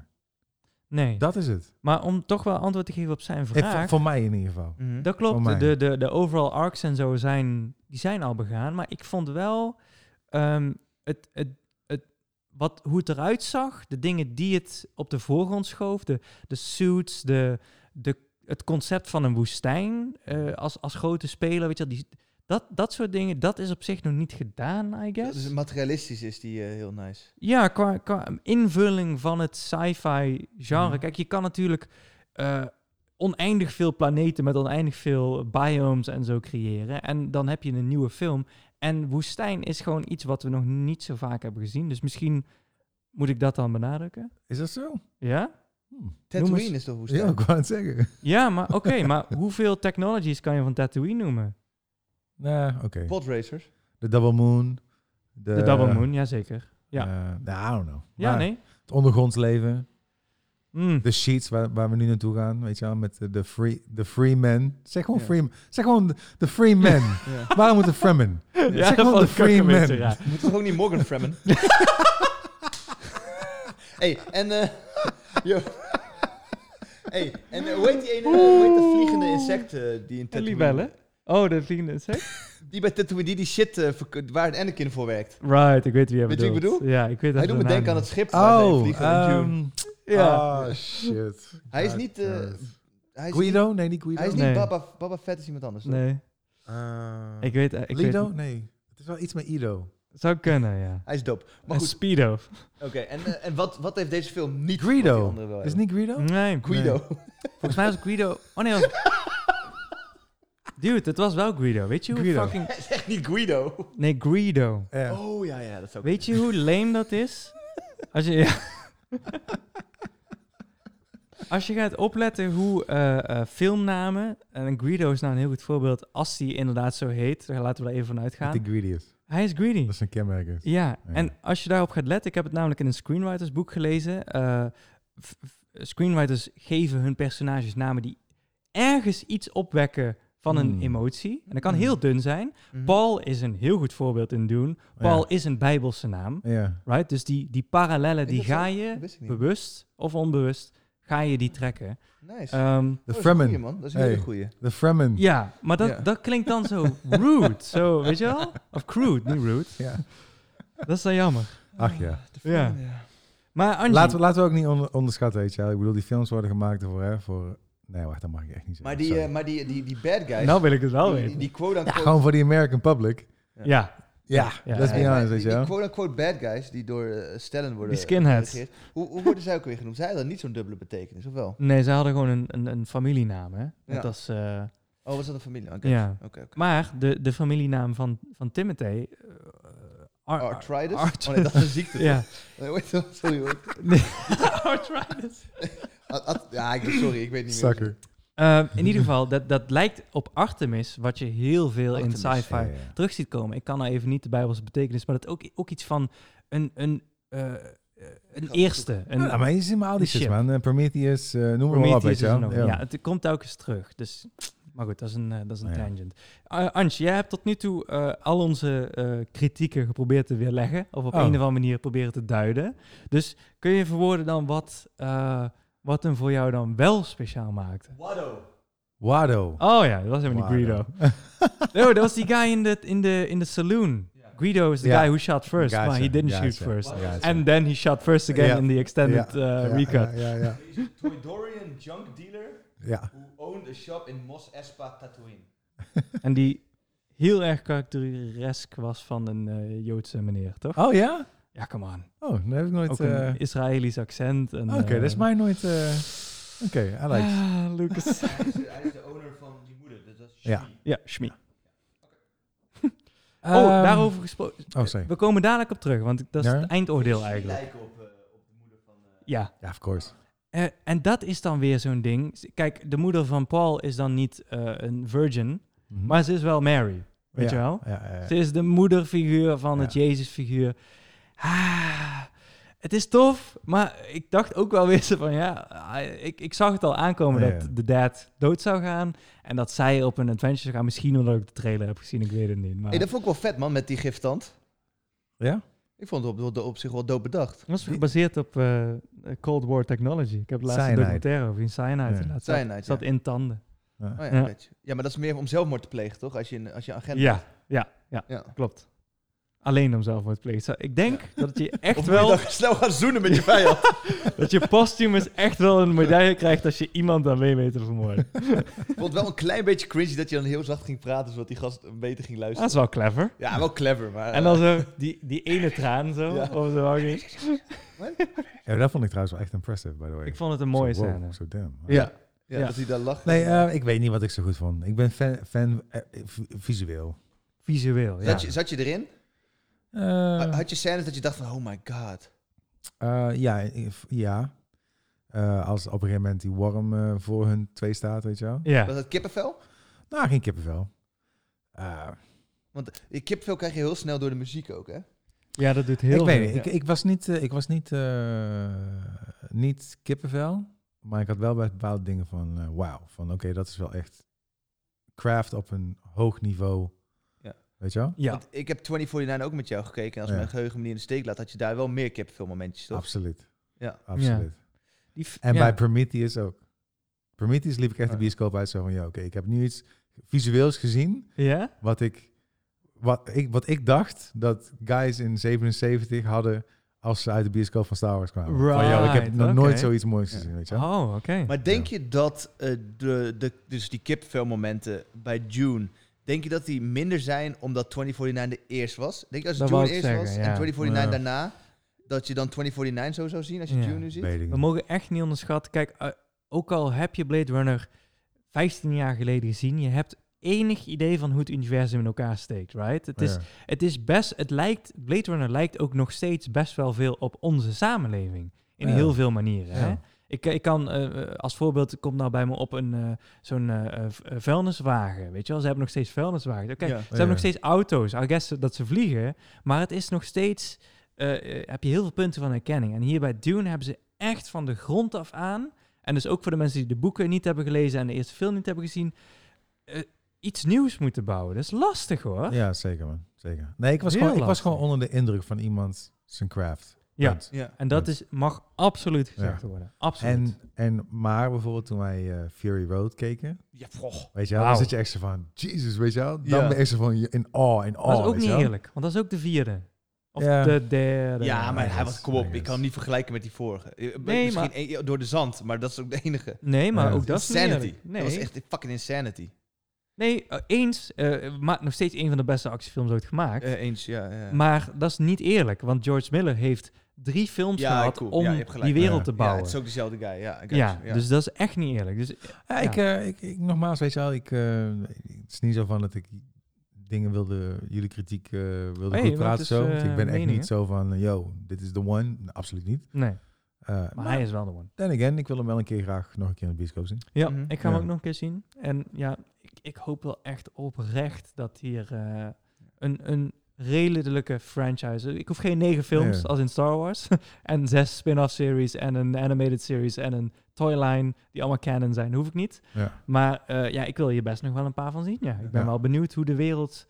S1: Nee.
S4: Dat is het.
S1: maar om toch wel antwoord te geven op zijn
S4: Eh,
S1: vraag.
S4: voor- Voor mij in ieder geval.
S1: dat
S2: Mhm.
S4: voor
S1: klopt.
S4: mij.
S1: De, de, de overall arcs en zo zijn, die zijn al begaan. Maar ik vond wel ehm, het, het, het, wat, hoe het eruit zag. De dingen die het op de voorgrond schoof. De, de suits, de, de, het concept van een woestijn eh, als, als grote speler. Weet je, wel, die, dat, dat soort dingen, dat is op zich nog niet gedaan, I guess.
S2: Dus materialistisch is die eh, heel nice.
S1: Ja, qua, qua invulling van het sci-fi genre.
S2: Mhm.
S1: Kijk, je kan natuurlijk eh, oneindig veel planeten met oneindig veel biomes en zo creëren. En dan heb je een nieuwe film. En woestijn is gewoon iets wat we nog niet zo vaak hebben gezien. Dus misschien moet ik dat dan benadrukken.
S4: Is dat zo?
S1: Ja?
S4: Hm.
S2: Tatooine is toch woestijn?
S4: Ja, ik wou het zeggen.
S1: Ja, maar oké, maar hoeveel technologies kan je van Tatooine noemen?
S4: Nou, oké.
S2: Podracers.
S4: De Double Moon. De,
S1: De Double Moon, jazeker. ja.
S4: eh, nou, I don't know.
S1: Ja,
S4: Maar
S1: nee?
S4: Het ondergrondsleven.
S1: Mm.
S4: De sheets waar, waar we nu naartoe gaan. Weet je wel, met de, de free, de free man. Zeg gewoon
S2: Ja.
S4: free Zeg gewoon de, de free man. Waarom moet de Fremen?
S1: Ja,
S4: zeg gewoon
S1: vond
S4: de
S1: ik ook een
S4: free man.
S1: beetje raar.
S2: Moet toch ook niet Morgan Freeman? hey, en... eh, yo. hey, en eh, hoe heet die ene... Hoe heet dat vliegende insect eh, die in
S1: En
S2: Tatooine...
S1: libellen? Oh, de vliegende insect?
S2: Die bij Tatooine, die die shit eh, verk- waar Anakin voor werkt.
S1: Right, ik weet wie jij
S2: Weet je
S1: bedoelt.
S2: wat ik bedoel?
S1: Ja, ik weet dat
S2: Hij doet me denken aan het schip waar zij
S4: Oh,
S2: vliegen in Dune.
S4: ehm,
S1: Ja.
S4: ah, shit.
S2: Hij is niet... eh,
S4: God.
S2: hij is niet,
S4: Guido? Nee, niet Guido.
S2: hij is niet
S1: Nee.
S2: Baba, Baba Fett is iemand anders. toch?
S1: nee,
S4: Eh,
S1: ik weet... eh, Ik
S4: Lido?
S1: Weet,
S4: Nee. Het is wel iets met Ido.
S1: zou kunnen, ja.
S2: Hij is dope. Maar
S1: Maar
S2: goed,
S1: Speedo.
S2: oké. en eh, en wat, wat heeft deze film niet wat die
S4: Greedo.
S2: andere wel
S4: Is
S2: heeft?
S1: Mm,
S4: het niet Guido?
S1: Nee,
S2: Guido.
S1: volgens mij was Guido... Oh nee, was... Dude, het was wel Guido. Weet je hoe
S4: Guido.
S1: fucking...
S2: Het is echt niet Guido.
S1: Nee, Greedo.
S4: Ja.
S2: Oh ja, ja, dat zou
S1: Weet je hoe lame dat is? Als je, ja. als je gaat opletten hoe eh, eh, filmnamen, en Greedo is nou een heel goed voorbeeld, als die inderdaad zo heet, daar laten we er even van
S4: Dat
S1: uitgaan.
S4: die greedy is.
S1: Hij is greedy.
S4: Dat is een kenmerk. is. Oh,
S1: Ja,
S4: Ja.
S1: en als je daarop gaat letten, ik heb het namelijk in een screenwritersboek gelezen. eh, f- f- screenwriters geven hun personages namen die ergens iets opwekken van een
S4: Hmm.
S1: emotie. En dat kan
S2: Hmm.
S1: heel dun zijn.
S2: Mhm.
S1: Paul is een heel goed voorbeeld in doen. Paul is een bijbelse naam,
S4: Ja. ja.
S1: right? Dus die, die parallellen,
S2: Is
S1: die
S2: dat zo?
S1: ga
S2: Dat
S1: je,
S2: wist ik niet.
S1: bewust of onbewust, ga je die trekken.
S2: Nice.
S1: Ehm,
S2: Oh, dat
S4: De
S2: is een goeie,
S4: Fremen.
S2: man. Dat is een hele
S4: Hey.
S2: goeie.
S4: De Fremen.
S1: ja, maar dat,
S2: Ja.
S1: dat klinkt dan zo rude, zo, weet je wel? Of crude, niet rude.
S4: Ja.
S1: Dat is dan jammer.
S4: Ach ja.
S2: De
S1: Ja.
S2: Fremen, ja.
S1: Maar Angie,
S4: Laten we, laten we ook niet onder- onderschatten, weet je wel. Ik bedoel, die films worden gemaakt voor... Hè, voor... Nee, wacht, dat mag ik echt niet zeggen.
S2: Maar, die,
S4: Sorry.
S2: eh, maar die, die, die bad guys,
S1: nou wil ik het wel
S2: die, die,
S1: weten.
S2: die quote-unquote...
S4: Gewoon voor die American public.
S2: Ja.
S1: ja.
S4: Ja,
S1: Ja.
S4: let's be
S2: Nee, maar
S4: honest,
S2: die,
S4: weet je
S2: die
S4: wel.
S2: quote-unquote bad guys die door eh, stellen worden...
S1: Die skinheads.
S2: geregeerd. Hoe, hoe worden zij ook weer genoemd? Zij hadden niet zo'n dubbele betekenis, of wel?
S1: Nee, ze hadden gewoon een, een, een familienaam, hè? Net
S2: Ja.
S1: als, eh,
S2: Oh, was dat een familie? Oké.
S1: ja.
S2: Oké, oké.
S1: Maar de, de familienaam van, van Timothy... eh, Ar-
S2: Arthritis?
S1: Art-
S2: Oh nee, dat is een ziekte.
S1: ja.
S2: Nee, hoe heet dat? Sorry hoor.
S1: Arthritis.
S2: Ad- ad- ja, ik, sorry, ik weet niet meer.
S4: Sucker.
S1: Ehm, in ieder geval, dat, dat lijkt op Artemis, wat je heel veel in
S2: Artemis,
S1: sci-fi terug ziet komen. Ik kan nou even niet de Bijbelse betekenis, maar dat ook, ook iets van een, een, eh, eh, een
S2: het
S1: eerste. Een,
S4: Ja, Ah, maar je ziet maar al die shit,
S1: Shit.
S4: man. Eh, Prometheus, eh, noem maar op,
S1: Prometheus
S4: weet
S1: is
S4: je
S1: er
S4: wel.
S1: nog.
S4: Ja.
S1: Ja, het komt telkens terug. Dus, maar goed, dat is een, eh, dat is een
S4: Nou ja.
S1: tangent. Eh Antje, jij hebt tot nu toe eh, al onze eh, kritieken geprobeerd te weerleggen. Of op
S4: Oh.
S1: een of andere manier proberen te duiden. Dus kun je verwoorden dan wat, eh, wat hem voor jou dan wel speciaal maakte?
S2: Waddo.
S4: Wado.
S1: Oh ja, dat was helemaal niet Guido.
S4: Wado.
S1: No, dat was die guy in de in the, in the saloon. Guido is the
S4: Ja.
S1: guy who shot first,
S4: Gotcha,
S1: but he didn't
S4: gotcha,
S1: shoot first.
S4: gotcha.
S1: And uh, then he shot first again
S4: Ja.
S1: in the extended
S4: Ja,
S1: eh,
S4: ja,
S1: recut.
S4: Ja, ja, ja.
S2: Toydorian junk dealer
S4: Ja.
S2: who owned a shop in Mos Espa Tatooine.
S1: En die heel erg karakterisk was van een eh, Joodse meneer, toch?
S4: Oh ja?
S1: Ja, come on.
S4: Oh, dat heb ik nooit...
S1: Ook
S4: eh,
S1: een Israëlisch accent. en,
S4: Oké, dat is
S1: eh,
S4: mij nooit... eh, Oké, I like it.
S1: Ah, Lucas.
S2: hij, is, hij is de owner van die moeder, dus dat is
S4: Ja.
S2: Shmi.
S1: ja, Shmi. oh,
S4: Ehm,
S1: daarover gesproken.
S4: Oh, sorry.
S1: We komen dadelijk op terug, want dat is
S4: Ja?
S1: het eindoordeel
S2: Shmi
S1: eigenlijk.
S2: lijken op, eh, op de moeder van... eh,
S1: Ja.
S4: Ja, of course.
S1: Eh, en dat is dan weer zo'n ding. S- Kijk, de moeder van Paul is dan niet eh, een virgin,
S4: Mhm.
S1: maar ze is wel Mary. Weet
S4: Ja,
S1: je wel?
S4: Ja, ja, ja.
S1: Ze is de moederfiguur van het
S4: Ja.
S1: Jezusfiguur. Ah, het is tof, maar ik dacht ook wel weer zo van ja, ah, ik, ik zag het al aankomen
S4: Ja,
S1: dat
S4: ja.
S1: de dad dood zou gaan en dat zij op een adventure zou gaan. Misschien omdat ik de trailer heb gezien, ik weet het niet. Maar
S2: Hey, dat vond ik wel vet, man, met die giftand.
S4: Ja?
S2: Ik vond het op, op, op zich wel dood bedacht.
S1: dat was gebaseerd op eh, Cold War technology. Ik heb laatst een
S4: Cyanide.
S1: documentaire over in Cyanide.
S4: Ja.
S1: inderdaad. Zat,
S2: Cyanide,
S1: zat
S2: ja.
S1: in tanden.
S4: Ja.
S2: Oh, ja,
S1: Ja.
S2: weet je. ja, maar dat is meer om zelfmoord te plegen, toch? Als je een, als je een agent
S1: Ja, ja, ja,
S2: Ja.
S1: klopt. Alleen om zelfmoord te plegen. Zo, Ik denk dat het je echt
S2: Of moet je
S1: wel,
S2: dan snel gaan zoenen met je vijand?
S1: dat je posthumous echt wel een medaille krijgt als je iemand dan mee weet te vermoorden.
S2: Ik vond het wel een klein beetje cringy dat je dan heel zacht ging praten, zodat die gast beter ging
S1: Dat is
S2: luisteren.
S1: wel clever.
S2: Ja, wel clever, maar... Dus- eh,
S1: En dan zo, die, die ene traan zo.
S2: Ja.
S1: Of zo hangen.
S4: Ja, dat vond ik trouwens wel echt impressive, by the way.
S1: Ik vond het een mooie
S4: Zo, wow,
S1: scène.
S4: Zo damn.
S2: eh, Ja. Ja,
S1: Ja.
S2: dat hij daar lacht.
S4: Nee, eh, ik weet niet wat ik zo goed vond. Ik ben fan, fan eh, vi- visueel.
S1: Visueel, ja.
S2: zat, je, zat je erin?
S4: Eh,
S2: Ha- Had je scènes dat je dacht van, oh my god.
S4: eh, ja, ik- ja. Eh, als op een gegeven moment die worm eh, voor hun twee staat, weet je wel.
S2: Was
S1: Ja.
S2: dat kippenvel?
S4: Nou, geen kippenvel. Eh,
S2: Want eh, kippenvel krijg je heel snel door de muziek ook, hè?
S1: ja, dat doet heel
S4: ik weet
S1: veel.
S4: niet, ik, ik was niet, eh, ik was niet, eh, niet kippenvel, maar ik had wel bij bepaalde dingen van eh, wauw. Van oké, dat is wel echt craft op een hoog niveau.
S2: Ja.
S4: Weet je wel?
S1: Ja,
S2: Want ik heb 2049 ook met jou gekeken. En als
S4: Ja.
S2: mijn geheugen me niet in de steek laat, had je daar wel meer kippenvelmomentjes, toch?
S4: Absoluut.
S2: Ja.
S4: Absoluut.
S1: die f-
S4: En
S1: ja. Oh.
S4: bij Prometheus ook. Prometheus liep ik echt de
S2: Ja.
S4: bioscoop uit. Zo van, ja, oké, ik heb nu iets visueels gezien.
S1: Ja?
S4: Wat ik, wat, ik, wat ik dacht dat guys in 77 hadden als ze uit de bioscoop van Star Wars kwamen. Van, yo, ik heb
S1: Right,
S4: nog
S1: oké.
S4: nooit zoiets moois
S2: Ja.
S4: gezien, weet je wel.
S1: Oh, oké.
S2: Maar denk je dat eh, de, de, dus die kippenvelmomenten bij June... Denk je dat die minder zijn omdat 2049 de eerst was? Denk je als
S1: Dat
S2: June
S1: wou ik
S2: eerst
S1: zeggen,
S2: was
S1: ja.
S2: en 2049
S4: Ja.
S2: daarna... Dat je dan 2049 zo zou zien als je
S1: Ja.
S2: June nu ziet?
S4: Weet ik
S1: We
S4: niet.
S1: mogen echt niet onderschatten. Kijk, eh, ook al heb je Blade Runner 15 jaar geleden gezien, je hebt enig idee van hoe het universum in elkaar steekt, right? Het is,
S4: Ja.
S1: het is best, het lijkt, Blade Runner lijkt ook nog steeds best wel veel op onze samenleving. In
S4: Ja.
S1: heel veel manieren. Hè?
S4: Ja.
S1: Ik, ik kan eh, eh, als voorbeeld, komt nou bij me op een eh, zo'n eh, eh, v- eh, vuilniswagen. Weet je wel, ze hebben nog steeds vuilniswagens. Oké,
S2: Ja.
S1: ze hebben nog
S4: Ja.
S1: steeds auto's. I guess dat ze vliegen. Maar het is nog steeds, eh, eh, heb je heel veel punten van herkenning. En hier bij Dune hebben ze echt van de grond af aan. En dus ook voor de mensen die de boeken niet hebben gelezen en de eerste film niet hebben gezien. eh, iets nieuws moeten bouwen. Dat is lastig hoor.
S4: Ja, zeker man. Zeker. Nee, ik was,
S1: Heel
S4: gewoon, ik was
S1: lastig.
S4: gewoon onder de indruk van iemand zijn craft.
S1: Ja.
S4: Punt.
S2: Ja.
S1: En dat
S4: Ja.
S1: is, mag absoluut gezegd worden. Absoluut.
S4: En, en maar bijvoorbeeld toen wij eh, Fury Road keken,
S2: Ja, vroeg.
S4: weet je wel,
S1: Wauw.
S4: dan zit je echt zo van, Jesus, weet je wel. Dan
S2: Ja.
S4: ben je echt zo van je- in awe, in awe.
S1: dat is ook
S4: oh, weet je
S1: niet
S4: wel.
S1: eerlijk, want dat is ook de vierde. Of
S4: Ja.
S1: de derde.
S2: ja maar hij was, kom op,
S4: Yes.
S2: ik kan hem niet vergelijken met die vorige. Eh,
S1: Nee,
S2: Misschien
S1: maar-
S2: één- door de zand, maar dat is ook de enige.
S1: Nee, maar
S4: Ja.
S1: ook dat is niet
S2: insanity.
S1: eerlijk. Nee,
S2: Dat was echt fucking insanity.
S1: nee eh, eens, eh, maar nog steeds een van de beste actiefilms ooit gemaakt.
S2: Eh, eens, ja. ja.
S1: Maar dat is niet eerlijk, want George Miller heeft drie films
S2: Ja,
S1: gehad
S2: cool.
S1: om
S2: Ja, je hebt gelijk.
S1: die wereld
S4: Ja.
S1: te
S2: ja,
S1: bouwen.
S2: het is ook dezelfde guy. Ja, ik
S1: Ja,
S2: weet- ja.
S1: dus dat is echt niet eerlijk. Dus,
S4: Ja, ik, eh, ik, ik, nogmaals, weet je wel, ik, eh, het is niet zo van dat ik dingen wilde, jullie kritiek eh, wilde
S1: Hey,
S4: goed
S1: want het
S4: praten.
S1: is,
S4: Zo. Want
S1: eh,
S4: ik ben echt
S1: mening, hè?
S4: niet zo van, eh, yo, dit is de one. Nee, absoluut niet.
S1: nee,
S4: Eh,
S1: maar
S4: maar
S1: hij is wel de one.
S4: then again, ik wil hem wel een keer graag nog een keer in de bioscoop zien.
S1: Ja,
S2: Mhm.
S1: ik ga hem
S4: Ja.
S1: ook nog een keer zien. En ja, ik, ik hoop wel echt oprecht dat hier eh, een, een redelijke franchise... Ik hoef geen negen films,
S4: Ja.
S1: als in Star Wars. en zes spin-off series en een animated series en een toyline... die allemaal canon zijn, hoef ik niet.
S4: Ja.
S1: Maar eh, ja, ik wil hier best nog wel een paar van zien. Ja. Ik ben
S4: Ja.
S1: wel benieuwd hoe de wereld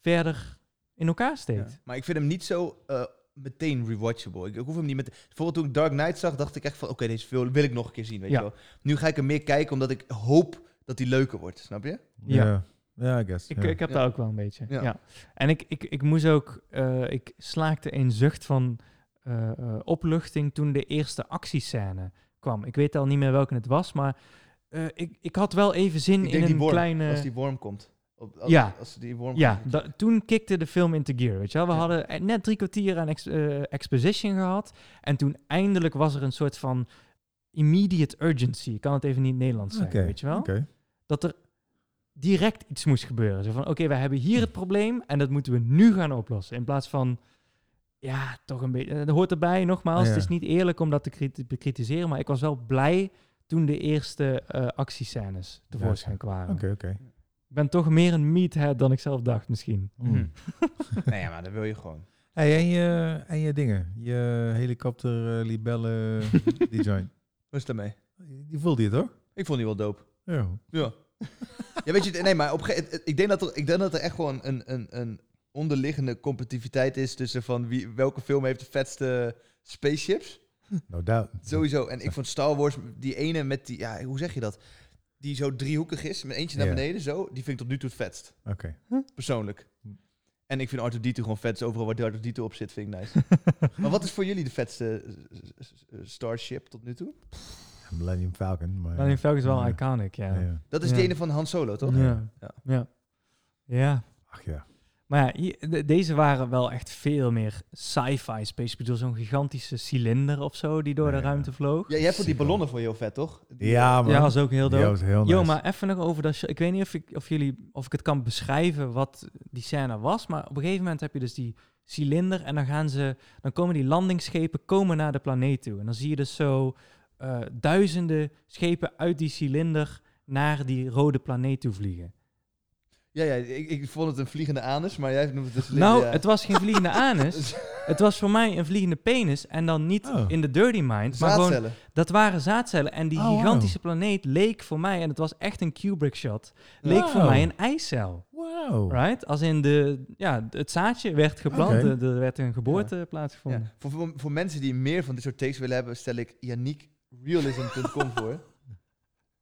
S1: verder in elkaar steekt.
S2: Ja. Maar ik vind hem niet zo eh, meteen rewatchable. Ik, ik hoef hem niet met. Bijvoorbeeld toen ik Dark Knight zag, dacht ik echt van: oké, deze film wil ik nog een keer zien. Weet
S1: Ja.
S2: je wel. Nu ga ik hem meer kijken omdat ik hoop dat hij leuker wordt. Snap je?
S1: Ja.
S4: Ja, Ja, I guess.
S1: Ik,
S4: ja.
S1: ik heb
S2: Ja.
S1: daar ook wel een beetje. Ja.
S2: Ja.
S1: En ik, ik, ik moest ook, eh, ik slaakte een zucht van eh, eh, opluchting toen de eerste actiescène kwam. Ik weet al niet meer welke het was, maar eh, ik, ik had wel even zin
S2: ik
S1: in
S2: denk die
S1: een
S2: worm.
S1: kleine.
S2: Als die worm komt. Op- als,
S1: Eh. Ja.
S2: Als die worm
S1: Ja,
S2: komt.
S1: da- toen kikte de film into gear, weet je wel. We
S2: Ja.
S1: hadden eh, net drie kwartier aan ex- eh, exposition gehad. En toen eindelijk was er een soort van immediate urgency. Ik kan het even niet in het Nederlands zeggen,
S4: Oké,
S1: weet je wel.
S4: oké.
S1: Dat er direct iets moest gebeuren. Zo van, oké, wij hebben hier het probleem en dat moeten we nu gaan oplossen. In plaats van, ja, toch een beetje... eh, Dat hoort erbij, nogmaals.
S4: Ja.
S1: Het is niet eerlijk om dat te kriti- bekritiseren, maar ik was wel blij toen de eerste eh actiescènes tevoorschijn kwamen.
S4: Oké, oké.
S1: Ik ben toch meer een meathead dan ik zelf dacht misschien.
S4: Mm.
S2: Hmm. nee, ja, maar dat wil je gewoon.
S4: Hey, en, je, en je dingen, je helikopter, eh, libellen, die joint.
S2: Wat is daarmee?
S4: Die voelde je toch?
S2: Ik vond die wel dope.
S4: Ja.
S2: Ja. ja, weet je, nee, maar op een gege- het- ik, denk dat er, ik denk dat er echt gewoon een, een, een onderliggende competitiviteit is tussen van wie, welke film heeft de vetste spaceships.
S4: No doubt.
S2: Sowieso. En ik vond Star Wars, die ene met die, ja, hoe zeg je dat? Die zo driehoekig is, met eentje naar
S4: Ja.
S2: beneden zo, die vind ik tot nu toe het vetst.
S4: Oké.
S2: Persoonlijk.
S4: Hm.
S2: En ik vind Arthur Dito gewoon vet. Dus overal waar Arthur Dito op zit, vind ik nice. maar wat is voor jullie de vetste eh, eh, Starship tot nu toe?
S4: Millennium Falcon. Maar,
S1: Millennium Falcon is wel
S4: Ja.
S1: iconic, ja. Ja.
S4: Ja.
S2: Dat is
S1: Ja.
S2: die ene van Han Solo, toch?
S1: Ja.
S2: Ja.
S1: ja.
S4: Ach ja.
S1: Maar ja, hier- de- deze waren wel echt veel meer sci-fi space. Ik bedoel, zo'n gigantische cilinder of zo die door de
S4: Ja.
S1: ruimte vloog.
S2: Ja, jij vond die ballonnen voor heel vet, toch? Die-
S4: Ja, man.
S1: Ja, was ook heel
S4: Die
S1: dood.
S4: was heel
S1: Jo,
S4: nice.
S1: maar even nog over dat. sh- Ik weet niet of ik, of, jullie, of ik het kan beschrijven wat die scène was. Maar op een gegeven moment heb je dus die cilinder. En dan, gaan ze, dan komen die landingsschepen komen naar de planeet toe. En dan zie je dus zo eh, duizenden schepen uit die cilinder naar die rode planeet toe vliegen.
S2: Ja, ja ik, ik vond het een vliegende anus, maar jij noemt het dus een slinder,
S1: Nou,
S2: ja.
S1: het was geen vliegende anus. Het was voor mij een vliegende penis. En dan niet
S4: Oh.
S1: in de dirty mind. Maar gewoon,
S2: Zaadcellen.
S1: dat waren zaadcellen. En die
S4: Oh, wow.
S1: gigantische planeet leek voor mij, en het was echt een Kubrick shot, leek voor
S4: Wow.
S1: mij een eicel.
S4: Wow.
S1: Right? Als in de, ja, het zaadje werd geplant,
S4: Oké.
S1: er- er werd een geboorte plaatsgevonden.
S2: Ja. Voor, voor, voor mensen die meer van dit soort takes willen hebben, stel ik yannickrealism.com voor.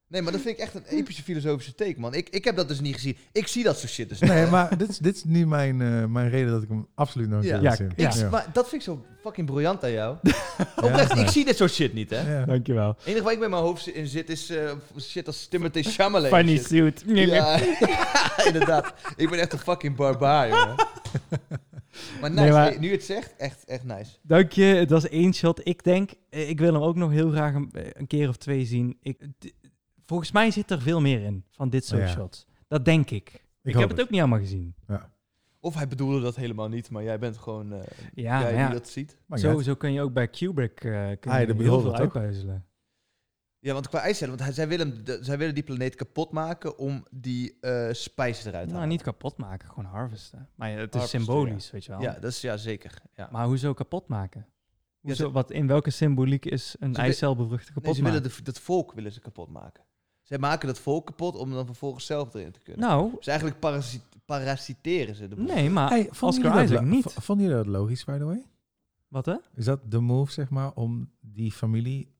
S2: Nee, maar dat vind ik echt een epische filosofische take, man. Ik, ik heb dat dus niet gezien. Ik zie dat soort shit dus niet.
S4: Nee, maar dit is, dit is nu mijn, eh, mijn reden dat ik hem absoluut nog een
S2: Ja.
S4: keer
S1: Ja,
S4: wil zien.
S1: ik-
S2: Ik- Maar dat vind ik zo fucking briljant aan jou.
S4: dat
S2: Oprecht,
S4: is
S2: ik
S4: nice.
S2: zi- zie dit soort shit niet, hè. Het
S4: Ja.
S1: Dankjewel.
S2: enige waar ik met mijn hoofd zi- in zit is eh, shit als Timothy Chalamet. en
S1: Funny
S2: shit.
S1: suit.
S2: Ja, inderdaad. Ik ben echt een fucking barbaar, jongen. Maar nice,
S1: Nee, maar-
S2: hey, nu je het zegt, echt, echt nice.
S1: Dank je, het was één shot. Ik denk, eh, ik wil hem ook nog heel graag een, eh, een keer of twee zien. Ik, d- volgens mij zit er veel meer in van dit soort
S4: Ja.
S1: shots. Dat Dat denk ik. Ik,
S4: hoop
S1: heb het ook niet allemaal gezien.
S2: Of hij bedoelde dat helemaal niet, maar jij bent gewoon eh
S1: Ja,
S2: jij
S1: maar ja.
S2: die dat ziet.
S4: Maar
S1: Zo,
S4: ja,
S1: zo kun je ook bij Kubrick eh kun
S4: Hij
S1: je
S4: de
S1: heel
S4: bedoelde
S1: veel
S4: toch?
S1: uitpuzzelen.
S2: Ja, want qua ijscellen, want hij, zij, willen, hem- de- zij willen die planeet kapot maken om die eh spice eruit te
S1: Nou,
S2: halen.
S1: niet kapot maken, gewoon harvesten. Maar ja, het is
S2: Harvesten,
S1: symbolisch, weet je wel.
S2: Ja, dat is ja, zeker. Ja.
S1: Maar hoezo kapot maken? Hoezo,
S2: ze-
S1: wat, in welke symboliek is een
S2: Ze wi-
S1: eicel bevruchten
S2: Nee,
S1: kapot
S2: ze
S1: maken?
S2: willen de- dat volk willen ze kapot maken. Zij maken dat volk kapot om dan vervolgens zelf erin te kunnen.
S1: Nou,
S2: Dus eigenlijk parasit parasiteren ze de boel.
S1: nee, maar
S4: Hey, vonden
S1: Oscar
S4: jullie dat
S1: Isaac
S4: lo-
S1: niet.
S4: v- Vonden jullie dat logisch, by the way?
S1: wat hè?
S4: Is dat de move, zeg maar, om die familie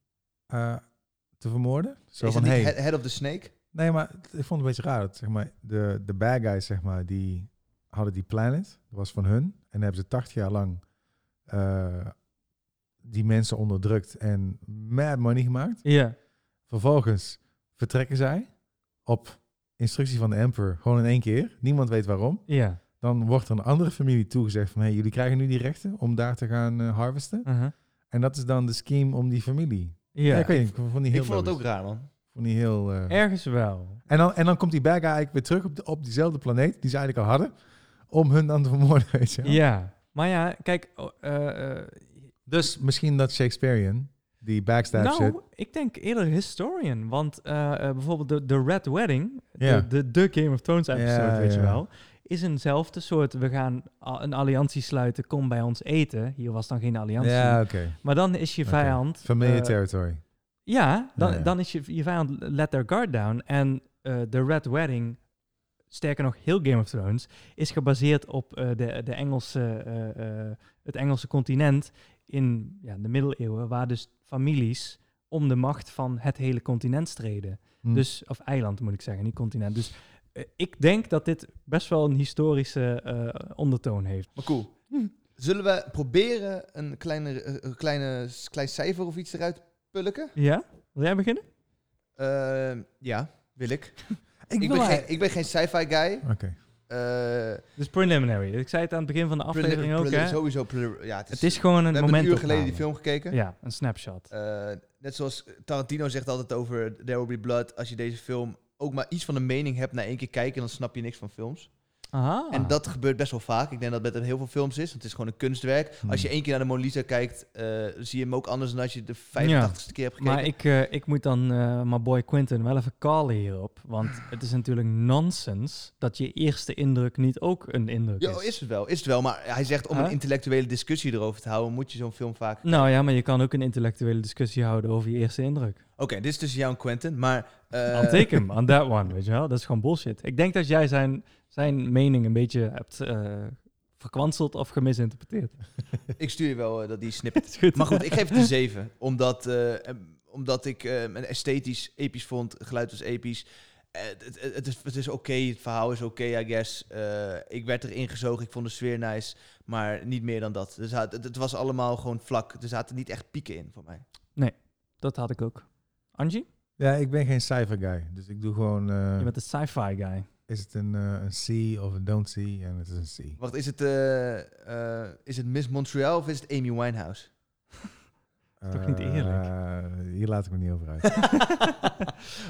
S4: eh, te vermoorden? Zo
S2: Is
S4: van,
S2: het niet
S4: hey.
S2: Head- Head of the Snake?
S4: Nee, maar het- ik vond het een beetje raar. Dat, zeg maar, de, de bad guys, zeg maar, die hadden die planet. Dat was van hun. En dan hebben ze 80 jaar lang eh, die mensen onderdrukt en mad money gemaakt.
S1: Ja.
S4: Vervolgens vertrekken zij op instructie van de emperor. Gewoon in één keer. Niemand weet waarom.
S1: Ja.
S4: Dan wordt er een andere familie toegezegd van... Hey, jullie krijgen nu die rechten om daar te gaan eh, harvesten.
S1: uh-huh.
S4: En dat is dan de scheme om die familie. Ja,
S1: Ja,
S4: ik weet niet. Ik vond die heel
S2: Ik vond het ook
S4: logisch.
S2: raar, man.
S4: Ik vond die heel... eh,
S1: ergens wel.
S4: en dan, en dan komt die bad guy eigenlijk weer terug op, de- op diezelfde planeet die ze eigenlijk al hadden. Om hun dan te vermoorden, weet je
S1: Ja.
S4: wel.
S1: Maar ja, kijk, oh, eh, eh,
S4: Dus misschien dat Shakespearean, die backstab shit.
S1: nou, ik denk eerder historian. Want eh, eh, bijvoorbeeld de, de Red Wedding,
S4: Ja.
S1: de, de, de Game of Thrones episode,
S4: Ja,
S1: weet je
S4: ja.
S1: wel, is eenzelfde soort, we gaan a- een alliantie sluiten, kom bij ons eten. Hier was dan geen alliantie.
S4: Ja, oké.
S1: Maar dan is je
S4: Oké.
S1: vijand...
S4: Familiar
S1: eh,
S4: territory.
S1: Ja, dan,
S4: Ja, ja.
S1: dan is je, je vijand let their guard down. En eh The Red Wedding, sterker nog heel Game of Thrones, is gebaseerd op eh, de, de Engelse, eh, eh, het Engelse continent in ja, de middeleeuwen, waar dus families om de macht van het hele continent streden.
S4: Hm.
S1: Dus, of eiland moet ik zeggen, niet continent. Dus eh, ik denk dat dit best wel een historische eh, ondertoon heeft.
S2: Maar cool. Zullen we proberen een, kleine, eh, een kleine, klein cijfer of iets eruit te pulken?
S1: Ja? Wil jij beginnen?
S2: Eh, ja, wil ik.
S4: ik
S2: Ik
S4: wil
S2: ben,
S4: hij-
S2: geen, ik ben geen sci-fi guy.
S4: Oké.
S2: Eh,
S1: Dus preliminary. Ik zei het aan het begin van de aflevering
S2: prelim-
S1: ook,
S2: prelim-
S1: hè?
S2: Sowieso. prelim- Ja, het is,
S1: Het is gewoon
S2: we
S1: een
S2: hebben
S1: moment.
S2: een uur geleden die film gekeken.
S1: Ja, een snapshot.
S2: Eh, net zoals Tarantino zegt altijd over There Will Be Blood. Als je deze film ook maar iets van een mening hebt na één keer kijken, dan snap je niks van films.
S1: Aha.
S2: En dat gebeurt best wel vaak. Ik denk dat dat met heel veel films is. Want het is gewoon een kunstwerk.
S4: Hmm.
S2: Als je één keer naar de Mona Lisa kijkt, eh, zie je hem ook anders dan als je de 85ste keer hebt gekeken.
S1: Maar ik, eh, ik moet dan eh mijn boy Quentin wel even callen hierop. Want het is natuurlijk nonsens dat je eerste indruk niet ook een indruk
S2: Ja,
S1: is. dus?
S2: is het wel, is het wel. Maar hij zegt om
S1: Huh?
S2: een intellectuele discussie erover te houden, moet je zo'n film vaak. Oké,
S1: Nou ja, maar je kan ook een intellectuele discussie houden over je eerste indruk.
S2: dit is tussen jou en Quentin, maar. eh,
S1: I'll take him on that one, weet je wel. Dat is gewoon bullshit. Ik denk dat jij zijn, zijn mening een beetje hebt eh, verkwanseld of gemisinterpreteerd.
S2: ik stuur je wel eh, dat die snippet.
S1: is goed.
S2: Maar goed, ik geef het een 7. Omdat, eh, em, omdat ik eh, een esthetisch episch vond. Geluid was episch. Eh, het, het, het is, het is oké, het verhaal is oké, I guess. Eh, ik werd erin gezogen, ik vond de sfeer nice. Maar niet meer dan dat. Er zaten- het, het was allemaal gewoon vlak. Er zaten niet echt pieken in voor mij.
S1: Dat had ik ook. Angie,
S4: Ja, ik ben geen cijfer guy. Dus ik doe gewoon... eh,
S1: je bent een sci-fi guy.
S4: Is het een, eh, een C of een don't see? En het is een C.
S2: Wacht, is het, eh, eh, is het Miss Montreal of is het Amy Winehouse?
S1: toch niet eerlijk?
S4: Eh, hier laat ik me niet over uit.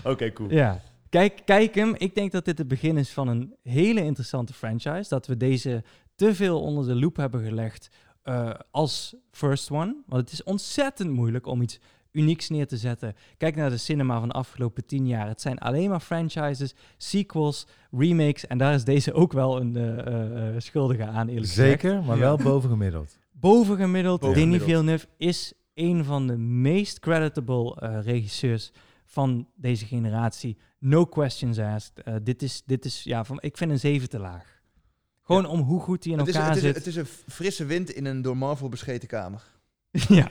S2: Oké, cool.
S1: Ja. Kijk, kijk hem. Ik denk dat dit het begin is van een hele interessante franchise. Dat we deze te veel onder de loep hebben gelegd eh, als first one. Want het is ontzettend moeilijk om iets unieks neer te zetten. Kijk naar de cinema van de afgelopen tien jaar. Het zijn alleen maar franchises, sequels, remakes. En daar is deze ook wel een eh, eh, eh, schuldige aan, eerlijk gezegd.
S4: Zeker, maar
S2: Ja.
S4: wel bovengemiddeld.
S1: Bovengemiddeld, Denis
S2: Bovengemiddeld.
S1: Villeneuve is een van de meest creditable eh, regisseurs van deze generatie. No questions asked. Eh, dit is, dit is ja, van, ik vind een zeven te laag. Gewoon om hoe goed hij in
S2: Het is,
S1: elkaar
S2: het, is,
S1: zit.
S2: het is een frisse wind in een door Marvel bescheten kamer.
S1: ja.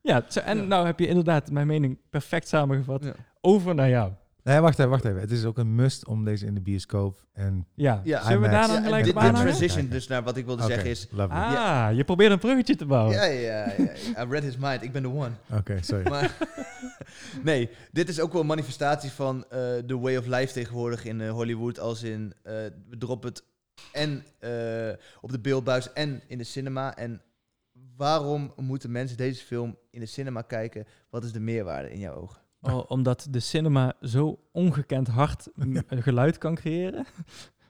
S1: ja, zo- en
S2: Ja.
S1: nou heb je inderdaad mijn mening perfect samengevat.
S2: Ja.
S1: Over naar jou.
S4: Nee, wacht even, wacht even. Het is ook een must om deze in de bioscoop. En
S1: Ja,
S2: Ja,
S1: zullen we
S4: IMAX.
S1: daar
S4: Ja,
S1: dan
S4: en
S1: gelijk op
S2: dit, dit
S4: banen?
S1: aanhouden?
S2: transition dus naar wat ik wilde
S4: Oké,
S2: zeggen is...
S4: lovely.
S1: Ah, je probeert een bruggetje te bouwen.
S2: Ja, ja, ja, ja. I read his mind. Ik ben de one.
S4: Oké, sorry.
S2: Maar nee, dit is ook wel een manifestatie van eh, de way of life tegenwoordig in eh, Hollywood. Als in, eh, we droppen het en eh, op de beeldbuis en in de cinema. En waarom moeten mensen deze film in de cinema kijken? Wat is de meerwaarde in jouw ogen?
S1: O- Oh, omdat de cinema zo ongekend hard m- een geluid kan creëren.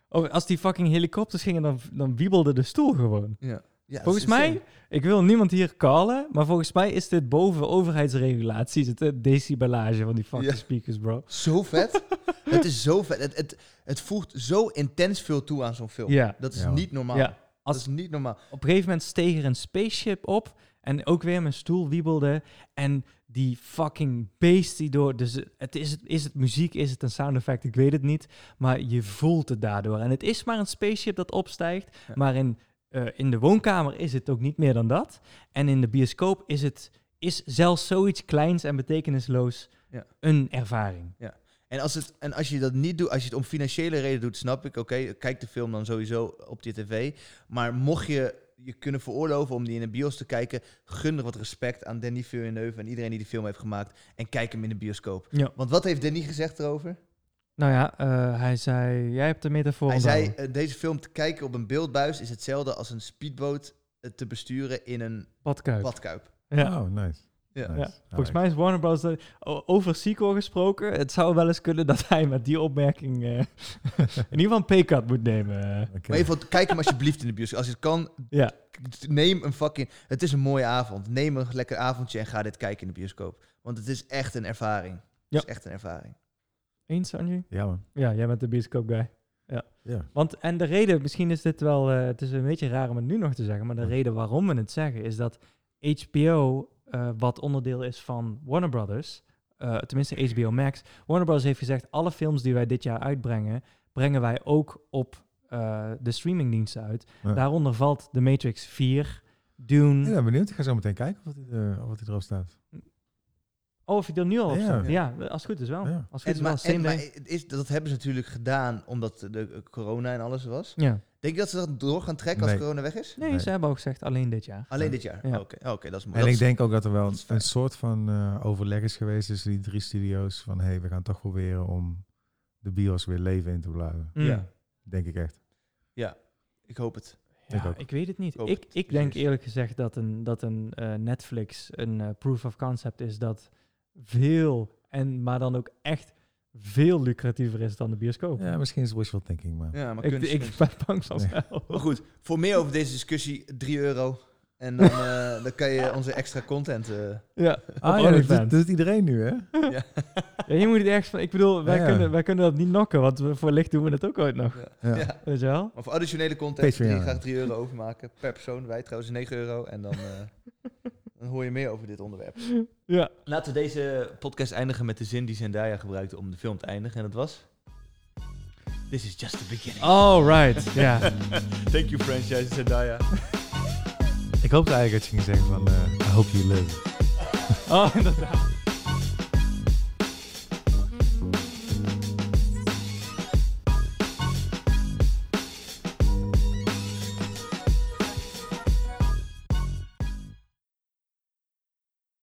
S1: Oh, als die fucking helikopters gingen, dan, dan wiebelde de stoel gewoon.
S2: Ja. Ja,
S1: Volgens
S2: het is
S1: mij,
S2: insane.
S1: ik wil niemand hier callen, maar volgens mij is dit boven overheidsregulaties, het eh, decibelage van die fucking
S2: Ja.
S1: speakers, bro.
S2: Zo vet. het is zo vet. Het, het, het voegt zo intens veel toe aan zo'n film.
S1: Ja.
S2: Dat is
S4: Ja, man.
S2: niet normaal.
S1: Ja.
S2: Dat is niet normaal.
S1: Op een gegeven moment steeg er een spaceship op en ook weer mijn stoel wiebelde en die fucking beest die door... Dus het is, is het muziek, is het een sound effect, ik weet het niet, maar je voelt het daardoor. En het is maar een spaceship dat opstijgt,
S2: Ja.
S1: maar in, eh, in de woonkamer is het ook niet meer dan dat. En in de bioscoop is het is zelfs zoiets kleins en betekenisloos
S2: Ja.
S1: een ervaring.
S2: En als, het, en als je dat niet doet, als je het om financiële reden doet, snap ik, oké, kijk de film dan sowieso op je tv. Maar mocht je je kunnen veroorloven om die in de bios te kijken, gun er wat respect aan Danny Villeneuve en iedereen die die film heeft gemaakt. En kijk hem in de bioscoop.
S1: Ja.
S2: Want wat heeft Danny gezegd erover?
S1: Nou ja, eh, hij zei, jij hebt de metafoor
S2: Hij
S1: onthouden.
S2: zei, eh, deze film te kijken op een beeldbuis is hetzelfde als een speedboot eh, te besturen in een
S1: Badkuip.
S2: badkuip.
S1: Ja.
S4: Oh, nice.
S2: Ja.
S4: Nice.
S1: Ja,
S4: Nice.
S1: volgens mij is Warner Bros. dat- o- over sequel gesproken. Het zou wel eens kunnen dat hij met die opmerking eh, in ieder geval een paycut moet nemen.
S4: Oké.
S2: Maar in ieder geval, kijk hem alsjeblieft in de bioscoop. Als je het kan,
S1: Ja.
S2: k- neem een fucking... Het is een mooie avond. Neem een lekker avondje en ga dit kijken in de bioscoop. Want het is echt een ervaring. Het
S1: Ja.
S2: is echt een ervaring.
S1: Eens, Anju?
S4: Ja, man.
S1: Ja, jij bent de bioscoop guy.
S4: Ja.
S1: Want, en de reden, misschien is dit wel, eh, het is een beetje raar om het nu nog te zeggen, maar de
S4: Ja.
S1: reden waarom we het zeggen is dat HBO, eh, wat onderdeel is van Warner Brothers, eh, tenminste HBO Max, Warner Brothers heeft gezegd, alle films die wij dit jaar uitbrengen, brengen wij ook op eh, de streamingdiensten uit.
S4: Ja.
S1: Daaronder valt The Matrix 4, Dune.
S4: Ik ben benieuwd. Ik ga zo meteen kijken of het, eh, of het erop staat.
S1: Oh, of je er nu al op
S4: Ja.
S1: staat? Ja, als het goed is wel.
S4: Ja.
S1: Als het goed
S2: En,
S1: is wel,
S2: maar, en-
S1: same
S2: maar
S1: day.
S2: het is, dat hebben ze natuurlijk gedaan omdat de eh, corona en alles was.
S1: Ja.
S2: Denk je dat ze dat door gaan trekken als
S4: Nee.
S2: corona weg is?
S1: Nee,
S4: Nee.
S1: ze hebben ook gezegd alleen dit jaar.
S2: Alleen
S4: Ja.
S2: dit jaar?
S1: Ja.
S2: Oké, oké, dat is mooi.
S4: En
S2: Dat
S4: ik
S2: is-
S4: denk ook dat er wel
S2: dat is fijn.
S4: een soort van eh, overleg is geweest tussen die drie studio's. Van hé, hey, we gaan toch proberen om de bios weer leven in te blijven.
S1: Mm.
S2: Ja.
S4: Denk ik echt.
S2: Ik hoop het.
S4: Ik
S1: Ja,
S4: ook.
S1: ik weet het niet.
S2: Ik ook,
S1: Ik, ik denk
S2: precies.
S1: eerlijk gezegd dat een, dat een eh, Netflix een eh, proof of concept is dat veel, en, maar dan ook echt veel lucratiever is dan de bioscoop.
S4: Ja, misschien is het wishful thinking, maar...
S2: Ja, maar
S1: ik,
S2: kunst-
S1: ik
S2: kunst.
S1: ben bang van
S4: Nee.
S1: wel.
S2: Maar goed, voor meer over deze discussie, 3 euro. En dan, eh, dan kan je onze extra content... eh,
S1: Ja,
S4: Ah,
S1: op
S4: ja, dat,
S1: OnlyFans.
S4: dat doet iedereen nu, hè?
S1: Ja, je moet het ergens van... Ik bedoel, wij,
S4: Ah, Ja.
S1: kunnen, wij kunnen dat niet nokken, want we, voor licht doen we het ook ooit nog.
S4: Ja.
S2: ja.
S1: Weet je wel?
S2: Maar voor additionele content
S4: Patreon.
S2: wil je graag 3 euro overmaken per persoon. Wij trouwens 9 euro. En dan, eh, dan hoor je meer over dit onderwerp.
S1: Ja.
S2: Laten we deze podcast eindigen met de zin die Zendaya gebruikte om de film te eindigen. En dat was... This is just the beginning.
S1: All right, ja.
S2: Thank you, franchise Zendaya.
S4: Ik hoopte eigenlijk dat je ging zeggen van... eh I hope you live.
S1: Oh, inderdaad.